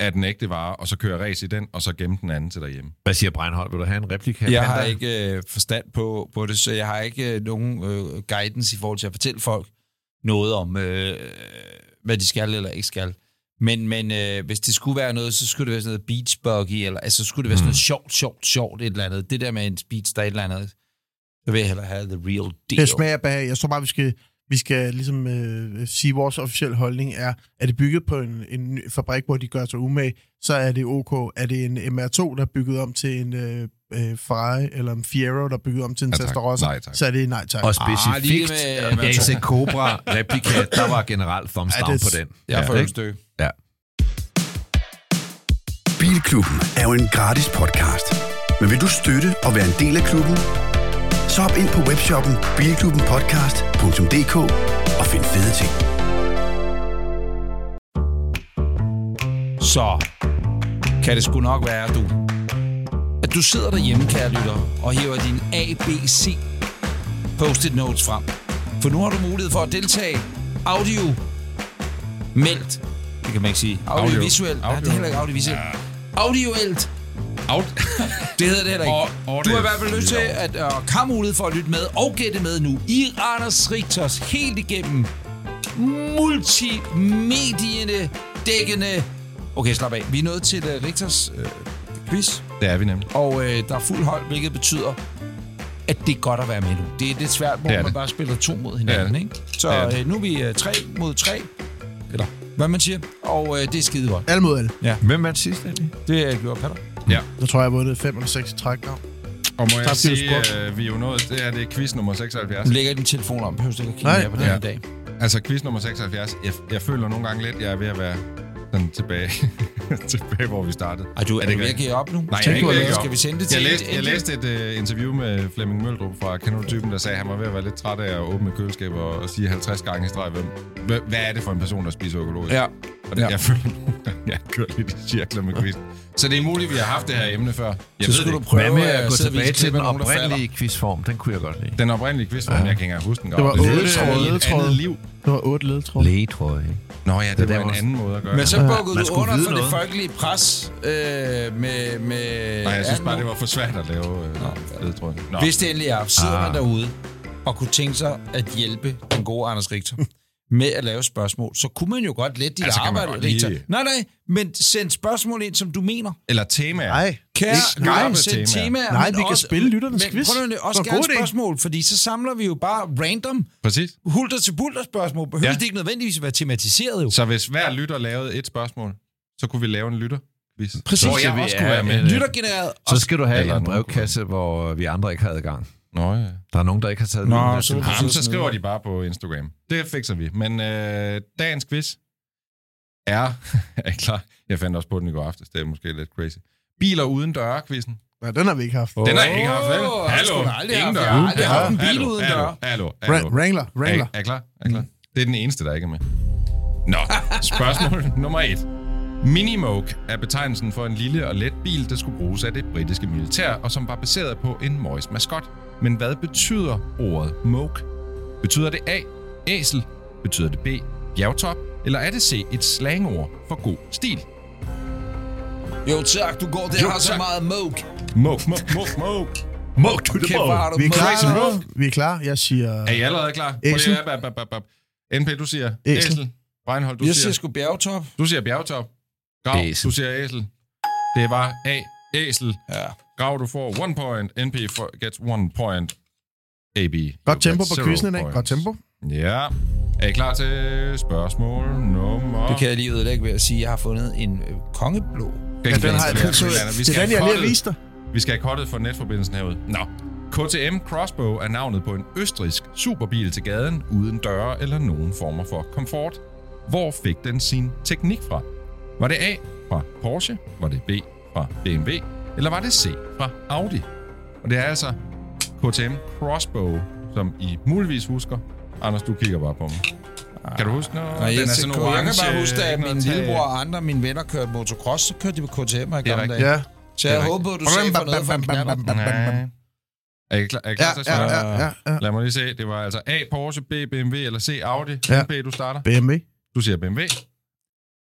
Speaker 5: af den ægte vare, og så køre race i den, og så gemme den anden til derhjemme.
Speaker 3: Hvad siger Breinholt? Vil du have en replika?
Speaker 2: Jeg
Speaker 3: Han
Speaker 2: har
Speaker 3: der-
Speaker 2: ikke øh, forstand på, på det, så jeg har ikke øh, nogen øh, guidance i forhold til at fortælle folk noget om, øh, hvad de skal eller ikke skal. Men, men øh, hvis det skulle være noget, så skulle det være sådan noget beach buggy, eller altså, så skulle det være sådan noget sjovt, sjovt, sjovt et eller andet. Det der med en speech, der er et eller andet, så vil jeg hellere have the real deal.
Speaker 4: Det smager bag. Jeg tror bare, vi skal, vi skal ligesom øh, sige, at vores officielle holdning er, er det bygget på en, en ny fabrik, hvor de gør sig umage, så er det ok. Er det en MR2, der er bygget om til en øh, øh, Ferrari, eller en Fiero, der er bygget om til en
Speaker 5: Ja,
Speaker 4: ja,
Speaker 5: tak.
Speaker 4: Testarossa,
Speaker 5: Nej, tak.
Speaker 4: så er det nej tak.
Speaker 3: Og
Speaker 2: Ah, lige
Speaker 3: specifikt
Speaker 2: med-
Speaker 3: ah, AC Cobra replika, der var generelt thumbs
Speaker 4: Ja,
Speaker 3: down
Speaker 4: det-
Speaker 3: på den.
Speaker 2: Jeg får ja,
Speaker 3: ikke?
Speaker 2: et stykke.
Speaker 3: Ja.
Speaker 1: Bilklubben er jo en gratis podcast. Men vil du støtte og være en del af klubben? Så hop ind på webshoppen bilklubbenpodcast.dk og find fede ting.
Speaker 2: så kan det sgu nok være, du. At du sidder derhjemme, kære lytter, og hiver din ABC post-it notes frem. For nu har du mulighed for at deltage audio meldt. Det kan man ikke sige. Audiovisuelt. Audio.
Speaker 5: Audio.
Speaker 2: Ja, det er heller ikke audiovisuelt. Audioelt.
Speaker 5: Out.
Speaker 2: Det hedder det heller ikke.
Speaker 5: Og- og
Speaker 2: du har i
Speaker 5: det
Speaker 2: hvert fald lyst til
Speaker 5: flyver.
Speaker 2: at uh, have mulighed for at lytte med og gætte med nu i Anders Richters helt igennem multimedierne dækkende... Okay, slap af. Vi er nået til uh, Richters uh, quiz,
Speaker 5: Det er vi nemlig.
Speaker 2: og uh, der er fuld hold, hvilket betyder, at det er godt at være med nu. Det er lidt svært, hvor
Speaker 5: Det er
Speaker 2: man
Speaker 5: det.
Speaker 2: bare spiller to mod hinanden,
Speaker 5: Det er
Speaker 2: ikke? Så
Speaker 5: Det er
Speaker 2: uh, nu er vi uh, tre mod tre, eller hvad man siger, og uh, det er skide godt.
Speaker 4: Alle mod alle.
Speaker 3: Hvem vandt sidst egentlig?
Speaker 2: Det uh, gjorde Peter.
Speaker 5: Ja.
Speaker 4: Jeg tror, jeg har vundet 5 eller 6 træk nu.
Speaker 5: Og må jeg
Speaker 4: Tak, fordi du
Speaker 5: sige,
Speaker 4: spurgte.
Speaker 5: øh, vi er jo nået, det her det er quiz nummer 76.
Speaker 2: Nu lægger jeg din telefon om, behøver ikke at kigge
Speaker 4: Nej,
Speaker 2: mere på den
Speaker 5: ja.
Speaker 2: i dag.
Speaker 5: Altså quiz nummer 76, jeg, jeg føler nogle gange lidt, jeg er ved at være sådan tilbage, tilbage hvor vi startede.
Speaker 2: Ej, du, er, er
Speaker 5: det
Speaker 2: du ved at
Speaker 5: rigtigt?
Speaker 2: give op nu?
Speaker 5: Nej,
Speaker 2: Tænk,
Speaker 5: jeg er ikke
Speaker 2: du har
Speaker 5: ved at
Speaker 2: lavet-
Speaker 5: give op.
Speaker 2: Skal vi sende det til
Speaker 5: jeg læste,
Speaker 2: et-
Speaker 5: jeg læste et uh, interview med Flemming Møldrup fra Kanontypen, der sagde, at han var ved at være lidt træt af at åbne køleskab og, og sige 50 gange i streg, hvem, hvem- hvad er det for en person, der spiser økologisk?
Speaker 2: Ja.
Speaker 5: Og det,
Speaker 2: Ja.
Speaker 5: ja. jeg føler, at jeg kører lidt i cirkler med quiz. Så det er muligt, vi har haft det her emne før. Jeg
Speaker 2: Så
Speaker 5: ved
Speaker 2: skulle
Speaker 5: det
Speaker 2: du
Speaker 5: ikke.
Speaker 2: prøve
Speaker 3: Hvad med at gå
Speaker 2: sidde og vise
Speaker 3: tilbage til
Speaker 2: klip af
Speaker 3: den
Speaker 2: nogen, der falder.
Speaker 3: oprindelige quizform? Den kunne jeg godt lide.
Speaker 5: Den oprindelige quiz, ja. jeg kan ikke engang huske den.
Speaker 4: Det var
Speaker 5: godt.
Speaker 4: otte
Speaker 5: Ledetråde i et
Speaker 4: ledetråde.
Speaker 5: andet liv.
Speaker 4: Det var 8 ledtråd.
Speaker 3: Lægetrøje.
Speaker 5: Nå ja, det,
Speaker 3: Det
Speaker 5: var
Speaker 3: der
Speaker 5: en
Speaker 3: var-
Speaker 5: anden måde at gøre
Speaker 2: Men så
Speaker 5: det.
Speaker 2: bukkede
Speaker 3: man
Speaker 2: du
Speaker 3: skulle
Speaker 2: under
Speaker 3: vide
Speaker 2: for det
Speaker 3: noget.
Speaker 2: folkelige pres øh, med... med
Speaker 5: Nej, jeg synes
Speaker 2: alt
Speaker 5: bare, det
Speaker 2: muligt.
Speaker 5: var for svært at lave øh, ledetråd. Nå,
Speaker 2: Hvis det endelig er, sidder
Speaker 5: Ah.
Speaker 2: man derude og kunne tænke sig at hjælpe den gode Anders Richter med at lave spørgsmål, så kunne man jo godt let dit
Speaker 5: Altså, kan man
Speaker 2: arbejde,
Speaker 5: godt lige-
Speaker 2: Richter. Nej, nej, men send spørgsmål ind, som du mener.
Speaker 5: eller temaer.
Speaker 4: Nej.
Speaker 2: Kære
Speaker 5: Ikke
Speaker 2: lytter,
Speaker 5: skarpe
Speaker 2: send
Speaker 5: temaer.
Speaker 2: temaer.
Speaker 4: Nej,
Speaker 2: men
Speaker 4: vi kan spille lytternes
Speaker 2: men
Speaker 4: quiz.
Speaker 2: Prøv nu, også
Speaker 4: Det var en
Speaker 2: gerne
Speaker 4: god idé.
Speaker 2: spørgsmål, fordi så samler vi jo bare random
Speaker 5: Præcis.
Speaker 2: hulter til bulter spørgsmål. Behøver ja.
Speaker 5: Ja.
Speaker 2: det ikke nødvendigvis at være tematiseret jo?
Speaker 5: Så hvis hver lytter lavede et spørgsmål, så kunne vi lave en lytter.
Speaker 2: Præcis.
Speaker 5: Hvor jeg
Speaker 3: Så vi
Speaker 5: også
Speaker 3: er-
Speaker 5: kunne være med.
Speaker 2: øh, Lyttergenereret.
Speaker 3: Så skal du have
Speaker 5: Eller
Speaker 3: en
Speaker 5: nogen
Speaker 3: brevkasse, hvor vi andre ikke har adgang.
Speaker 5: Nå ja.
Speaker 3: Der er nogen, der ikke har taget
Speaker 2: Nå,
Speaker 3: den her
Speaker 2: så-
Speaker 3: telefon.
Speaker 5: Jamen, så skriver de bare på Instagram. Det fikser vi. Men øh, dagens quiz er... er I klar? Jeg fandt også på den i går aftes. Det er måske lidt crazy. Biler uden døre-quizzen.
Speaker 4: Ja, den har vi ikke haft.
Speaker 5: Den har jeg ikke haft, vel?
Speaker 2: Åh, jeg
Speaker 5: Hallo,
Speaker 2: skulle da aldrig
Speaker 5: ingen
Speaker 2: have
Speaker 5: døre.
Speaker 2: haft- jeg har aldrig
Speaker 5: Hallo,
Speaker 2: haft en bil
Speaker 5: hallo,
Speaker 2: uden
Speaker 5: hallo,
Speaker 2: døre.
Speaker 5: Hallo,
Speaker 4: Ra-
Speaker 5: hallo.
Speaker 4: Wrangler, Wrangler.
Speaker 5: Er, er klar? Er
Speaker 2: Mm.
Speaker 5: klar? Det er den eneste, der ikke er med. Nå, spørgsmål nummer et. Minimoke er betegnelsen for en lille og let bil, der skulle bruges af det britiske militær, og som var baseret på en møjs maskot. Men hvad betyder ordet moke? Betyder det A. Æsel? Betyder det B. Bjergtop? Eller er det C. et slangord for god stil?
Speaker 2: Jo tak, du går der
Speaker 5: Jo,
Speaker 2: og har så
Speaker 5: tak.
Speaker 2: meget moke.
Speaker 5: Moke, moke, moke, moke. Moke to the
Speaker 2: Kæft, hvor har
Speaker 5: moke.
Speaker 2: du
Speaker 4: Vi er
Speaker 2: moke.
Speaker 4: klar.
Speaker 5: Crazy Wolf.
Speaker 4: Vi er klar. Jeg siger...
Speaker 5: Er I allerede klar? Prøv
Speaker 4: Æsel.
Speaker 5: lige at- bap, bap, bap, bap. NP, du siger
Speaker 4: Æsel.
Speaker 5: æsel. Reinhold, du
Speaker 2: Jeg
Speaker 5: siger...
Speaker 2: siger sgu bjergtop.
Speaker 5: Du siger bjergtop. Grav,
Speaker 3: Æsel.
Speaker 5: du siger æsel. Det var A. Æsel.
Speaker 2: Ja.
Speaker 5: Grav, du får one point. NP for, gets one point. AB.
Speaker 4: Godt tempo på quizzen i
Speaker 5: quizzen,
Speaker 4: dag. Godt tempo.
Speaker 5: Ja. Er I klar til spørgsmål nummer...
Speaker 2: Det kan jeg lige ødelægge ved at sige, at jeg har fundet en øh, kongeblå.
Speaker 5: Den,
Speaker 4: Ja, den har jeg
Speaker 5: vi
Speaker 4: så,
Speaker 5: skal
Speaker 4: Det er
Speaker 5: have
Speaker 4: den, jeg lige har
Speaker 5: cuttet-
Speaker 4: vist dig.
Speaker 5: Vi skal have kottet for netforbindelsen herude. Nå. KTM Crossbow er navnet på en østrisk superbil til gaden, uden døre eller nogen former for komfort. Hvor fik den sin teknik fra? Var det A fra Porsche? Var det B fra BMW? Eller var det C fra Audi? Og det er altså KTM Crossbow, som I muligvis husker. Anders, du kigger bare på mig. Kan du huske noget?
Speaker 2: Nej, jeg,
Speaker 5: Den
Speaker 2: jeg,
Speaker 5: er sådan
Speaker 2: jeg kan bare
Speaker 5: orange,
Speaker 2: huske, at
Speaker 5: ikke
Speaker 2: min
Speaker 5: noget tag.
Speaker 2: lillebror og andre af mine venner kørte motocross, så kørte de på KTM i gamle
Speaker 5: rigtigt.
Speaker 2: dage.
Speaker 4: Ja.
Speaker 2: Så jeg
Speaker 5: Det er
Speaker 2: håber, du sagde for noget for en knaller.
Speaker 5: Nej. Er I klar, er I klar
Speaker 4: Ja,
Speaker 5: til at
Speaker 4: ja,
Speaker 5: svare?
Speaker 4: ja, ja, ja.
Speaker 5: Lad mig lige se. Det var altså A, Porsche, B, BMW eller C, Audi.
Speaker 4: Ja.
Speaker 5: Ja. B, du starter.
Speaker 4: BMW.
Speaker 5: Du siger BMW.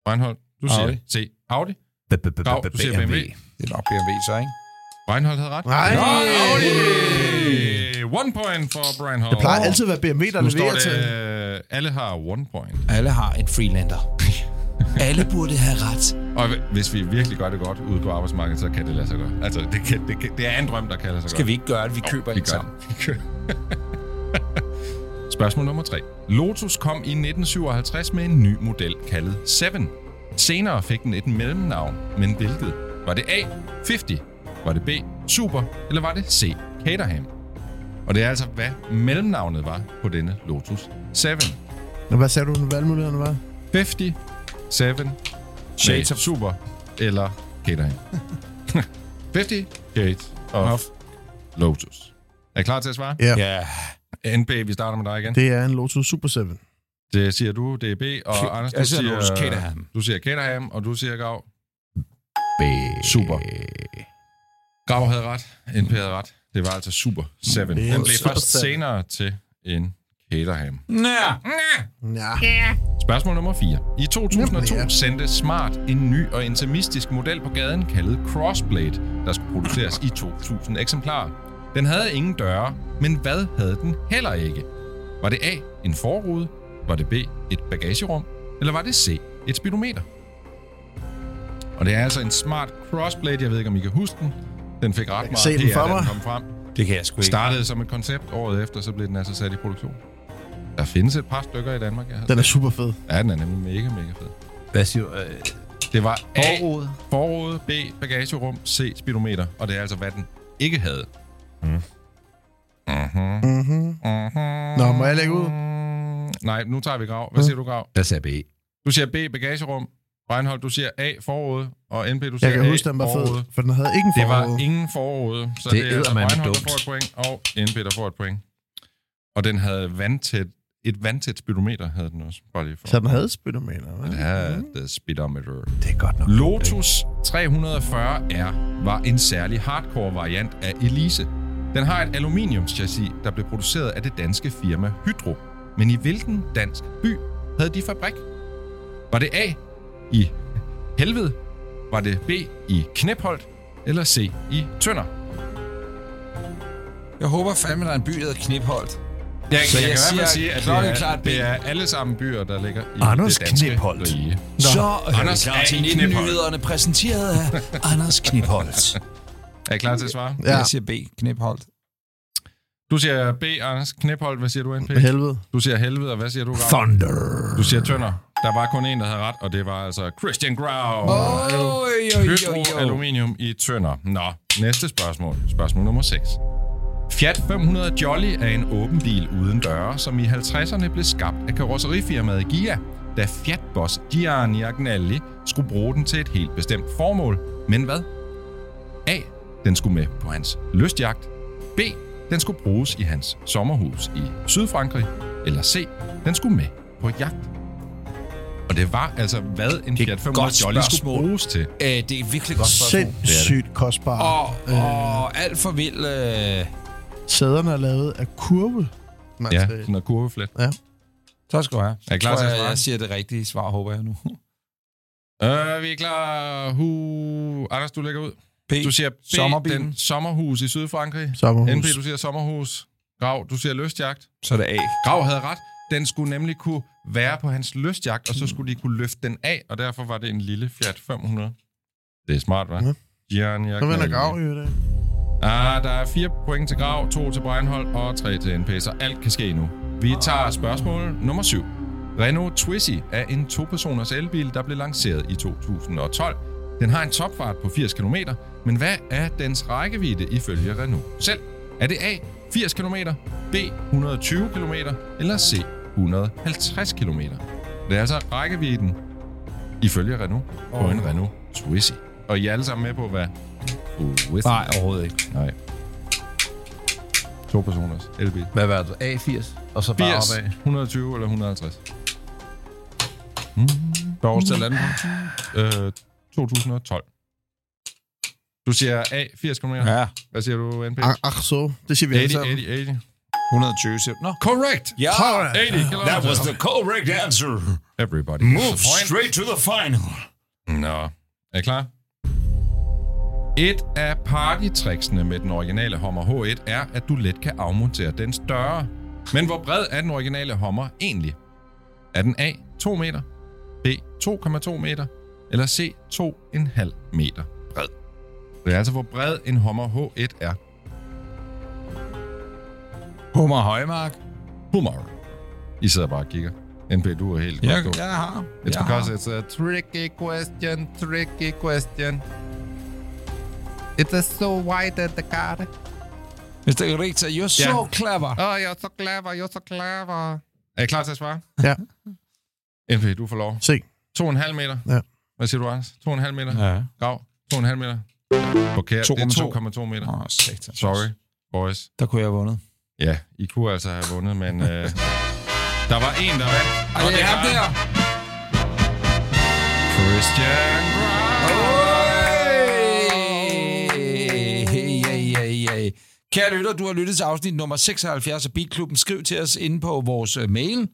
Speaker 5: Reinhold, du siger
Speaker 2: Audi.
Speaker 5: C, Audi.
Speaker 3: B- b- b-
Speaker 5: Grav,
Speaker 3: b-
Speaker 5: du siger BMW.
Speaker 2: Det er nok BMW så, ikke?
Speaker 5: Reinhold havde ret.
Speaker 4: Nej.
Speaker 5: Nå, Audi! One point for Reinhold.
Speaker 4: Det plejer altid at være BMW, der
Speaker 5: Nu står
Speaker 4: leverer til.
Speaker 5: det, øh, alle har one point.
Speaker 2: Alle har en freelander. Alle burde have ret.
Speaker 5: Og hvis vi virkelig gør det godt ude på arbejdsmarkedet, så kan det lade sig gøre. Altså, det, kan, det, kan, det er en drøm, der kan lade sig gøre.
Speaker 2: Skal vi ikke gøre det? Vi køber
Speaker 5: Vi
Speaker 2: en
Speaker 5: gør
Speaker 2: sammen.
Speaker 5: det. Vi kører. Spørgsmål nummer 3. Lotus kom i 1957 med en ny model kaldet 7. Senere fik den et mellemnavn, men hvilket? Var det A. 50? Var det B. Super? Eller var det C. Caterham? Og det er altså, hvad mellemnavnet var på denne Lotus 7.
Speaker 4: Nå, Hvad sagde du, den valgmulighederne var?
Speaker 5: 50, 7, Shades of Super eller Caterham. 50, Shades of, of Lotus. Er I klar til at svare?
Speaker 4: Ja.
Speaker 2: Ja.
Speaker 5: NB, vi starter med dig igen. Det,
Speaker 4: Det er en Lotus Super 7.
Speaker 5: det siger du, det er B, og K- Anders, du
Speaker 2: jeg siger
Speaker 5: siger,
Speaker 2: Lotus Caterham.
Speaker 5: du siger Caterham, og du siger Grav.
Speaker 3: B.
Speaker 5: Super. Grav havde ret, NP havde ret. Det var altså Super 7. Den blev
Speaker 4: Super
Speaker 5: først senere til en Caterham.
Speaker 2: Næh.
Speaker 4: Ja.
Speaker 5: Spørgsmål nummer 4. I 2002
Speaker 4: Jamen, ja.
Speaker 5: sendte Smart en ny og intimistisk model på gaden kaldet Crossblade, der skulle produceres i 2.000 eksemplarer. Den havde ingen døre, men hvad havde den heller ikke? Var det A. En forrude? Var det B. Et bagagerum? Eller var det C. Et speedometer? Og det er altså en smart Crossblade. Jeg ved ikke, om I kan huske den. Den fik ret meget
Speaker 4: se den
Speaker 5: PR,
Speaker 4: for
Speaker 5: da
Speaker 4: mig.
Speaker 5: den kom frem.
Speaker 2: Det kan jeg sgu ikke.
Speaker 5: Startede som et koncept året efter, så blev den altså sat i produktion. Der findes et par stykker i Danmark, jeg har
Speaker 4: Den er super fed.
Speaker 5: Ja, den er nemlig mega, mega fed.
Speaker 3: Hvad siger du? Øh,
Speaker 5: Det var A,
Speaker 3: Forrude.
Speaker 5: forrude, B, bagagerum, C, speedometer. Og det er altså, hvad den ikke havde.
Speaker 4: Nå, må jeg lægge ud?
Speaker 5: Mm, nej, nu tager vi Grav.
Speaker 4: Mm.
Speaker 5: Hvad siger du, Grav?
Speaker 3: jeg sagde B.
Speaker 5: Du siger B, bagagerum. Reinhold, du siger A, forrude. Og NP, du siger
Speaker 4: Jeg kan
Speaker 5: A,
Speaker 4: huske, den var fed,
Speaker 5: forrude.
Speaker 4: for den havde ikke en
Speaker 5: Det var
Speaker 4: forrude.
Speaker 5: ingen forrude. Så
Speaker 3: Det
Speaker 5: det, det er altså
Speaker 3: eddermame
Speaker 5: Reinhold, der
Speaker 3: dumt.
Speaker 5: får et point, og NP, der får et point. Og den havde vandtæt, et vandtæt speedometer, havde den også. Bare lige for.
Speaker 4: Så den havde speedometer, hva'?
Speaker 5: Den havde the speedometer.
Speaker 3: Det er godt nok.
Speaker 5: Lotus 340R var en særlig hardcore variant af Elise. Den har et aluminiumschassis, der blev produceret af det danske firma Hydro. Men i hvilken dansk by havde de fabrik? Var det A i Helvede? Var det B i Knepholdt? Eller C i Tønder?
Speaker 2: Jeg håber fandme, der er en by, der hedder Knipholdt.
Speaker 5: Jeg,
Speaker 2: Så jeg siger klokkeklart
Speaker 5: det,
Speaker 2: B.
Speaker 5: er, det er alle sammen byer, der ligger i
Speaker 3: Anders
Speaker 5: det danske
Speaker 3: Knepholdt.
Speaker 5: rige.
Speaker 2: Så er
Speaker 5: Anders
Speaker 2: Anders klar
Speaker 5: er
Speaker 2: til
Speaker 5: i
Speaker 2: 19
Speaker 5: Knipholdt.
Speaker 2: nyhederne præsenteret af Anders Knipholdt.
Speaker 5: Er I klar til at svare?
Speaker 4: Ja,
Speaker 2: Jeg siger B, Knipholdt.
Speaker 5: Du siger B, Anders Knepholdt. Hvad siger du, NP?
Speaker 4: for helvede.
Speaker 5: Du siger helvede, og hvad siger du, Grav?
Speaker 3: Thunder.
Speaker 5: Du siger tønder. Der var kun en, der havde ret, og det var altså Christian Grau.
Speaker 2: Oj, oj, oj,
Speaker 5: Hydro
Speaker 2: oj.
Speaker 5: aluminium i tønder. Nå, næste spørgsmål. Spørgsmål nummer 6. Fiat 500 Jolly er en åben bil uden døre, som i 50'erne blev skabt af karrosserifirmaet Gia, da Fiat-boss Gianni Agnelli skulle bruge den til et helt bestemt formål. Men hvad? A. Den skulle med på hans lystjagt. B. Den skulle bruges i hans sommerhus i Sydfrankrig. Eller C. Den skulle med på jagt. Og det var altså, hvad en Fiat 500
Speaker 2: godt
Speaker 5: Jolly
Speaker 2: spørgsmål.
Speaker 5: skulle bruges til.
Speaker 2: Øh, det er et virkelig godt spørgsmål.
Speaker 4: Sindssygt kostbar.
Speaker 2: Og, og alt for vild... Øh,
Speaker 4: Sæderne er lavet af kurve. Man
Speaker 5: Ja,
Speaker 4: sagde.
Speaker 5: sådan noget kurveflet.
Speaker 2: så skal jeg.
Speaker 5: Er I klar til at
Speaker 2: Tror jeg,
Speaker 5: svare?
Speaker 2: jeg siger det rigtige svar, håber jeg nu.
Speaker 5: Øh, vi er klar. Hu... Anders, du lægger ud.
Speaker 2: B.
Speaker 5: Du siger B,
Speaker 2: Sommerbilen.
Speaker 5: den sommerhus i Sydfrankrig.
Speaker 4: Sommerhus.
Speaker 5: NP, du siger sommerhus. Grav, du siger lystjagt.
Speaker 2: Så er det A.
Speaker 5: Grav havde ret. Den skulle nemlig kunne være på hans lystjagt, og så skulle de kunne løfte den af, og derfor var det en lille Fiat 500. Det er smart, hva'?
Speaker 4: Ja.
Speaker 5: Jern, jeg
Speaker 4: Så
Speaker 5: kan
Speaker 4: vender
Speaker 5: ikke.
Speaker 4: grav i dag.
Speaker 5: Ah, der er fire point til Grav, to til Breinholt og tre til NP, så alt kan ske nu. Vi tager spørgsmål nummer 7. Renault Twizy er en to-personers elbil, der blev lanceret i 2012. Den har en topfart på 80 km, men hvad er dens rækkevidde ifølge Renault selv? Er det A 80 km, B 120 km eller C 150 km? Det er altså rækkevidden ifølge Renault på en Renault Twizy. Og I er alle sammen med på, hvad Twizy
Speaker 2: Nej, overhovedet ikke.
Speaker 5: Nej. To personers elbil.
Speaker 3: Hvad var det? A80? Og så bare
Speaker 5: 80,
Speaker 3: opad.
Speaker 5: 120 eller 150? Mm. Hvad årstal er den? Øh, 2012. Du siger A, 80 km. Ja.
Speaker 2: Ja,
Speaker 5: Hvad siger du, NP?
Speaker 4: Ah, altså- Ach, så. Det siger vi alle
Speaker 5: 80,
Speaker 4: sammen.
Speaker 5: 80, 80.
Speaker 2: 120 siger Nå.
Speaker 5: Correct!
Speaker 2: Ja,
Speaker 5: 80 km.
Speaker 8: That was the correct answer.
Speaker 5: Everybody.
Speaker 8: Move
Speaker 5: gets a point.
Speaker 8: straight to the final.
Speaker 5: Nå, er I klar? Et af partytricksene med den originale Hummer H1 er, at du let kan afmontere dens døre. Men hvor bred er den originale Hummer egentlig? Er den A 2 meter, B 2,2 meter eller C 2,5 meter bred? Det er altså, hvor bred en Hummer H1 er.
Speaker 2: Hummer Højmark.
Speaker 5: Hummer. I sidder bare og kigger. NP, du er helt
Speaker 2: Jeg,
Speaker 5: godt
Speaker 2: jeg har.
Speaker 5: It's
Speaker 2: jeg
Speaker 5: because
Speaker 2: har.
Speaker 5: it's a tricky question, tricky question. It is so wide at the garden.
Speaker 2: Mr. Rita, you're so
Speaker 5: Ja.
Speaker 2: clever.
Speaker 5: Åh, oh, jeg er så clever, jeg er så clever. Er I klar til at svare?
Speaker 4: Ja.
Speaker 5: NP, du får lov.
Speaker 4: Se.
Speaker 5: 2,5 meter.
Speaker 4: Ja.
Speaker 5: Hvad siger du, Anders? 2,5 meter? Ja.
Speaker 2: Ja.
Speaker 5: Grav, 2,5 meter. Forkert, det er 2,2 meter.
Speaker 2: Åh, satan.
Speaker 5: Sorry, boys.
Speaker 2: Der kunne jeg have vundet.
Speaker 5: Ja, I kunne altså have vundet, men øh, der var en, der vandt.
Speaker 2: Og det er ham der.
Speaker 5: Christian Grau.
Speaker 2: Hey, hey, hey, hey. Kære lytter, du har lyttet til afsnit nummer 76 af Beatklubben. Skriv til os inde på vores øh, mail.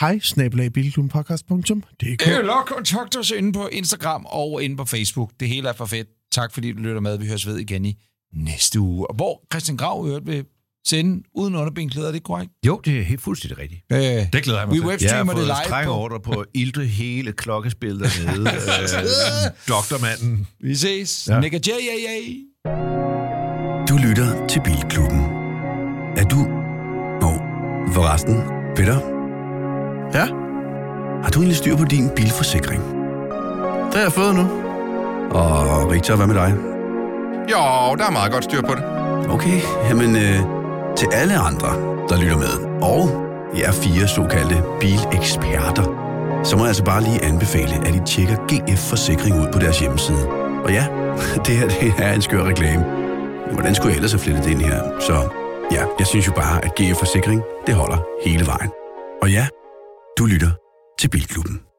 Speaker 4: Hej, snabelag bilklubbenpodcast.dk.
Speaker 2: Eller kontakt os inde på Instagram og inde på Facebook. Det hele er for fedt. Tak fordi du lytter med. Vi høres ved igen i næste uge. Og hvor Christian Grav i øvrigt vil sende uden underbindklæder, er det korrekt?
Speaker 3: Jo, det er helt fuldstændig rigtigt.
Speaker 2: Øh,
Speaker 5: Det glæder jeg
Speaker 2: vi
Speaker 5: mig til.
Speaker 3: Jeg har
Speaker 2: webstreamer det
Speaker 3: fået
Speaker 2: live
Speaker 3: strenge
Speaker 2: på.
Speaker 3: ordre på at ilte hele klokkespillet nede. øh, doktormanden.
Speaker 2: Vi ses. Ja.
Speaker 3: Ja.
Speaker 2: Nick og Jay, ja, ja.
Speaker 1: Du lytter til Bilklubben. Er du... Og forresten, Peter,
Speaker 4: Ja,
Speaker 1: har du egentlig styr på din bilforsikring?
Speaker 4: det har jeg fået nu.
Speaker 1: Og Victor, hvad med dig?
Speaker 5: Jo, der er meget godt styr på det.
Speaker 1: Okay, jamen øh, til alle andre, der lytter med, og jer fire såkaldte bileksperter, så må jeg altså bare lige anbefale, at I tjekker GF Forsikring ud på deres hjemmeside. Og ja, det her det er en skør reklame. Men hvordan skulle jeg ellers have flettet det ind her? Så ja, jeg synes jo bare, at GF Forsikring, det holder hele vejen. Og ja, du lytter til Bilklubben.